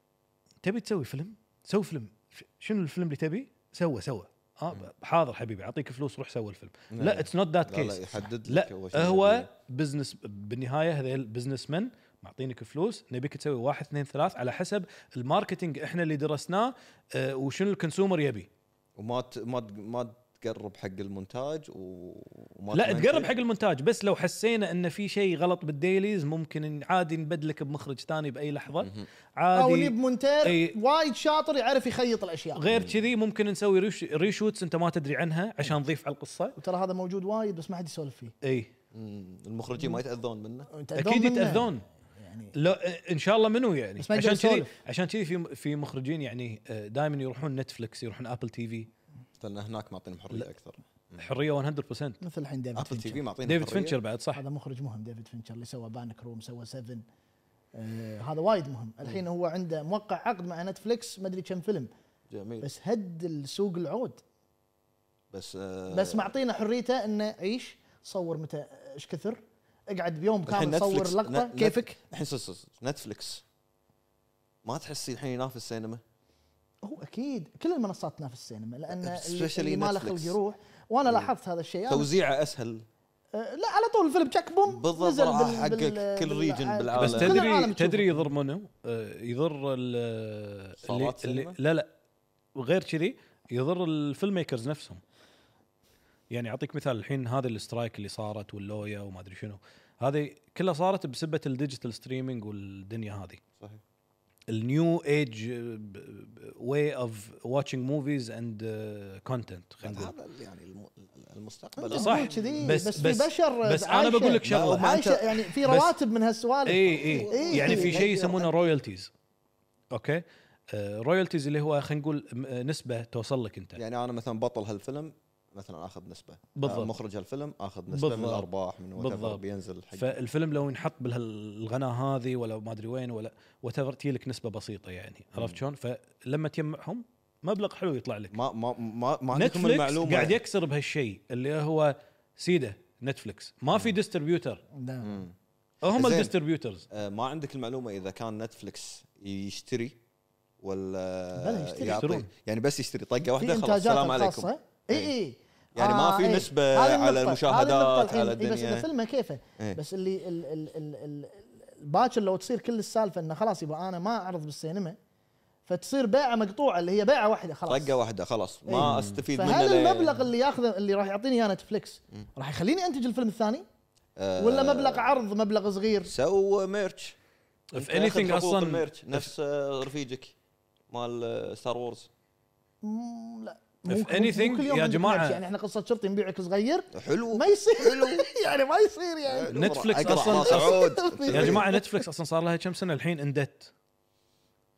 Speaker 3: تبي تسوي فيلم سوي فيلم ش- شنو الفيلم اللي تبي سوى سوى اه حاضر حبيبي اعطيك فلوس روح سوي الفيلم لا اتس نوت ذات
Speaker 1: لا، لا،
Speaker 3: كيس
Speaker 1: يحدد
Speaker 3: لا
Speaker 1: لك شنو
Speaker 3: هو بزنس بالنهايه هذول بزنس مان معطينك فلوس نبيك تسوي واحد اثنين ثلاث على حسب الماركتينج احنا اللي درسناه آه، وشنو الكونسيومر يبي
Speaker 1: وما ت... ما ت... ما تقرب حق المونتاج و- وما
Speaker 3: لا
Speaker 1: تمنتج.
Speaker 3: تقرب حق المونتاج بس لو حسينا ان في شيء غلط بالديليز ممكن إن عادي نبدلك بمخرج ثاني باي لحظه
Speaker 2: او
Speaker 3: عادي
Speaker 2: نجيب مونتير
Speaker 1: إيه.
Speaker 3: أي.
Speaker 2: وايد شاطر يعرف يخيط الاشياء
Speaker 3: غير كذي ممكن نسوي ريش ريشوتس انت ما تدري عنها عشان نضيف على القصه
Speaker 2: وترى هذا موجود وايد بس ما حد يسولف فيه
Speaker 3: اي
Speaker 1: مم. المخرجين ما يتاذون منه
Speaker 2: يتأذون
Speaker 3: اكيد
Speaker 2: منه.
Speaker 3: يتاذون
Speaker 2: يعني
Speaker 3: لا ان شاء الله منو يعني
Speaker 2: بس ما يقدر
Speaker 3: عشان كذي
Speaker 2: يسولف.
Speaker 3: عشان كذي في في مخرجين يعني دائما يروحون نتفلكس يروحون ابل تي في
Speaker 1: لان هناك معطينهم حريه اكثر
Speaker 3: حريه 100%
Speaker 2: مثل الحين ديفيد
Speaker 1: ابل تي
Speaker 2: فينشر
Speaker 1: في معطينا
Speaker 3: ديفيد
Speaker 1: حرية.
Speaker 3: فينشر بعد صح
Speaker 2: هذا مخرج مهم ديفيد فينشر اللي سوى بانك روم سوى 7 آه هذا وايد مهم الحين هو عنده موقع عقد مع نتفلكس ما ادري كم فيلم
Speaker 1: جميل
Speaker 2: بس هد السوق العود
Speaker 1: بس آه،
Speaker 2: بس معطينا حريته انه عيش صور متى ايش كثر اقعد بيوم
Speaker 1: الحين
Speaker 2: كامل صور
Speaker 1: نتفلكس-
Speaker 2: لقطه
Speaker 1: نت-
Speaker 2: كيفك
Speaker 1: الحين صص- صص نتفلكس ما تحس الحين ينافس السينما
Speaker 2: هو اكيد كل المنصات تنافس السينما لان اللي-
Speaker 1: Especially
Speaker 2: اللي ما له
Speaker 1: Netflix. إيه.
Speaker 2: خلق يروح وانا لاحظت هذا الشيء أنا-
Speaker 1: توزيعه اسهل
Speaker 2: آه، لا على طول الفيلم تشك بوم
Speaker 1: بالضبط،
Speaker 2: نزل
Speaker 1: راح
Speaker 2: بال-
Speaker 1: حقك
Speaker 2: بال-
Speaker 1: كل
Speaker 2: بال-
Speaker 1: region
Speaker 2: آه،
Speaker 1: بالعالم.
Speaker 3: بس
Speaker 1: لا.
Speaker 2: كل العالم
Speaker 3: تدري
Speaker 2: تشوفه.
Speaker 3: تدري يضر منو؟ آه، يضر ال- اللي,
Speaker 1: صالات
Speaker 3: اللي
Speaker 1: سينما؟
Speaker 3: لا لا وغير كذي يضر الفيلم ميكرز نفسهم يعني اعطيك مثال الحين هذا الاسترايك اللي صارت واللويا وما ادري شنو هذه كلها صارت بسبه الديجيتال ستريمينج والدنيا هذه
Speaker 1: صحيح
Speaker 3: النيو ايج واي اوف واتشنج موفيز اند كونتنت uh, خلينا نقول
Speaker 1: هذا يعني الم-
Speaker 2: أنت
Speaker 1: المستقبل
Speaker 2: تقول
Speaker 3: صح.
Speaker 2: أه، كذي،
Speaker 3: بس-
Speaker 2: بس, بس, في
Speaker 3: بس-
Speaker 2: بشر
Speaker 3: بس أنا بقول لك شغلة.
Speaker 2: شغله عايشه يعني في رواتب من هالسوالف إيه،
Speaker 3: اي اي
Speaker 1: إيه،
Speaker 2: إي،
Speaker 3: يعني في شيء
Speaker 2: إي.
Speaker 3: يسمونه رويالتيز اوكي رويالتيز اللي هو خلينا نقول م- آه، نسبه توصل لك انت
Speaker 1: يعني انا مثلا بطل هالفيلم مثلا اخذ نسبه
Speaker 3: بالضبط.
Speaker 1: آه، مخرج هالفيلم اخذ نسبه بالضبط. من
Speaker 3: بالضبط.
Speaker 1: الارباح من وات
Speaker 3: بالضبط.
Speaker 1: بينزل حق
Speaker 3: فالفيلم لو ينحط بالغناء هذه ولا ما ادري وين ولا وات ايفر لك نسبه بسيطه يعني عرفت شلون؟ فلما تجمعهم مبلغ حلو يطلع لك
Speaker 1: ما ما ما ما عندكم
Speaker 3: نتفلكس
Speaker 1: المعلومه
Speaker 3: قاعد يكسر بهالشيء اللي هو سيده نتفلكس ما في ديستربيوتر
Speaker 2: نعم.
Speaker 3: هم
Speaker 1: زين.
Speaker 3: الديستربيوترز
Speaker 1: آه، ما عندك المعلومه اذا كان نتفلكس يشتري ولا
Speaker 2: بلى يشتري.
Speaker 1: يعطي.
Speaker 3: يشترون.
Speaker 1: يعني بس يشتري طقه
Speaker 2: في إيه،
Speaker 1: واحده خلاص
Speaker 2: انتاجات
Speaker 1: السلام
Speaker 2: خاصة.
Speaker 1: عليكم
Speaker 2: اي اي
Speaker 1: يعني ما في
Speaker 2: إي.
Speaker 1: نسبة
Speaker 2: آه، إيه. هذه
Speaker 1: على
Speaker 2: النقطة- هذه
Speaker 1: المشاهدات،
Speaker 2: النقطة الحين.
Speaker 1: على
Speaker 2: إي، بس
Speaker 1: الدنيا.
Speaker 2: اذا فيلمه كيفه
Speaker 1: إيه.
Speaker 2: بس اللي ال ال ال ال الباكر لو تصير كل السالفه انه خلاص يبقى انا ما اعرض بالسينما فتصير بيعه مقطوعه اللي هي بيعه واحده خلاص إيه.
Speaker 1: طقه واحده خلاص ما استفيد منه
Speaker 2: فهل
Speaker 1: لين-
Speaker 2: المبلغ اللي ياخذه اللي راح يعطيني اياه نتفلكس راح يخليني انتج الفيلم الثاني
Speaker 1: آه،
Speaker 2: ولا مبلغ عرض مبلغ صغير
Speaker 1: سو ميرش
Speaker 3: If anything أصلاً-
Speaker 1: ميرش نفس آه، رفيجك مال آه، ستار وورز
Speaker 2: مم، لا
Speaker 3: If anything،
Speaker 2: مو كل يوم
Speaker 3: يا
Speaker 2: عندك
Speaker 3: جماعة-
Speaker 2: نفس. يعني احنا قصه شرطي نبيعك صغير
Speaker 1: حلو آه،
Speaker 2: ما يصير [laughs] يعني ما يصير يعني
Speaker 3: نتفلكس
Speaker 1: أقرأ
Speaker 3: أصلاً-
Speaker 1: ما [laughs]
Speaker 2: [laughs]
Speaker 1: سعود.
Speaker 3: يا جماعه نتفلكس اصلا صار لها كم سنه الحين اندت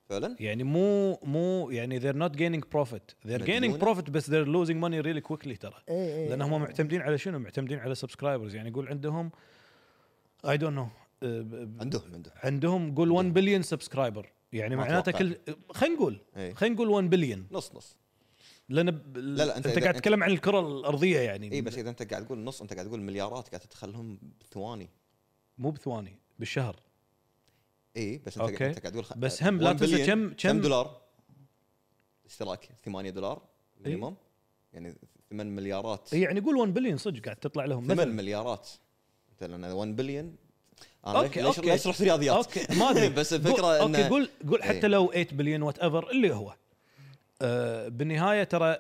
Speaker 1: فعلا
Speaker 3: يعني مو مو يعني they're not gaining profit they're gaining
Speaker 1: مديونة.
Speaker 3: profit بس they're losing money really quickly ترى
Speaker 2: إي إي.
Speaker 3: لان هم معتمدين على شنو معتمدين على سبسكرايبرز يعني يقول عندهم I don't know آه، ب- ب-
Speaker 1: عندهم عندهم
Speaker 3: عندهم قول 1 بليون سبسكرايبر يعني
Speaker 1: ما
Speaker 3: معناته
Speaker 1: أتوقع.
Speaker 3: كل خلينا نقول
Speaker 1: إي.
Speaker 3: خلينا نقول 1 بليون
Speaker 1: نص نص
Speaker 3: لان ب...
Speaker 1: لا لا، أنت-
Speaker 3: انت, انت قاعد
Speaker 1: أنت-
Speaker 3: تتكلم عن الكره الارضيه يعني
Speaker 1: اي إيه، بس اذا انت قاعد تقول نص انت قاعد تقول مليارات قاعد تدخلهم بثواني
Speaker 3: مو بثواني بالشهر
Speaker 1: اي إيه، بس انت
Speaker 3: أوكي.
Speaker 1: انت قاعد تقول خ-
Speaker 3: بس هم لا
Speaker 1: 1
Speaker 3: تنسى
Speaker 1: بليون،
Speaker 3: كم-
Speaker 1: كم
Speaker 3: كم-
Speaker 1: دولار اشتراك 8 دولار
Speaker 3: إيه.
Speaker 1: مينيموم يعني 8 مليارات
Speaker 3: إي يعني قول 1 بليون صدق قاعد تطلع لهم
Speaker 1: 8
Speaker 3: مثلاً.
Speaker 1: مليارات انت لان 1 بليون انا
Speaker 3: أوكي،
Speaker 1: ليش
Speaker 3: أوكي.
Speaker 1: ليش رحت رياضيات
Speaker 3: اوكي ما [laughs] ادري
Speaker 1: بس إيه.
Speaker 3: قول-
Speaker 1: الفكره
Speaker 3: اوكي
Speaker 1: انه
Speaker 3: قول قول حتى
Speaker 1: إي.
Speaker 3: لو 8 بليون وات ايفر اللي هو آه بالنهايه ترى
Speaker 1: [laughs] ما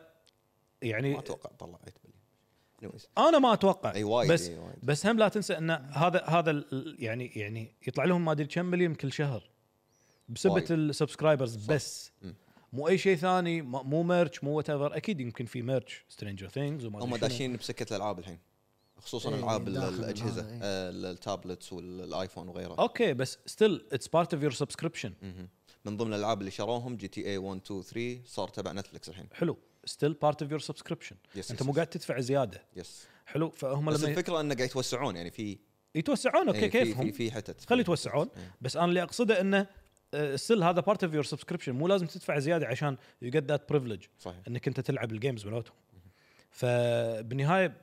Speaker 3: يعني
Speaker 1: اتوقع طلع 8 بليون Anyways.
Speaker 3: انا ما اتوقع
Speaker 1: اي وايد
Speaker 3: بس
Speaker 1: اي وايد
Speaker 3: بس هم لا تنسى ان هذا هذا ال- يعني يعني يطلع لهم ما ادري كم مليون كل شهر بسبه
Speaker 1: وايد.
Speaker 3: السبسكرايبرز بس
Speaker 1: مم.
Speaker 3: مو اي شيء ثاني ما- مو ميرش مو وات ايفر اكيد يمكن في ميرش سترينجر ثينجز وما
Speaker 1: هم
Speaker 3: ادري شنو.
Speaker 1: داشين بسكه الالعاب الحين خصوصا
Speaker 2: إيه،
Speaker 1: العاب ال-
Speaker 2: داخل
Speaker 1: الاجهزه
Speaker 2: هذا، إيه.
Speaker 1: آه، التابلتس والايفون وغيره
Speaker 3: اوكي بس ستيل اتس بارت اوف يور سبسكريبشن
Speaker 1: مهم. من ضمن الالعاب اللي شروهم جي تي إيه اي 1 2 3 صار تبع نتفلكس الحين
Speaker 3: حلو ستيل بارت اوف يور سبسكريبشن
Speaker 1: يس
Speaker 3: انت مو قاعد تدفع زياده
Speaker 1: يس
Speaker 3: حلو فهم
Speaker 1: بس
Speaker 3: لما
Speaker 1: الفكره انه قاعد يتوسعون يعني في
Speaker 3: يتوسعون اوكي
Speaker 1: يعني في- في
Speaker 3: كيفهم
Speaker 1: في حتت
Speaker 3: خلي يتوسعون
Speaker 1: إيه.
Speaker 3: بس انا اللي اقصده انه ستيل هذا بارت اوف يور سبسكريبشن مو لازم تدفع زياده عشان يو جيت ذات بريفليج
Speaker 1: صحيح
Speaker 3: انك انت تلعب الجيمز مالتهم فبالنهايه ب-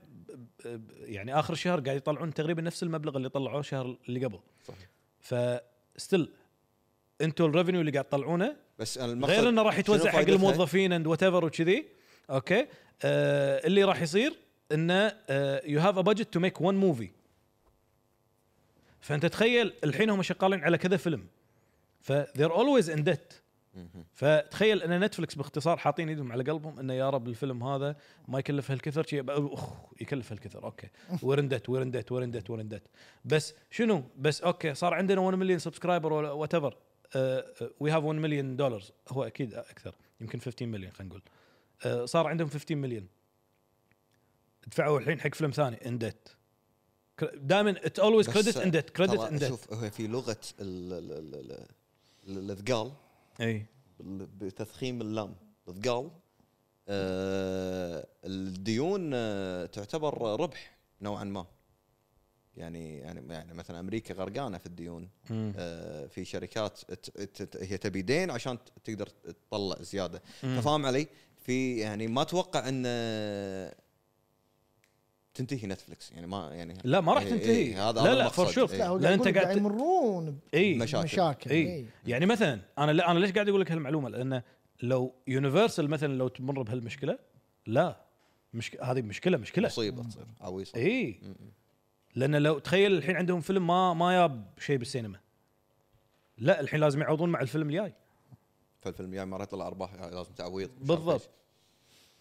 Speaker 3: ب- يعني اخر الشهر قاعد يطلعون تقريبا نفس المبلغ اللي طلعوه الشهر اللي قبل
Speaker 1: صحيح
Speaker 3: فستيل انتوا الريفنيو اللي قاعد تطلعونه
Speaker 1: بس المقصد
Speaker 3: غير انه راح يتوزع
Speaker 1: شنو
Speaker 3: حق
Speaker 1: فائدتها؟
Speaker 3: الموظفين اند وات ايفر وكذي اوكي آه اللي راح يصير آه، انه يو هاف ا بادجت تو ميك ون موفي فانت تخيل الحين هم شغالين على كذا فيلم ف they're always in debt
Speaker 1: مهم.
Speaker 3: فتخيل ان نتفلكس باختصار حاطين ايدهم على قلبهم انه يا رب الفيلم هذا ما يكلف هالكثر شي- اخ يكلف هالكثر
Speaker 1: [laughs]
Speaker 3: اوكي ورندت ورندت ورندت ورندت بس شنو بس اوكي صار عندنا 1 مليون سبسكرايبر ولا آه، وات ايفر وي هاف 1 مليون دولار هو اكيد اكثر يمكن 15 مليون خلينا نقول آه، صار عندهم 15 مليون دفعوا الحين حق فيلم ثاني اندت دائما ات اولويز
Speaker 1: بس
Speaker 3: كريدت اندت كريدت
Speaker 1: ترى
Speaker 3: اندت
Speaker 1: شوف هو في لغه ال- ال- ال- ال- ال- الذقال
Speaker 3: اي
Speaker 1: بال- بتضخيم اللام الذقال آه، الديون آه، تعتبر ربح نوعا ما يعني يعني يعني مثلا امريكا غرقانه في الديون
Speaker 3: مم.
Speaker 1: آه، في شركات ت- ت- ت- هي تبي دين عشان ت- تقدر تطلع زياده
Speaker 3: مم.
Speaker 1: فاهم علي في يعني ما اتوقع ان آه، تنتهي نتفلكس يعني ما يعني
Speaker 3: لا ما راح
Speaker 1: إي-
Speaker 3: تنتهي
Speaker 1: إي، هذا
Speaker 3: لا
Speaker 1: هذا
Speaker 3: لا
Speaker 1: المقصد. إيه.
Speaker 3: فور شور
Speaker 1: إي.
Speaker 2: لا هو
Speaker 3: لا
Speaker 2: قاعد
Speaker 3: انت
Speaker 2: يقول قاعد
Speaker 3: قاعد
Speaker 2: يمرون
Speaker 3: اي
Speaker 1: مشاكل.
Speaker 2: بمشاكل إيه.
Speaker 3: اي إيه، يعني مثلا انا لا انا ليش قاعد اقول لك هالمعلومه لان لو يونيفرسال مثلا لو تمر بهالمشكله لا مشكله هذه مشكله مشكله
Speaker 1: مصيبه تصير عويصه
Speaker 3: اي لان لو تخيل الحين عندهم فيلم ما ما ياب شيء بالسينما لا الحين لازم يعوضون مع الفيلم الجاي
Speaker 1: فالفيلم يعني ما راح يطلع ارباح يعني لازم تعويض مش عارف
Speaker 3: بالضبط.
Speaker 1: إيش.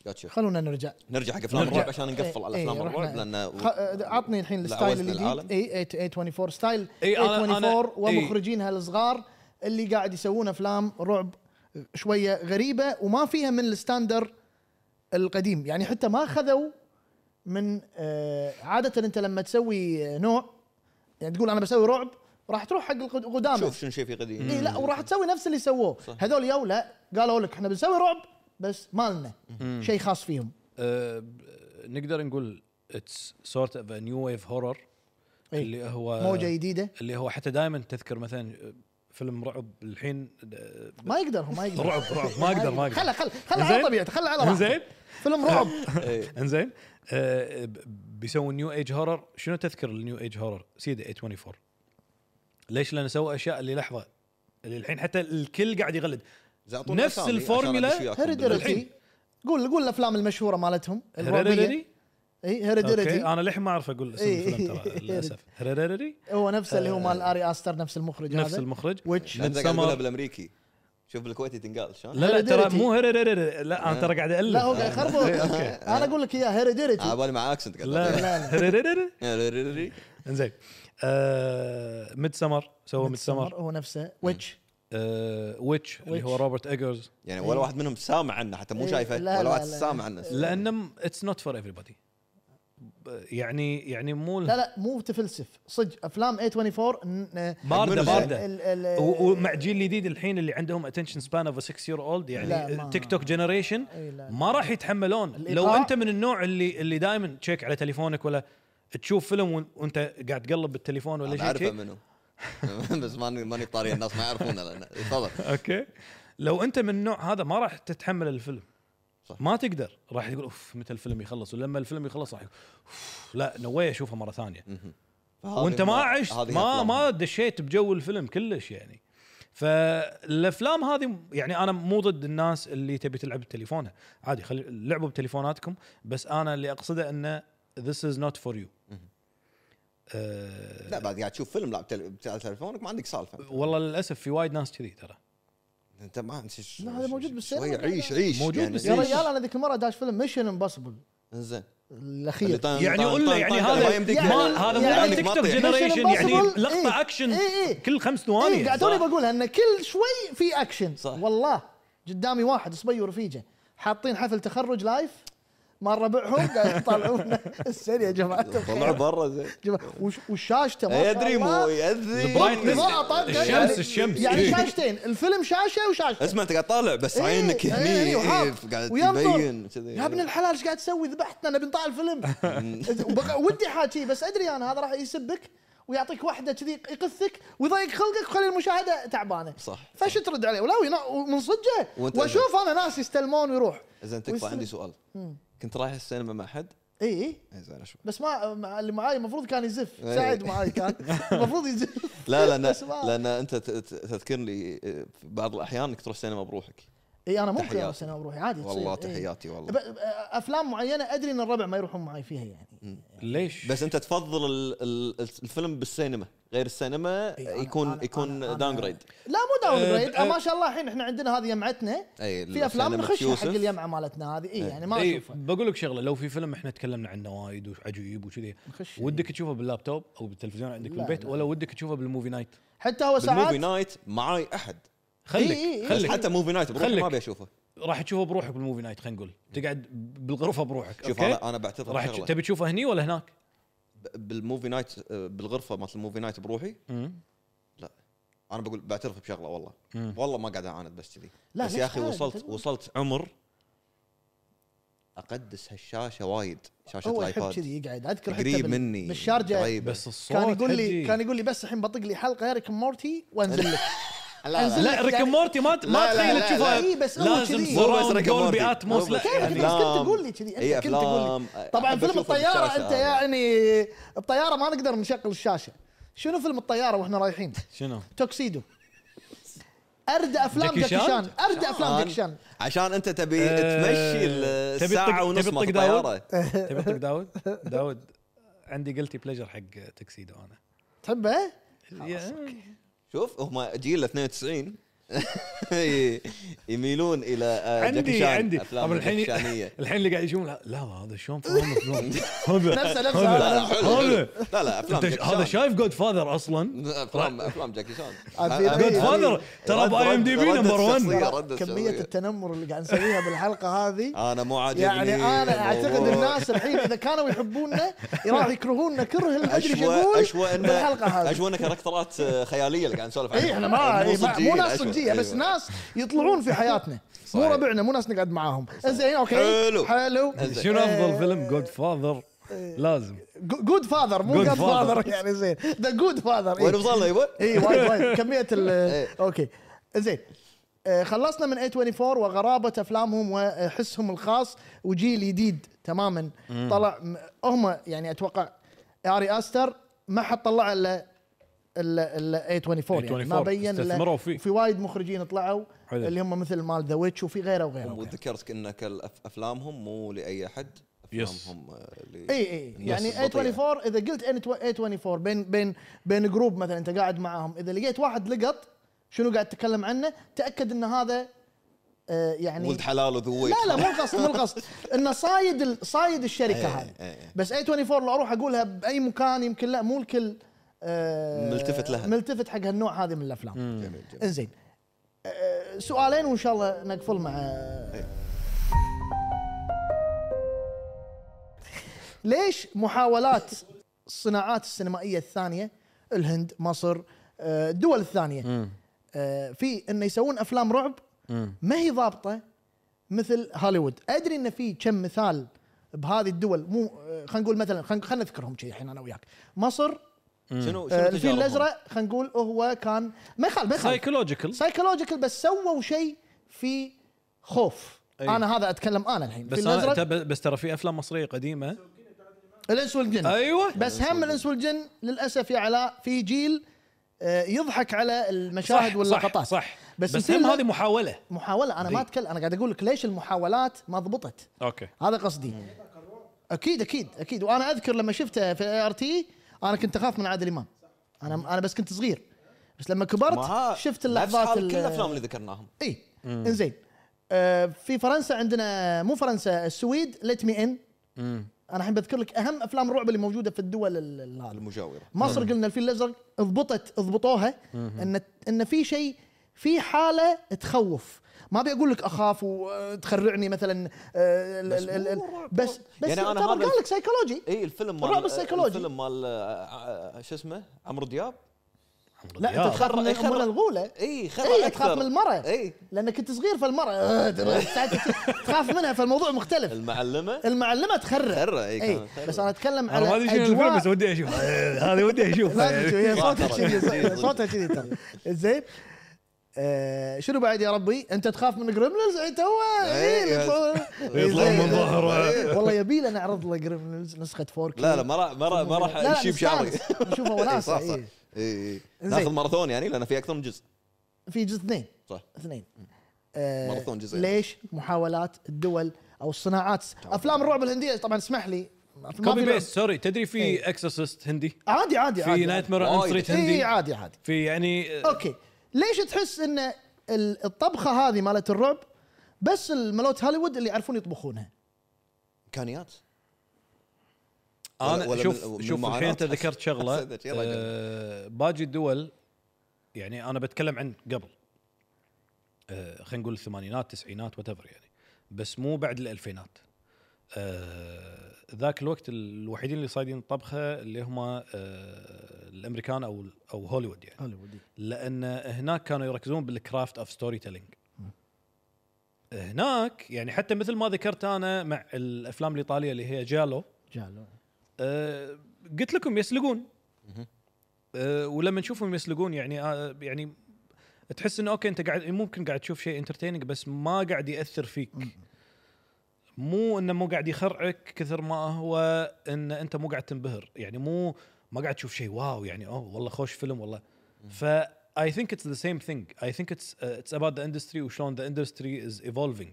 Speaker 1: قاعد تشوف.
Speaker 2: خلونا نرجع
Speaker 1: نرجع حق افلام
Speaker 3: نرجع.
Speaker 1: الرعب عشان نقفل
Speaker 2: إيه،
Speaker 1: على افلام
Speaker 2: إيه،
Speaker 1: الرعب
Speaker 2: رحنا.
Speaker 1: لان
Speaker 2: خ- آه، عطني الحين الستايل إيه،
Speaker 1: لعوزنا
Speaker 2: الجديد
Speaker 1: العالم. إيه،
Speaker 2: اي 824 ستايل إيه،
Speaker 3: إي، أنا-
Speaker 2: 824
Speaker 3: أنا- إي.
Speaker 2: ومخرجينها الصغار اللي قاعد يسوون افلام رعب شويه غريبه وما فيها من الستاندر القديم يعني حتى ما خذوا من آه، عاده انت لما تسوي آه، نوع يعني تقول انا بسوي رعب راح تروح حق القد- قدامه
Speaker 1: شوف شنو شيء في قديم
Speaker 2: اي إيه، لا وراح تسوي نفس اللي سووه هذول يو لا قالوا لك احنا بنسوي رعب بس مالنا شيء خاص فيهم
Speaker 3: أه نقدر نقول اتس سورت اوف نيو ويف هورر
Speaker 2: إي.
Speaker 3: اللي
Speaker 1: آه.
Speaker 3: هو
Speaker 2: موجه جديده
Speaker 3: اللي هو حتى دائما تذكر مثلا فيلم رعب الحين آه،
Speaker 2: ما يقدر هو ما يقدر
Speaker 3: رعب رعب [laughs] ما اقدر ما اقدر
Speaker 2: خله خله خله على
Speaker 3: إنزين؟
Speaker 2: طبيعته خله على راحته
Speaker 3: زين
Speaker 2: فيلم
Speaker 3: [laughs]
Speaker 2: رعب
Speaker 3: انزين آه، ب- بيسووا نيو ايج هورر شنو تذكر النيو ايج هورر سيدي 824 ليش لان سووا اشياء اللي لحظه اللي الحين حتى الكل قاعد يغلد نفس الفورمولا
Speaker 1: الحين
Speaker 2: هيريدرتي قول قول الافلام المشهوره مالتهم
Speaker 3: هيريدري
Speaker 2: اي
Speaker 3: اوكي
Speaker 2: هيريدرتي
Speaker 3: انا للحين ما اعرف اقول اسم
Speaker 2: إي.
Speaker 3: الفيلم ترى
Speaker 2: [laughs]
Speaker 3: للاسف هيريدري
Speaker 2: هو نفسه اللي هو مال اري استر نفس المخرج
Speaker 3: آه. نفس
Speaker 2: هذا
Speaker 3: المخرج
Speaker 2: ويتش
Speaker 1: انت قاعد
Speaker 3: Midsummer.
Speaker 1: تقولها بالامريكي شوف بالكويتي تنقال شلون؟
Speaker 3: لا لا ترى
Speaker 2: Hereditary.
Speaker 3: مو هيريدري لا انا ترى قاعد الف
Speaker 2: إيه. لا هو قاعد يخربط
Speaker 3: آه. [laughs] أوكي.
Speaker 2: انا اقول لك اياه
Speaker 1: على
Speaker 2: هيريدرتي
Speaker 1: بالي آه، مع اكسنت قاعد [laughs]
Speaker 3: لا
Speaker 1: أقول.
Speaker 3: لا هيريدري
Speaker 1: هيريدري.
Speaker 3: انزين ميد سمر آه، سووا ميد سمر
Speaker 2: هو نفسه ويتش
Speaker 3: ويتش اللي
Speaker 2: Witch.
Speaker 3: هو روبرت ايجرز
Speaker 1: يعني ولا واحد منهم سامع عنه حتى مو
Speaker 2: إيه،
Speaker 1: شايفه
Speaker 2: لا،
Speaker 1: ولا
Speaker 2: لا،
Speaker 1: واحد
Speaker 2: لا. إيه.
Speaker 1: سامع عنه
Speaker 3: لان اتس نوت فور everybody ب- يعني يعني مو
Speaker 2: لا لا مو تفلسف صدق افلام 824 ن-
Speaker 3: بارده
Speaker 1: منو
Speaker 3: بارده
Speaker 2: ال- ال-
Speaker 3: و- ومع جيل الجديد الحين اللي عندهم اتنشن سبان اوف 6 يير اولد
Speaker 2: لا، ما-
Speaker 3: يعني تيك توك جنريشن
Speaker 2: إي، لا، لا.
Speaker 3: ما راح يتحملون لو
Speaker 2: الإيقاع-
Speaker 3: انت من النوع اللي اللي دائما تشيك على تليفونك ولا تشوف فيلم وان- وانت قاعد تقلب بالتليفون ولا
Speaker 1: انا
Speaker 3: شيء
Speaker 1: اعرفه
Speaker 3: شي.
Speaker 1: منو [laughs] بس ماني ماني طاري الناس ما يعرفونه لان تفضل
Speaker 3: اوكي لو انت من النوع هذا ما راح تتحمل الفيلم
Speaker 1: صح.
Speaker 3: صح. ما تقدر راح يقول اوف متى الفيلم يخلص ولما الفيلم يخلص راح يقول أوف، لا نوي اشوفه مره ثانيه
Speaker 1: فهذه
Speaker 3: وانت ما عشت
Speaker 1: هذه
Speaker 3: ما
Speaker 1: أفلام.
Speaker 3: ما دشيت بجو الفيلم كلش يعني فالافلام هذه يعني انا مو ضد الناس اللي تبي تلعب بتليفونها عادي خلي لعبوا بتليفوناتكم بس انا اللي اقصده انه this is not for you آه،
Speaker 1: لا بعد قاعد تشوف فيلم لا بتل- بتل- تلفونك ما عندك سالفه
Speaker 3: والله للاسف في وايد ناس كذي ترى
Speaker 1: انت ما عندك شو-
Speaker 2: لا، هذا
Speaker 1: شو-
Speaker 2: موجود
Speaker 1: شو-
Speaker 2: بالسينما.
Speaker 1: شوي عيش عيش
Speaker 3: موجود
Speaker 1: يعني
Speaker 2: يا
Speaker 3: بالسينما.
Speaker 1: عيش.
Speaker 2: رجال انا ذيك المره داش فيلم ميشن امبوسيبل
Speaker 1: انزين اللي
Speaker 2: الاخير
Speaker 1: طن-
Speaker 3: يعني
Speaker 1: طن-
Speaker 3: قول له
Speaker 1: طن-
Speaker 3: يعني
Speaker 1: طن-
Speaker 3: هذا
Speaker 1: طيب، ما يمديك
Speaker 2: يعني-
Speaker 3: ما هذا مو
Speaker 2: يعني
Speaker 3: يعني تكتب
Speaker 1: مقطع.
Speaker 3: جنريشن يعني
Speaker 2: Impossible،
Speaker 3: لقطه
Speaker 2: إيه.
Speaker 3: اكشن
Speaker 2: إيه، إيه.
Speaker 3: كل خمس
Speaker 2: اي
Speaker 3: ثواني
Speaker 2: قاعد توني بقولها ان كل شوي في اكشن
Speaker 1: صح.
Speaker 2: صح. والله قدامي واحد صبي ورفيجه حاطين حفل تخرج لايف مال ربعهم [laughs] قاعد يطلعون السن يا جماعه
Speaker 1: طلعوا
Speaker 2: الخير
Speaker 1: برا زين
Speaker 2: جماعة- وش- وشاشته ما شاء
Speaker 1: يدري مو
Speaker 2: الله.
Speaker 1: ياذي
Speaker 3: البرايتنس.
Speaker 2: ما أطاق.
Speaker 3: الشمس- الشمس.
Speaker 2: يعني شاشتين الفيلم شاشه وشاشته
Speaker 1: اسمع انت قاعد طالع بس
Speaker 2: إيه،
Speaker 1: عينك
Speaker 2: إيه،
Speaker 1: هني
Speaker 2: إيه، وحاط.
Speaker 1: إيه، قاعد
Speaker 2: وينظر.
Speaker 1: تبين كذي.
Speaker 2: يا ابن الحلال ايش قاعد تسوي ذبحتنا نبي نطالع
Speaker 1: [laughs]
Speaker 2: الفيلم وبق- ودي حاكي بس ادري انا هذا راح يسبك ويعطيك واحده كذي يقثك ويضيق خلقك ويخلي المشاهده تعبانه [laughs]
Speaker 1: صح.
Speaker 2: فش ترد عليه ولا وينا- ومن صدقه
Speaker 1: وأنت-
Speaker 2: واشوف انا ناس يستلمون ويروح
Speaker 1: زين تكفى
Speaker 2: ويصير-
Speaker 1: عندي سؤال كنت رايح السينما مع حد؟
Speaker 2: اي اي
Speaker 1: إيه، زين
Speaker 2: [laughs]
Speaker 1: اشوف
Speaker 2: بس ما مع- اللي معاي المفروض كان يزف
Speaker 1: إيه.
Speaker 2: سعد معاي
Speaker 1: [laughs]
Speaker 2: كان المفروض يزف
Speaker 1: لا لان
Speaker 2: بس ما-
Speaker 1: لان انت ت- ت- تذكرني إيه، في بعض الاحيان انك تروح سينما بروحك
Speaker 2: اي انا ممكن
Speaker 1: تحياتي.
Speaker 2: اروح سينما اروح عادي تصير.
Speaker 1: والله
Speaker 2: إيه.
Speaker 1: تحياتي
Speaker 2: ب-
Speaker 1: والله
Speaker 2: ب- افلام معينه ادري ان الربع ما يروحون معي فيها يعني
Speaker 3: ليش؟
Speaker 1: بس انت تفضل ال- ال- الفيلم بالسينما غير السينما
Speaker 2: إيه، أنا-
Speaker 1: يكون
Speaker 2: أنا- أنا-
Speaker 1: يكون
Speaker 2: أنا-
Speaker 1: داون جريد
Speaker 2: لا مو
Speaker 1: إيه،
Speaker 2: داون
Speaker 3: أه،
Speaker 2: جريد
Speaker 3: أه.
Speaker 2: ما شاء الله الحين احنا عندنا هذه يمعتنا
Speaker 1: اي
Speaker 2: في افلام
Speaker 1: السينما
Speaker 2: نخشها حق
Speaker 1: يوسف.
Speaker 2: اليمعه مالتنا هذه اي يعني ما
Speaker 1: إيه.
Speaker 3: اي
Speaker 2: اشوفها
Speaker 3: إيه، بقول لك شغله لو في فيلم احنا تكلمنا عنه وايد وعجيب وكذي
Speaker 2: نخش.
Speaker 3: ودك تشوفه باللابتوب او بالتلفزيون عندك
Speaker 2: لا،
Speaker 3: بالبيت
Speaker 2: لا. إيه،
Speaker 3: ولا ودك تشوفه بالموفي نايت
Speaker 2: حتى هو
Speaker 1: بالموفي
Speaker 2: ساعات
Speaker 1: نايت معاي احد
Speaker 3: خليك
Speaker 2: إي إي إي.
Speaker 1: بس
Speaker 3: خليك
Speaker 1: حتى موفي نايت بروحي
Speaker 3: خليك.
Speaker 1: ما ابي اشوفه
Speaker 3: راح تشوفه بروحك بالموفي نايت خلينا نقول تقعد بالغرفه بروحك
Speaker 1: شوف
Speaker 3: أوكي؟
Speaker 1: انا انا بعتذر
Speaker 3: راح
Speaker 1: بشغلة.
Speaker 3: تش- تبي تشوفه هني ولا هناك؟
Speaker 1: ب- بالموفي نايت آه، بالغرفه مالت الموفي نايت بروحي
Speaker 3: مم.
Speaker 1: انا بقول بعترف بشغله والله
Speaker 3: مم.
Speaker 1: والله ما قاعد اعاند بس كذي
Speaker 2: لا،
Speaker 1: بس
Speaker 2: ليش
Speaker 1: يا اخي
Speaker 2: عادي؟
Speaker 1: وصلت
Speaker 2: تقول.
Speaker 1: وصلت عمر اقدس هالشاشه وايد شاشه
Speaker 2: هو يحب
Speaker 1: الايباد
Speaker 2: كذي يقعد اذكر حتى
Speaker 1: قريب
Speaker 2: بال-
Speaker 1: مني طيب.
Speaker 2: بالشارجه
Speaker 1: قريب.
Speaker 3: بس الصوت
Speaker 2: كان يقول لي
Speaker 3: حجي.
Speaker 2: كان يقول لي بس الحين بطق لي حلقه ريك مورتي وانزل لك أنزل
Speaker 3: لا ريك
Speaker 2: يعني-
Speaker 3: مورتي
Speaker 1: [laughs]
Speaker 3: ما
Speaker 1: لا، لا، لا،
Speaker 3: ما تخيل
Speaker 1: لا.
Speaker 3: تشوفها
Speaker 2: إي، بس هو
Speaker 3: لازم
Speaker 2: كذي.
Speaker 1: مو بس
Speaker 3: سراوند
Speaker 1: Rick and
Speaker 3: دول
Speaker 1: Morty.
Speaker 3: باتموس
Speaker 1: مو بس-
Speaker 3: لا
Speaker 2: كيف
Speaker 1: يعني
Speaker 2: انت بس كنت
Speaker 1: أفلام.
Speaker 2: تقول لي كذي
Speaker 1: إي
Speaker 2: انت كنت تقول
Speaker 1: أفلام.
Speaker 2: لي طبعا
Speaker 1: أحب
Speaker 2: فيلم
Speaker 1: أشوفه
Speaker 2: الطياره
Speaker 1: بالشاشة
Speaker 2: انت
Speaker 1: هذا.
Speaker 2: يعني الطياره ما نقدر نشغل الشاشه شنو فيلم الطياره واحنا رايحين
Speaker 3: شنو؟
Speaker 2: توكسيدو اردى افلام
Speaker 3: جاكي
Speaker 2: جاكي
Speaker 3: شان؟
Speaker 2: شان اردى افلام جاكي شان
Speaker 1: عشان انت تبي
Speaker 3: آه،
Speaker 1: تمشي
Speaker 3: تبي
Speaker 1: الساعه
Speaker 3: تطق-
Speaker 1: ونص
Speaker 3: تبي
Speaker 1: مال
Speaker 3: تطق داود؟
Speaker 1: الطياره
Speaker 3: تبي أطق داود؟ داود عندي قلتي بليجر حق تكسيدو انا
Speaker 2: تحبه؟
Speaker 1: شوف هم جيل 92 ي- [laughs] يميلون الى آه، جاكي
Speaker 3: عندي
Speaker 1: شان،
Speaker 3: عندي
Speaker 1: افلام
Speaker 3: طب الحين [laughs]
Speaker 1: الحين
Speaker 3: الحين اللي قاعد يشوفون لا, لا هذا شلون فاهم
Speaker 1: [laughs]
Speaker 3: فلان؟ هذا
Speaker 2: نفسه
Speaker 1: لا
Speaker 2: نفسه
Speaker 1: لا حلو، حلو. لا لا افلام
Speaker 3: أنت ش-
Speaker 1: جاكي
Speaker 3: هذا
Speaker 1: شان.
Speaker 3: شايف جود فاذر اصلا
Speaker 1: افلام افلام جاكي شان
Speaker 2: أبي-
Speaker 3: جود فاذر ترى
Speaker 1: رد-
Speaker 3: باي ام دي بي
Speaker 1: رد-
Speaker 3: نمبر
Speaker 1: ردة
Speaker 3: 1
Speaker 1: شخصية.
Speaker 2: ترى
Speaker 1: ردة
Speaker 2: كمية
Speaker 1: سوية.
Speaker 2: التنمر اللي قاعد نسويها بالحلقة هذه
Speaker 1: انا مو عاجبني
Speaker 2: يعني انا اعتقد
Speaker 1: الموضوع.
Speaker 2: الناس الحين اذا كانوا يحبوننا راح يكرهوننا كره اللي ادري شو
Speaker 1: اشوى
Speaker 2: يقول
Speaker 1: اشوى ان
Speaker 2: بالحلقة هذه
Speaker 1: اشوى ان كاركترات آه، خياليه اللي قاعد نسولف عنها
Speaker 2: اي احنا ما إي، ما- مو ناس
Speaker 1: أشوى.
Speaker 2: صجيه بس
Speaker 1: أيوة.
Speaker 2: ناس يطلعون في حياتنا مو
Speaker 1: صحيح.
Speaker 2: ربعنا مو ناس نقعد معاهم زين اوكي
Speaker 1: حلو.
Speaker 2: حلو
Speaker 1: إنزين.
Speaker 3: شنو افضل فيلم جود فاذر لازم
Speaker 2: جود فاذر مو
Speaker 3: Good
Speaker 2: جود فاذر
Speaker 3: father.
Speaker 2: [laughs] يعني زين ذا جود فاذر
Speaker 1: وين وصلنا يبا؟
Speaker 2: اي إيه، وايد وايد كميه ال اوكي زين آه، خلصنا من 824 وغرابه افلامهم وحسهم الخاص وجيل جديد تماما طلع م- هم يعني اتوقع اري استر ما حد طلع الا الا الا 824 يعني ما
Speaker 3: 824
Speaker 2: بين إلا-
Speaker 3: استثمروا فيه.
Speaker 2: في وايد مخرجين طلعوا
Speaker 3: حلو.
Speaker 2: اللي هم مثل مال ذا ويتش وفي غيره وغيره
Speaker 1: وذكرت انك الأف- افلامهم مو لاي احد
Speaker 3: يس.
Speaker 1: افلامهم آه، ل-
Speaker 2: اي اي
Speaker 1: الناس
Speaker 2: يعني
Speaker 1: البطيئة.
Speaker 2: 824 اذا قلت 824 بين بين بين جروب مثلا انت قاعد معاهم اذا لقيت واحد لقط شنو قاعد تتكلم عنه تاكد ان هذا آه يعني
Speaker 1: ولد حلال وذويت
Speaker 2: لا لا مو القصد مو القصد انه صايد ال- صايد الشركه هذه
Speaker 1: إيه، إيه.
Speaker 2: بس 824 لو اروح اقولها باي مكان يمكن لا مو الكل آه،
Speaker 1: ملتفت لها.
Speaker 2: ملتفت حق هالنوع هذه من الافلام
Speaker 1: جميل جميل
Speaker 2: انزين آه، سؤالين وان شاء الله نقفل مع ليش محاولات الصناعات السينمائيه الثانيه الهند مصر آه، الدول الثانيه آه، في انه يسوون افلام رعب ما هي ضابطه مثل هوليوود ادري ان في كم أه، مثال بهذه الدول مو آه، خلينا نقول مثلا خلينا خلينا نذكرهم شي الحين انا وياك مصر
Speaker 1: شنو شنو
Speaker 2: آه، الفيل
Speaker 1: تجاربهم؟
Speaker 2: الازرق خلينا نقول هو كان ما يخالف ما يخالف
Speaker 3: سايكولوجيكال
Speaker 2: سايكولوجيكال بس سووا شيء في خوف
Speaker 3: أي.
Speaker 2: انا هذا اتكلم انا الحين
Speaker 3: بس
Speaker 2: الفيل
Speaker 3: أنا
Speaker 2: الازرق
Speaker 3: تب- بس ترى في افلام مصريه قديمه
Speaker 2: الانس والجن
Speaker 3: ايوه
Speaker 2: بس هم الانس والجن للاسف يا علاء في جيل آه، يضحك على المشاهد
Speaker 3: صح
Speaker 2: واللقطات
Speaker 3: صح, صح
Speaker 2: بس
Speaker 3: بس, بس
Speaker 2: الفيلم
Speaker 3: هم هذه محاوله
Speaker 2: محاوله انا ما
Speaker 3: ذي.
Speaker 2: اتكلم انا قاعد اقول لك ليش المحاولات ما ضبطت
Speaker 3: اوكي
Speaker 2: هذا قصدي اكيد اكيد اكيد وانا اذكر لما شفته في اي ار تي انا كنت اخاف من عادل امام انا انا بس كنت صغير بس
Speaker 1: ما
Speaker 2: لما
Speaker 1: ها-
Speaker 2: كبرت شفت اللحظات
Speaker 1: نفس حال
Speaker 2: ال-
Speaker 1: كل الافلام اللي ذكرناهم
Speaker 2: اي انزين آه في فرنسا عندنا مو فرنسا السويد ليت مي ان انا الحين بذكر لك اهم افلام الرعب اللي موجوده في الدول ال- ال- هذه.
Speaker 1: المجاوره
Speaker 2: مصر قلنا الفيل الازرق ضبطت ضبطوها ان ان في شيء في حاله تخوف ما ابي اقول لك اخاف وتخرعني مثلا آه، ال-
Speaker 1: بس
Speaker 2: ال- ال-
Speaker 1: مو رعب.
Speaker 2: بس بس
Speaker 1: يعني أنا
Speaker 2: يعني انا
Speaker 1: هذا- إيه.
Speaker 2: قال لك سايكولوجي
Speaker 1: اي الفيلم
Speaker 2: إيه، الرعب
Speaker 1: مال آه،
Speaker 2: السيكولوجي.
Speaker 1: الفيلم مال آه، آه، شو اسمه عمرو دياب
Speaker 2: لا انت تخاف من
Speaker 1: خر- خر-
Speaker 2: الامور الغوله
Speaker 1: اي خرع أكثر.
Speaker 2: اي إيه،
Speaker 1: إيه.
Speaker 2: تخاف من المرأة.
Speaker 1: اي
Speaker 2: لانك كنت صغير فالمره آه، تخاف منها فالموضوع مختلف
Speaker 1: المعلمه
Speaker 2: المعلمه تخرع
Speaker 1: خرع اي
Speaker 2: اي
Speaker 1: كان خرع.
Speaker 2: إيه. بس انا اتكلم
Speaker 3: انا ما
Speaker 2: على
Speaker 3: ادري شنو الفيلم بس
Speaker 2: اجواء
Speaker 3: ودي اشوف [laughs] هذه ودي اشوفها
Speaker 2: لازم
Speaker 3: يعني.
Speaker 2: تشوف، هي
Speaker 1: ما [laughs] ترى.
Speaker 2: صوتها كذي
Speaker 1: صدق.
Speaker 2: صوتها كذي ترى
Speaker 1: [laughs]
Speaker 2: زين آه، شنو بعد يا ربي انت تخاف من جريملز انت هو
Speaker 1: إيه،
Speaker 2: إيه، يطلع-
Speaker 3: يطلع من
Speaker 2: زين.
Speaker 3: ظهره
Speaker 2: والله يبي لنا نعرض له جريملز نسخه 4
Speaker 1: لا لا ما راح ما راح ما راح يشيب شعري [laughs]
Speaker 2: نشوفه
Speaker 1: إي،
Speaker 2: وناسه
Speaker 1: صح صح
Speaker 2: إيه.
Speaker 1: اي اي
Speaker 2: زين.
Speaker 1: ناخذ ماراثون يعني لان في اكثر من جزء
Speaker 2: في جزء اثنين
Speaker 1: صح
Speaker 2: اثنين آه،
Speaker 1: ماراثون جزئين.
Speaker 2: ليش محاولات الدول او الصناعات افلام الرعب الهنديه طبعا اسمح لي ما في
Speaker 3: كوبي
Speaker 2: لعب.
Speaker 3: بيست سوري تدري في
Speaker 2: إيه.
Speaker 3: اكسسست هندي
Speaker 2: عادي عادي عادي
Speaker 3: في نايت مير اون
Speaker 1: وايد.
Speaker 3: ستريت
Speaker 2: اي
Speaker 3: هندي
Speaker 2: عادي عادي
Speaker 3: في يعني
Speaker 2: اوكي ليش تحس ان ال- الطبخه هذه مالت الرعب بس الملوت هوليوود اللي يعرفون يطبخونها
Speaker 1: امكانيات ولا-
Speaker 3: انا
Speaker 1: ولا
Speaker 3: شوف
Speaker 1: من- من
Speaker 3: شوف الحين
Speaker 1: معاناة
Speaker 3: انت ذكرت شغله
Speaker 1: حسيت يا رجل.
Speaker 3: آه، باقي الدول يعني انا بتكلم عن قبل آه، خلينا نقول الثمانينات التسعينات وات يعني بس مو بعد الالفينات آه، ذاك الوقت الوحيدين اللي صايدين الطبخه اللي هم آه، الامريكان او او هوليوود يعني
Speaker 2: هوليوود
Speaker 3: لان هناك كانوا يركزون بالكرافت اوف ستوري تيلينج هناك يعني حتى مثل ما ذكرت انا مع الافلام الايطاليه اللي هي جالو
Speaker 2: جالو
Speaker 3: أه، قلت لكم يسلقون أه، ولما نشوفهم يسلقون يعني آه، يعني تحس انه اوكي انت قاعد ممكن قاعد تشوف شيء انترتيننج بس ما قاعد ياثر فيك مو انه مو قاعد يخرعك كثر ما هو ان انت مو قاعد تنبهر يعني مو ما قاعد تشوف شيء واو يعني اوه والله خوش فيلم والله ف I think it's the same thing. I think it's uh, it's about the industry وشلون the industry is evolving.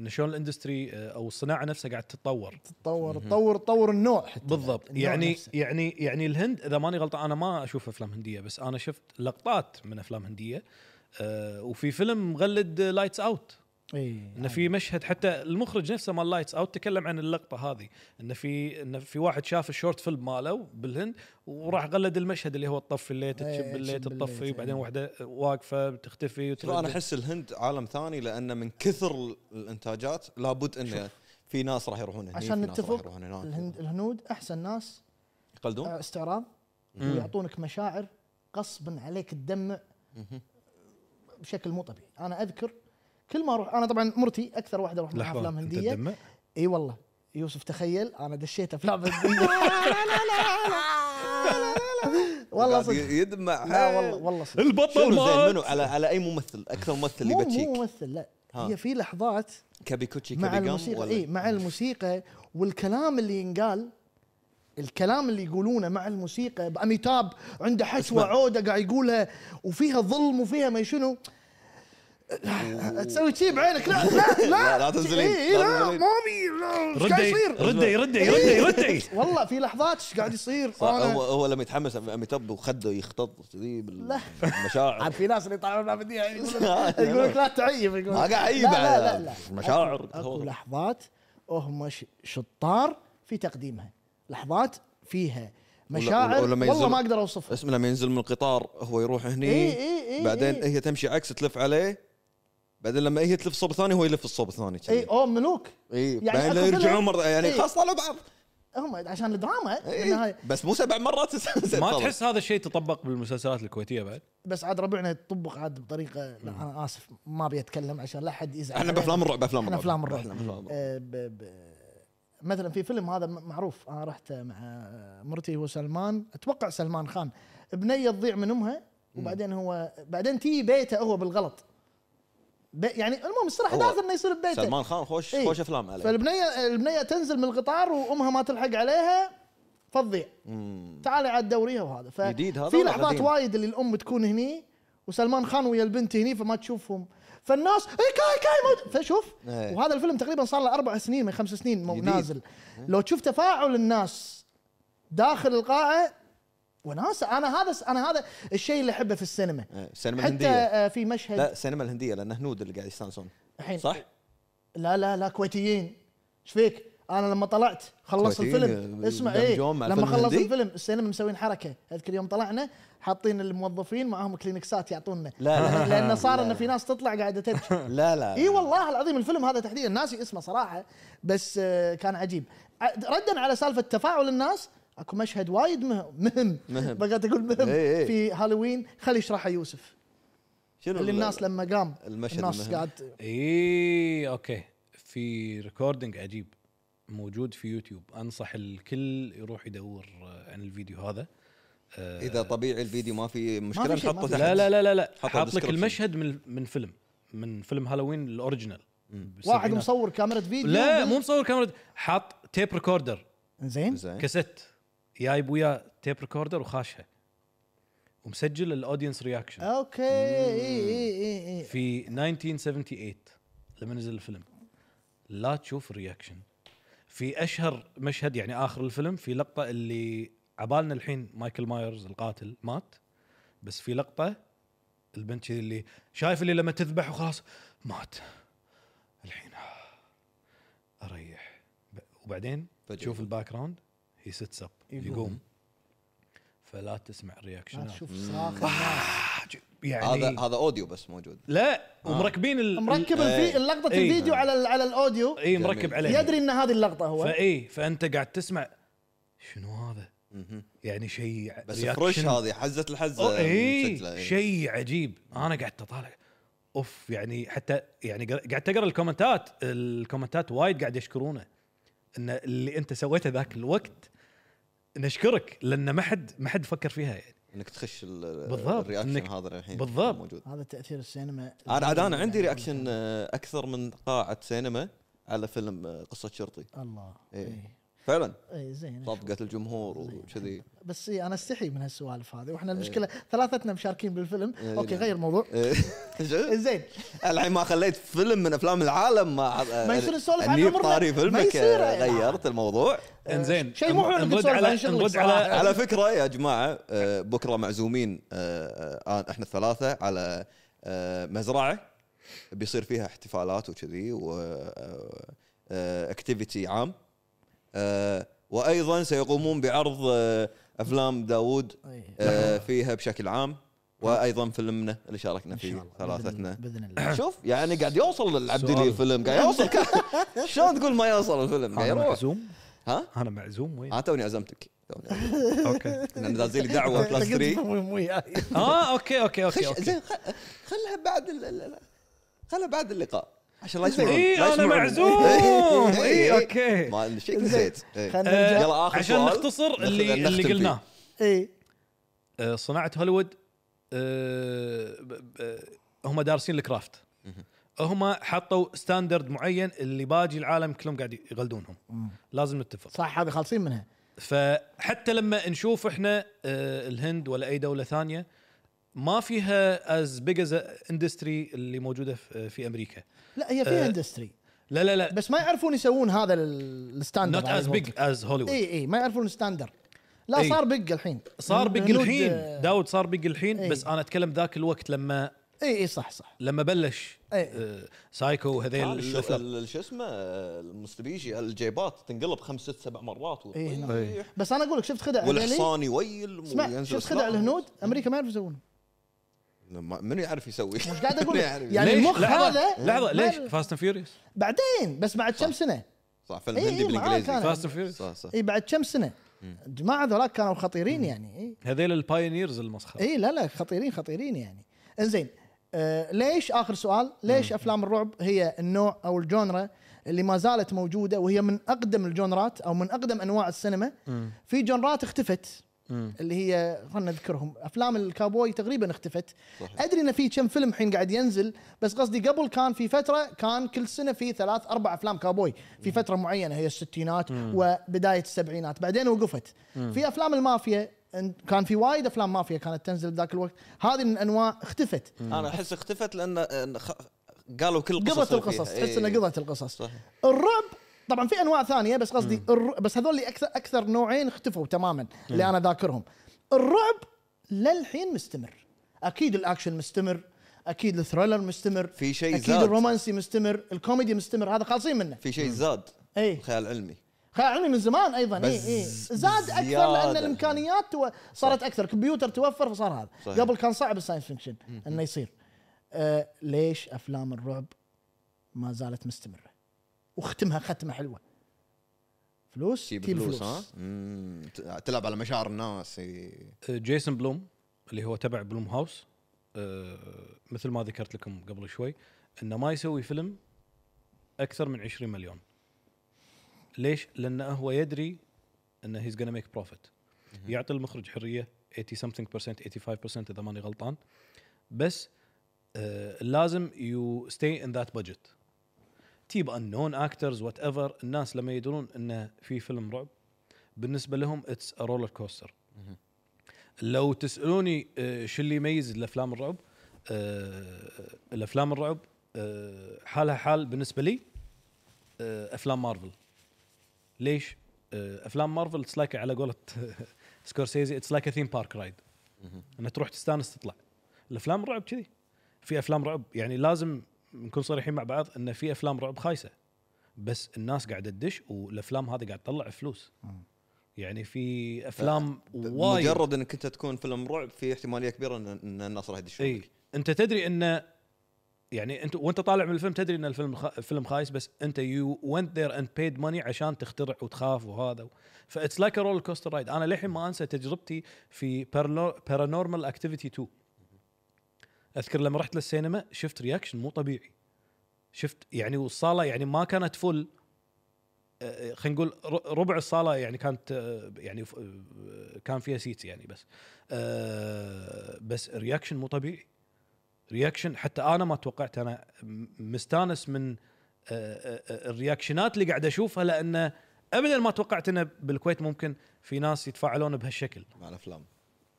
Speaker 3: انه شلون الاندستري او الصناعه نفسها قاعد تتطور.
Speaker 2: تطور تطور تطور النوع حتى
Speaker 3: بالضبط
Speaker 2: النوع
Speaker 3: يعني
Speaker 2: نفسه.
Speaker 3: يعني يعني الهند اذا ماني غلطان انا ما اشوف افلام هنديه بس انا شفت لقطات من افلام هنديه آه وفي فيلم مغلد لايتس اوت
Speaker 2: اي
Speaker 3: انه في مشهد حتى المخرج نفسه مال لايتس اوت تكلم عن اللقطه هذه انه في انه في واحد شاف الشورت فيلم ماله بالهند وراح غلد المشهد اللي هو تطفي الليت
Speaker 2: إيه،
Speaker 3: تشب الليت
Speaker 2: تشب
Speaker 3: تطفي
Speaker 2: الليت،
Speaker 3: وبعدين
Speaker 2: إيه.
Speaker 3: واحده واقفه بتختفي
Speaker 1: شوف انا احس الهند عالم ثاني لان من كثر ال- الانتاجات لابد انه في ناس راح يروحون هنا
Speaker 2: عشان نتفق
Speaker 1: يروحون هناك
Speaker 2: الهند آه، الهنود احسن ناس
Speaker 1: يقلدون
Speaker 2: استعراض ويعطونك مشاعر غصبا عليك تدمع بشكل مو طبيعي انا اذكر كل ما اروح انا طبعا مرتي اكثر واحده اروح لها افلام
Speaker 3: لحظه انت
Speaker 2: هنديه
Speaker 3: تدمع
Speaker 2: اي والله يوسف تخيل انا
Speaker 3: [laughs]
Speaker 2: دشيت افلام هنديه والله
Speaker 1: قاعد
Speaker 2: صدق
Speaker 1: ي- يدمع
Speaker 2: لا
Speaker 1: حيل.
Speaker 2: والله والله صدق
Speaker 3: البطل
Speaker 1: شنو زين
Speaker 3: مات
Speaker 1: منو على على اي ممثل اكثر ممثل اللي
Speaker 2: مو مو
Speaker 1: بتشيك
Speaker 2: ممثل لا
Speaker 1: ها.
Speaker 2: هي في لحظات
Speaker 1: كابيكوتشي
Speaker 2: مع
Speaker 1: كابيجام
Speaker 2: الموسيقى إيه،
Speaker 1: ولا-
Speaker 2: اي مع الموسيقى والكلام اللي ينقال الكلام اللي يقولونه مع الموسيقى باميتاب عنده حشوه
Speaker 1: اسمع.
Speaker 2: عوده قاعد يقولها وفيها ظلم وفيها ما شنو لا، تسوي شي بعينك لا لا لا
Speaker 1: لا، لا تنزلين،
Speaker 2: إي،
Speaker 1: لا
Speaker 2: لا
Speaker 1: تنزلين.
Speaker 2: مامي لا ايش قاعد
Speaker 3: ردي
Speaker 2: يصير
Speaker 3: ردي ردي ردي
Speaker 2: [laughs]
Speaker 3: ردي
Speaker 2: والله في لحظات ايش قاعد يصير
Speaker 1: صح، هو
Speaker 2: أنا-
Speaker 1: هو لما يتحمس اميتاب وخده يختط كذي
Speaker 2: لا.
Speaker 1: بال- بالمشاعر
Speaker 2: عاد في ناس اللي يطالعون ما بدي
Speaker 1: [laughs]
Speaker 2: يقول لك لا تعيب يقول
Speaker 1: آه، ما قاعد أعيب
Speaker 2: لا لا
Speaker 1: على
Speaker 2: لا, لا.
Speaker 1: مشاعر.
Speaker 2: أكو- اكو لحظات هم ش- شطار في تقديمها لحظات فيها مشاعر
Speaker 1: ولما
Speaker 2: والله
Speaker 1: ينزل-
Speaker 2: ما اقدر اوصفها
Speaker 1: اسمه لما ينزل من القطار هو يروح هني
Speaker 2: إي إي إي
Speaker 1: بعدين
Speaker 2: إي.
Speaker 1: هي تمشي عكس تلف عليه بعدين لما هي تلف صوب ثاني هو يلف الصوب الثاني كذي.
Speaker 2: اي اوه ملوك
Speaker 1: اي
Speaker 2: إيه. يعني إيه.
Speaker 1: بعدين
Speaker 2: أكو
Speaker 1: يرجعون
Speaker 2: فيلم-
Speaker 1: مره يعني
Speaker 2: إي.
Speaker 1: خلاص طالعوا بعض
Speaker 2: هم عشان الدراما
Speaker 1: إي.
Speaker 2: بالنهاية.
Speaker 1: بس مو سبع مرات [laughs]
Speaker 3: ما تحس هذا الشيء تطبق بالمسلسلات الكويتيه بعد؟
Speaker 2: بس عاد ربعنا يطبق عاد بطريقه لا انا اسف ما ابي اتكلم عشان لا حد يزعل
Speaker 1: احنا بافلام الرعب افلام
Speaker 2: احنا
Speaker 1: الرعب
Speaker 2: افلام
Speaker 1: إحنا
Speaker 2: الرعب
Speaker 1: بأفلام الرعب
Speaker 2: آه، ب- ب- مثلا في فيلم هذا م- معروف انا رحت مع مرتي هو سلمان اتوقع سلمان خان بنيه تضيع من امها وبعدين هو بعدين تي بيته هو بالغلط ب- يعني المهم الصراحه
Speaker 1: هو
Speaker 2: لازم انه يصير ببيته
Speaker 1: سلمان خان خوش
Speaker 2: إيه.
Speaker 1: خوش افلام عليه
Speaker 2: فالبنيه البنيه تنزل من القطار وامها ما تلحق عليها فتضيع
Speaker 1: مم.
Speaker 2: تعالي عاد دوريها وهذا ف
Speaker 1: جديد هذا
Speaker 2: في
Speaker 1: ولا
Speaker 2: لحظات
Speaker 1: قديم؟
Speaker 2: وايد اللي الام تكون هني وسلمان خان ويا البنت هني فما تشوفهم فالناس اي كاي كاي موجود فشوف
Speaker 1: إيه.
Speaker 2: وهذا الفيلم تقريبا صار له اربع سنين من خمس سنين مو
Speaker 1: جديد. إيه.
Speaker 2: نازل لو تشوف تفاعل الناس داخل القاعه وناس انا هذا انا هذا الشيء اللي احبه في السينما
Speaker 1: إيه، السينما
Speaker 2: حتى
Speaker 1: الهنديه
Speaker 2: آه، في مشهد
Speaker 1: لا السينما الهنديه لان هنود اللي قاعد يستانسون
Speaker 2: الحين
Speaker 1: صح؟
Speaker 2: لا لا لا كويتيين ايش فيك؟ انا لما طلعت خلصت
Speaker 1: كويتيين
Speaker 2: الفيلم اسمع ايه
Speaker 1: يندمجون مع
Speaker 2: لما
Speaker 1: الفيلم
Speaker 2: خلص
Speaker 1: الهندي؟
Speaker 2: الفيلم السينما مسوين حركه اذكر يوم طلعنا حاطين الموظفين معاهم كلينكسات يعطونا
Speaker 1: لا، لا.
Speaker 2: لان صار
Speaker 1: لا،
Speaker 2: ان
Speaker 1: لا.
Speaker 2: في ناس تطلع قاعده تبكي
Speaker 1: لا لا
Speaker 2: اي والله العظيم الفيلم هذا تحديدا ناسي اسمه صراحه بس آه، كان عجيب ع- ردا على سالفه تفاعل الناس اكو مشهد وايد مه- مهم
Speaker 1: مهم.
Speaker 2: بقيت اقول مهم
Speaker 1: إيه، إيه.
Speaker 2: في هالوين خلي يشرحه يوسف
Speaker 1: شنو
Speaker 2: اللي الناس لما قام
Speaker 1: المشهد
Speaker 2: الناس
Speaker 1: المهم.
Speaker 2: قاعد
Speaker 3: اي اوكي إيه، في ريكوردنج عجيب موجود في يوتيوب انصح الكل يروح يدور آه، عن الفيديو هذا آه،
Speaker 1: اذا طبيعي الفيديو ما في مشكله
Speaker 2: ما في شيء، ما
Speaker 1: نحطه
Speaker 2: في
Speaker 1: تحت
Speaker 3: لا لا لا لا لا
Speaker 1: حطه
Speaker 3: حاط لك
Speaker 1: description.
Speaker 3: المشهد من من فيلم من فيلم هالوين الاوريجنال
Speaker 2: واحد
Speaker 3: بالسبعينات.
Speaker 2: مصور كاميرا فيديو
Speaker 3: لا مو مصور كاميرا حاط تيب ريكوردر
Speaker 2: إيه. زين
Speaker 1: زين
Speaker 3: كاسيت جايب وياه تيب ريكوردر وخاشها ومسجل الاودينس رياكشن
Speaker 2: اوكي اي اي اي اي
Speaker 3: في 1978 لما نزل الفيلم لا تشوف الرياكشن في اشهر مشهد يعني اخر الفيلم في لقطه اللي عبالنا الحين مايكل مايرز القاتل مات بس في لقطه البنت شي اللي شايف اللي لما تذبح وخلاص مات الحين اريح ب- وبعدين
Speaker 1: فجأة
Speaker 3: تشوف الباك جراوند هي سيتس اب يقوم فلا تسمع الرياكشنات
Speaker 2: لا تشوف صراخ الناس
Speaker 3: يعني
Speaker 1: هذا هذا اوديو بس موجود
Speaker 3: لا ومركبين ال-
Speaker 2: مركب الفي... لقطه
Speaker 3: إيه.
Speaker 2: الفيديو على ال- على الاوديو
Speaker 3: اي مركب
Speaker 1: جميل.
Speaker 3: عليه
Speaker 2: يدري ان هذه اللقطه هو
Speaker 3: فاي فانت قاعد تسمع شنو هذا؟ يعني شيء
Speaker 1: بس
Speaker 3: reaction.
Speaker 1: فرش هذه حزه الحزه
Speaker 3: أو-
Speaker 1: مسجلة،
Speaker 3: اي
Speaker 1: إيه.
Speaker 3: شيء عجيب انا قعدت اطالع اوف يعني حتى يعني قا- قعدت اقرا الكومنتات الكومنتات وايد قاعد يشكرونه ان اللي انت سويته ذاك الوقت نشكرك لان ما حد ما حد فكر فيها يعني
Speaker 1: انك تخش ال-
Speaker 3: بالضبط،
Speaker 1: الرياكشن
Speaker 3: إنك-
Speaker 1: هذا الحين
Speaker 3: بالضبط.
Speaker 1: موجود
Speaker 2: هذا تاثير السينما
Speaker 1: انا عاد انا عندي رياكشن آه، اكثر من قاعه سينما على فيلم آه، قصه شرطي
Speaker 2: الله
Speaker 1: إيه.
Speaker 2: اي
Speaker 1: فعلا
Speaker 2: اي زين
Speaker 1: طبقت الجمهور وكذي
Speaker 2: بس إيه، انا استحي من هالسوالف هذه واحنا المشكله ثلاثتنا مشاركين بالفيلم
Speaker 1: إيه،
Speaker 2: اوكي
Speaker 1: نعم.
Speaker 2: غير موضوع
Speaker 1: إيه. [laughs] شو؟
Speaker 2: زين
Speaker 1: الحين ما خليت فيلم من افلام العالم ما
Speaker 2: ما يصير نسولف عن
Speaker 1: أني
Speaker 2: عمرنا.
Speaker 1: بطاري
Speaker 2: ما
Speaker 1: فيلمك
Speaker 2: يصير.
Speaker 1: آه، غيرت الموضوع
Speaker 3: انزين
Speaker 2: آه، شيء مو حلو إنك
Speaker 3: نرد
Speaker 2: تسولف
Speaker 3: على
Speaker 2: عن شغلك
Speaker 3: نرد
Speaker 2: صراحة.
Speaker 3: على
Speaker 1: [laughs] على فكره يا جماعه آه، بكره معزومين آه، آه، آه، احنا الثلاثه على آه، مزرعه بيصير فيها احتفالات وكذي واكتيفيتي عام آه، وايضا سيقومون بعرض آه، افلام داوود
Speaker 2: إيه.
Speaker 1: آه، فيها بشكل عام وايضا فيلمنا اللي شاركنا
Speaker 2: إن شاء
Speaker 1: فيه
Speaker 2: الله.
Speaker 1: ثلاثتنا [laughs]
Speaker 2: باذن
Speaker 1: [coughs]
Speaker 2: الله
Speaker 1: شوف يعني قاعد يوصل العبد لي
Speaker 3: سؤال.
Speaker 1: الفيلم قاعد يوصل [laughs] شلون تقول ما يوصل الفيلم قاعد
Speaker 3: انا
Speaker 1: يروح
Speaker 3: معزوم
Speaker 1: ها آه.
Speaker 3: انا معزوم وين
Speaker 1: ها توني عزمتك توني عزمتك.
Speaker 3: اوكي
Speaker 1: لان دازين لي
Speaker 2: [laughs]
Speaker 1: دعوه بلس 3
Speaker 3: اه اوكي اوكي اوكي,
Speaker 1: خش
Speaker 3: أوكي.
Speaker 1: زين خ- خلها بعد ال- ال- ال- خلها بعد اللقاء عشان لا يسمعون
Speaker 3: اي
Speaker 1: لا
Speaker 3: انا
Speaker 1: يسمعون.
Speaker 3: إيه،
Speaker 1: [laughs]
Speaker 3: معزوم
Speaker 2: [laughs]
Speaker 1: إيه،
Speaker 3: اي
Speaker 1: إيه.
Speaker 3: اوكي
Speaker 1: ما أدري، شيك نسيت إيه.
Speaker 2: خلينا
Speaker 3: آه،
Speaker 2: نرجع
Speaker 1: يلا آخر
Speaker 3: عشان
Speaker 1: سؤال.
Speaker 3: نختصر
Speaker 1: نخ-
Speaker 3: اللي
Speaker 1: نختم
Speaker 3: اللي
Speaker 1: فيه.
Speaker 3: قلناه
Speaker 2: اي
Speaker 3: آه، صناعه هوليوود آه، ب- ب- هم دارسين الكرافت هم حطوا ستاندرد معين اللي باقي العالم كلهم قاعد يقلدونهم لازم نتفق
Speaker 2: صح هذه خالصين منها
Speaker 3: فحتى لما نشوف احنا آه، الهند ولا اي دوله ثانيه ما فيها از بيج از اندستري اللي موجوده في في امريكا
Speaker 2: لا هي فيها
Speaker 1: إيه.
Speaker 3: آه.
Speaker 2: اندستري
Speaker 3: لا لا لا
Speaker 2: بس ما يعرفون يسوون هذا ال- الستاندرد
Speaker 3: نوت از بيج
Speaker 1: إيه.
Speaker 3: از هوليوود
Speaker 2: اي اي إيه، ما يعرفون الستاندر لا
Speaker 3: إي.
Speaker 2: صار بق الحين
Speaker 3: إيه. صار بيج
Speaker 2: هنود،
Speaker 3: الحين
Speaker 2: آه،
Speaker 3: داود صار بيج الحين
Speaker 2: إيه.
Speaker 3: بس انا اتكلم ذاك الوقت لما
Speaker 2: اي اي إيه، صح صح
Speaker 3: لما بلش
Speaker 2: إيه.
Speaker 3: آه، سايكو وهذيل
Speaker 1: تعال شوف
Speaker 3: الأفلام.
Speaker 1: ال- طيب، شو اسمه آه، المستبيشي الجيبات تنقلب خمس ست سبع مرات
Speaker 2: إيه، نعم.
Speaker 1: ويح.
Speaker 2: بس انا اقول لك شفت خدع هذيلي؟
Speaker 1: والحصان يويل
Speaker 2: اسمع
Speaker 1: وينزل
Speaker 2: شفت خدع
Speaker 1: سلاح.
Speaker 2: الهنود امريكا ما يعرفوا يسوونه
Speaker 1: ما- منو يعرف يسوي؟
Speaker 2: مش
Speaker 1: [laughs]
Speaker 2: قاعد اقول لك. يعني
Speaker 3: ليش؟
Speaker 2: المخ
Speaker 3: لحظة،
Speaker 2: هذا
Speaker 3: لحظه
Speaker 2: ما-
Speaker 3: ليش فاست اند فيوريوس
Speaker 2: بعدين بس بعد كم سنه
Speaker 1: صح فيلم
Speaker 2: إيه،
Speaker 1: هندي
Speaker 2: إيه، معاه
Speaker 1: بالانجليزي
Speaker 2: كان. إيه.
Speaker 3: فاست اند فيوريوس
Speaker 1: صح صح
Speaker 2: اي بعد كم سنه الجماعه ذولاك كانوا خطيرين يعني اي
Speaker 3: هذيل البايونيرز المسخره
Speaker 2: اي إيه، لا لا خطيرين خطيرين يعني انزين آه ليش اخر سؤال ليش افلام الرعب هي النوع او الجونرا اللي ما زالت موجوده وهي من اقدم الجونرات او من اقدم انواع السينما في جونرات اختفت اللي هي خلينا نذكرهم افلام الكابوي تقريبا اختفت
Speaker 1: صحيح.
Speaker 2: ادري ان في كم فيلم الحين قاعد ينزل بس قصدي قبل كان في فتره كان كل سنه في ثلاث اربع افلام كابوي في فتره معينه هي الستينات وبدايه السبعينات بعدين وقفت في افلام المافيا إن- كان في وايد افلام مافيا كانت تنزل بذاك الوقت هذه من انواع اختفت
Speaker 1: انا احس اختفت لان إن خ- قالوا كل قصص إيه.
Speaker 2: قضت القصص تحس انه قضت القصص
Speaker 1: صحيح
Speaker 2: الرعب طبعا في انواع ثانيه بس قصدي الر... بس هذول اللي اكثر اكثر نوعين اختفوا تماما اللي انا ذاكرهم الرعب للحين مستمر اكيد الاكشن مستمر اكيد الثريلر مستمر
Speaker 1: في شيء
Speaker 2: اكيد
Speaker 1: زاد.
Speaker 2: الرومانسي مستمر الكوميدي مستمر هذا خالصين منه
Speaker 1: في شيء زاد
Speaker 2: اي
Speaker 1: خيال علمي
Speaker 2: خيال علمي يعني من زمان ايضا اي
Speaker 1: بس
Speaker 2: اي زاد اكثر لان
Speaker 1: زيادة.
Speaker 2: الامكانيات تو... صارت اكثر كمبيوتر توفر فصار هذا
Speaker 1: صحيح.
Speaker 2: قبل كان صعب الساينس فيكشن انه يصير آه ليش افلام الرعب ما زالت مستمره وختمها ختمه حلوه فلوس
Speaker 1: شيء
Speaker 2: تجيب
Speaker 1: بفلوس ها مم.
Speaker 5: ت- تلعب على مشاعر الناس إي.
Speaker 3: آه، جيسون بلوم اللي هو تبع بلوم هاوس آه، مثل ما ذكرت لكم قبل شوي انه ما يسوي فيلم اكثر من 20 مليون ليش؟ لانه هو يدري انه هيز gonna ميك بروفيت يعطي المخرج حريه 80 something percent 85% اذا ماني غلطان بس آه، لازم يو ستي ان ذات بادجت تجيب انون اكترز وات ايفر الناس لما يدرون انه في فيلم رعب بالنسبه لهم اتس رولر كوستر لو تسالوني آه، شو اللي يميز الافلام الرعب آه، الافلام الرعب آه، حالها حال بالنسبه لي آه، افلام مارفل ليش آه، افلام مارفل اتس لايك على قولة [laughs] سكورسيزي اتس لايك ثيم بارك رايد انك تروح تستانس تطلع الافلام الرعب كذي في افلام رعب يعني لازم نكون صريحين مع بعض ان في افلام رعب خايسه بس الناس قاعده تدش والافلام هذه قاعد تطلع فلوس يعني في افلام وايد
Speaker 1: مجرد انك انت تكون فيلم رعب في احتماليه كبيره ان, إن الناس راح يدشون
Speaker 3: اي انت إيه. تدري انه يعني انت وانت طالع من الفيلم تدري ان الفيلم خ... الفيلم خايس بس انت يو ونت ذير اند بيد ماني عشان تخترع وتخاف وهذا و... فاتس لايك رول كوستر رايد انا للحين ما انسى تجربتي في بارانورمال اكتيفيتي 2 اذكر لما رحت للسينما شفت رياكشن مو طبيعي شفت يعني والصاله يعني ما كانت فل آه، خلينا نقول ر- ربع الصاله يعني كانت آه، يعني ف- آه، كان فيها سيتس يعني بس آه، بس رياكشن مو طبيعي رياكشن حتى انا ما توقعت انا م- مستانس من آه، آه، آه، الرياكشنات اللي قاعد اشوفها لانه ابدا ما توقعت انه بالكويت ممكن في ناس يتفاعلون بهالشكل
Speaker 5: مع الافلام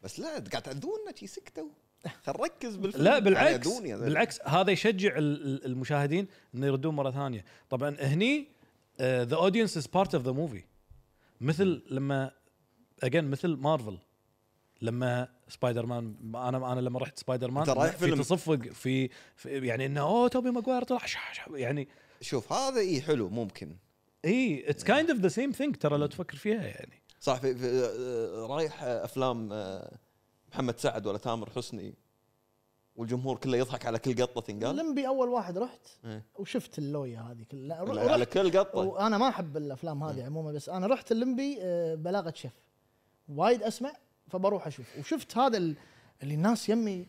Speaker 5: بس لا قاعد تعذونا شي
Speaker 2: [laughs]
Speaker 5: سكتوا خل نركز بالفيلم
Speaker 1: يعني
Speaker 3: لا بالعكس
Speaker 5: قاعد يعذوني هذول.
Speaker 3: بالعكس هذا يشجع ال- ال- المشاهدين انه يردون مره ثانيه طبعا هني آه، ذا اودينس از بارت اوف ذا موفي مثل لما اجين مثل مارفل لما سبايدر مان انا انا لما رحت سبايدر مان
Speaker 1: أنت رايح
Speaker 3: في
Speaker 1: فيلم.
Speaker 3: تصفق في, في يعني انه اوه توبي ماجواير طلع شح- شح- يعني إيه،
Speaker 1: شوف هذا اي حلو ممكن
Speaker 3: اي اتس كايند اوف ذا سيم ثينج ترى لو تفكر فيها يعني
Speaker 1: صح في, في آه، رايح آه، افلام آه، محمد سعد ولا تامر حسني والجمهور كله يضحك على كل قطه تنقال
Speaker 2: لمبي اول واحد رحت
Speaker 1: إيه.
Speaker 2: وشفت اللويا هذه كلها
Speaker 1: على- على
Speaker 2: رحت
Speaker 1: كل قطه
Speaker 2: وانا ما احب الافلام هذه عموما بس انا رحت اللمبي آه، بلاغه شيف وايد اسمع فبروح اشوف وشفت هذا ال- اللي الناس يمي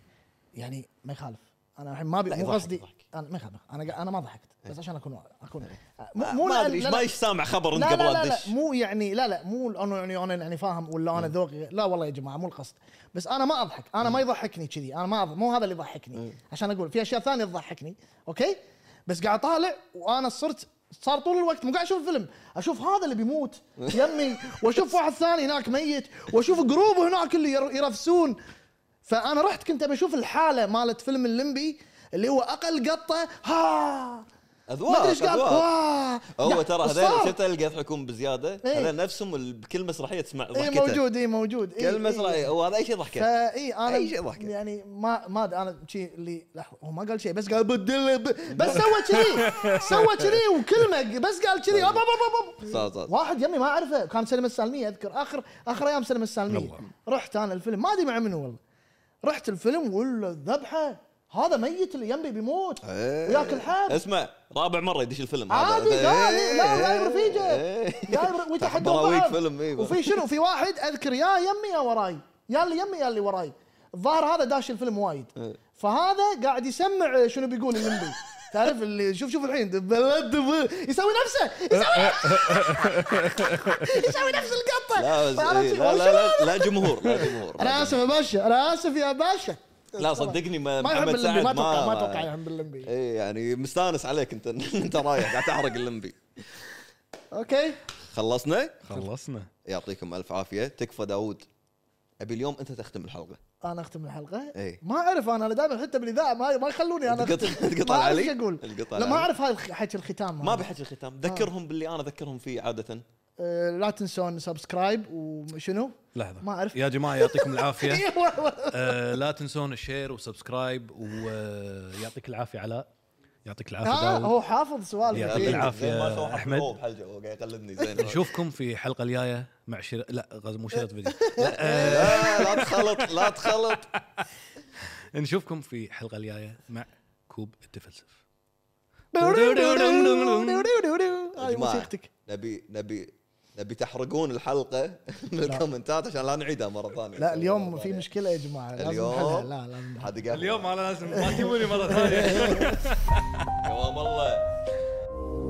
Speaker 2: يعني ما يخالف انا الحين ما بي
Speaker 1: لا،
Speaker 2: مو
Speaker 1: يضحك-
Speaker 2: قصدي
Speaker 1: يضحك.
Speaker 2: انا ما يخالف انا قا- انا ما ضحكت بس عشان اكون اكون
Speaker 1: إيه. ما آه، ما ادري إيش-
Speaker 2: لا-
Speaker 1: ما ايش سامع خبر انت
Speaker 2: لا
Speaker 1: قبل
Speaker 2: لا لا,
Speaker 1: لا
Speaker 2: لا مو يعني لا لا مو انه يعني انا يعني فاهم ولا انا ذوقي لا والله يا جماعه مو القصد بس انا ما اضحك انا ما يضحكني كذي انا ما أض- مو هذا اللي يضحكني عشان اقول في اشياء ثانيه تضحكني اوكي بس قاعد طالع وانا صرت صار طول الوقت مو قاعد اشوف فيلم اشوف هذا اللي
Speaker 1: [laughs]
Speaker 2: بيموت يمي واشوف واحد ثاني هناك ميت واشوف جروب هناك اللي ير- يرفسون فانا رحت كنت ابي اشوف الحاله مالت فيلم اللمبي اللي هو اقل قطه ها ما
Speaker 1: اذواق
Speaker 2: ادري ايش قال
Speaker 1: اذواق
Speaker 2: واه
Speaker 1: هو
Speaker 2: يا-
Speaker 1: ترى هذول
Speaker 2: صار.
Speaker 1: شفت اللي قاعد يضحكون بزياده
Speaker 2: إيه.
Speaker 1: هذول نفسهم ال- بكل مسرحيه تسمع
Speaker 2: اي
Speaker 1: ضحكته
Speaker 2: إيه، موجود إيه، اي موجود اي
Speaker 1: كل مسرحيه
Speaker 2: اي
Speaker 1: وهذا اي شيء ضحكه
Speaker 2: فاي انا
Speaker 1: أي شيء ضحكة.
Speaker 2: إيه، يعني ما ما أدري، انا شي اللي لحظه هو ما قال شيء بس قال بدل ب- بس سوى كذي سوى كذي وكلمه بس قال كذي أب أب أب أب.
Speaker 1: صح، صح.
Speaker 2: واحد يمي ما اعرفه كان سلمة السالميه اذكر اخر اخر ايام سلمة السالميه
Speaker 3: والله.
Speaker 2: رحت انا الفيلم ما ادري مع منو والله رحت الفيلم والذبحه هذا ميت اللي يمي بيموت
Speaker 1: إيه.
Speaker 2: وياكل حد
Speaker 1: اسمع رابع مره يدش الفيلم هذا.
Speaker 2: إيه. عادي
Speaker 1: إيه.
Speaker 2: قال لا جايب رفيجه
Speaker 1: إيه. [laughs]
Speaker 2: جايب ويتحدون
Speaker 1: براويك
Speaker 2: بعض.
Speaker 1: فيلم إيه.
Speaker 2: وفي شنو في واحد اذكر يا يمي يا وراي يا اللي يمي يا اللي
Speaker 1: إيه. [laughs]
Speaker 2: وراي الظاهر هذا داش الفيلم وايد فهذا قاعد يسمع شنو بيقول اللمبي تعرف اللي شوف شوف الحين بلد ب- يسوي نفسه يسوي
Speaker 1: [laughs]
Speaker 2: نفسه يسوي نفس القطه
Speaker 1: لا
Speaker 2: [laughs]
Speaker 1: بس
Speaker 2: فعرفت
Speaker 1: إيه،
Speaker 2: شو-
Speaker 1: لا لا لا لا جمهور لا جمهور
Speaker 2: انا اسف يا باشا انا اسف يا باشا
Speaker 1: لا صدقني ما
Speaker 2: ما يحب
Speaker 1: محمد
Speaker 2: اللمبي
Speaker 1: سعد
Speaker 2: ما اتوقع ما اتوقع يحب اللمبي
Speaker 1: اي يعني مستانس عليك [laughs] انت انت رايح قاعد تحرق اللمبي
Speaker 2: اوكي
Speaker 1: خلصنا
Speaker 3: خلصنا
Speaker 1: يعطيكم الف عافيه تكفى داوود ابي اليوم انت تختم الحلقه
Speaker 2: انا اختم الحلقه
Speaker 1: إيه.
Speaker 2: ما اعرف انا انا دائما حتى بالاذاعه ما ما يخلوني انا
Speaker 1: القطع-
Speaker 2: أختم.
Speaker 1: القطع
Speaker 2: ما اعرف
Speaker 1: علي؟
Speaker 2: شو اقول
Speaker 1: القطع
Speaker 2: لا
Speaker 1: علي.
Speaker 2: ما اعرف هاي الخ- حكي الختام
Speaker 1: ما
Speaker 2: أنا.
Speaker 1: بحكي الختام ذكرهم باللي انا اذكرهم فيه عاده
Speaker 2: آه، لا تنسون سبسكرايب وشنو
Speaker 3: لحظه
Speaker 2: ما أعرف.
Speaker 3: يا جماعه يعطيكم
Speaker 2: [laughs]
Speaker 3: العافيه
Speaker 2: ايوه
Speaker 3: آه لا تنسون الشير وسبسكرايب ويعطيك العافيه علاء يعطيك العافيه
Speaker 2: ها
Speaker 3: داود
Speaker 2: آه، هو حافظ سوالف [laughs]
Speaker 3: يعطيك
Speaker 2: إيه.
Speaker 3: العافية،
Speaker 1: آه، زين ما سوى حق
Speaker 3: أحمد.
Speaker 1: هو بحلقه هو قاعد يقلدني زين
Speaker 3: نشوفكم في الحلقه الجايه مع شر... لا غز- مو شريط فيديو
Speaker 1: لا لا تخلط لا تخلط
Speaker 3: نشوفكم في الحلقه الجايه مع كوب التفلسف
Speaker 2: هاي
Speaker 1: جماعة.
Speaker 2: موسيقتك
Speaker 1: نبي نبي نبي تحرقون الحلقه من الكومنتات عشان لا نعيدها مره ثانيه
Speaker 2: لا اليوم في مشكله يا جماعه لازم
Speaker 1: اليوم.
Speaker 2: نحلها لا لازم نحلها.
Speaker 1: حد قال
Speaker 3: انا لازم ما تجيبوني مره ثانيه
Speaker 1: دوام الله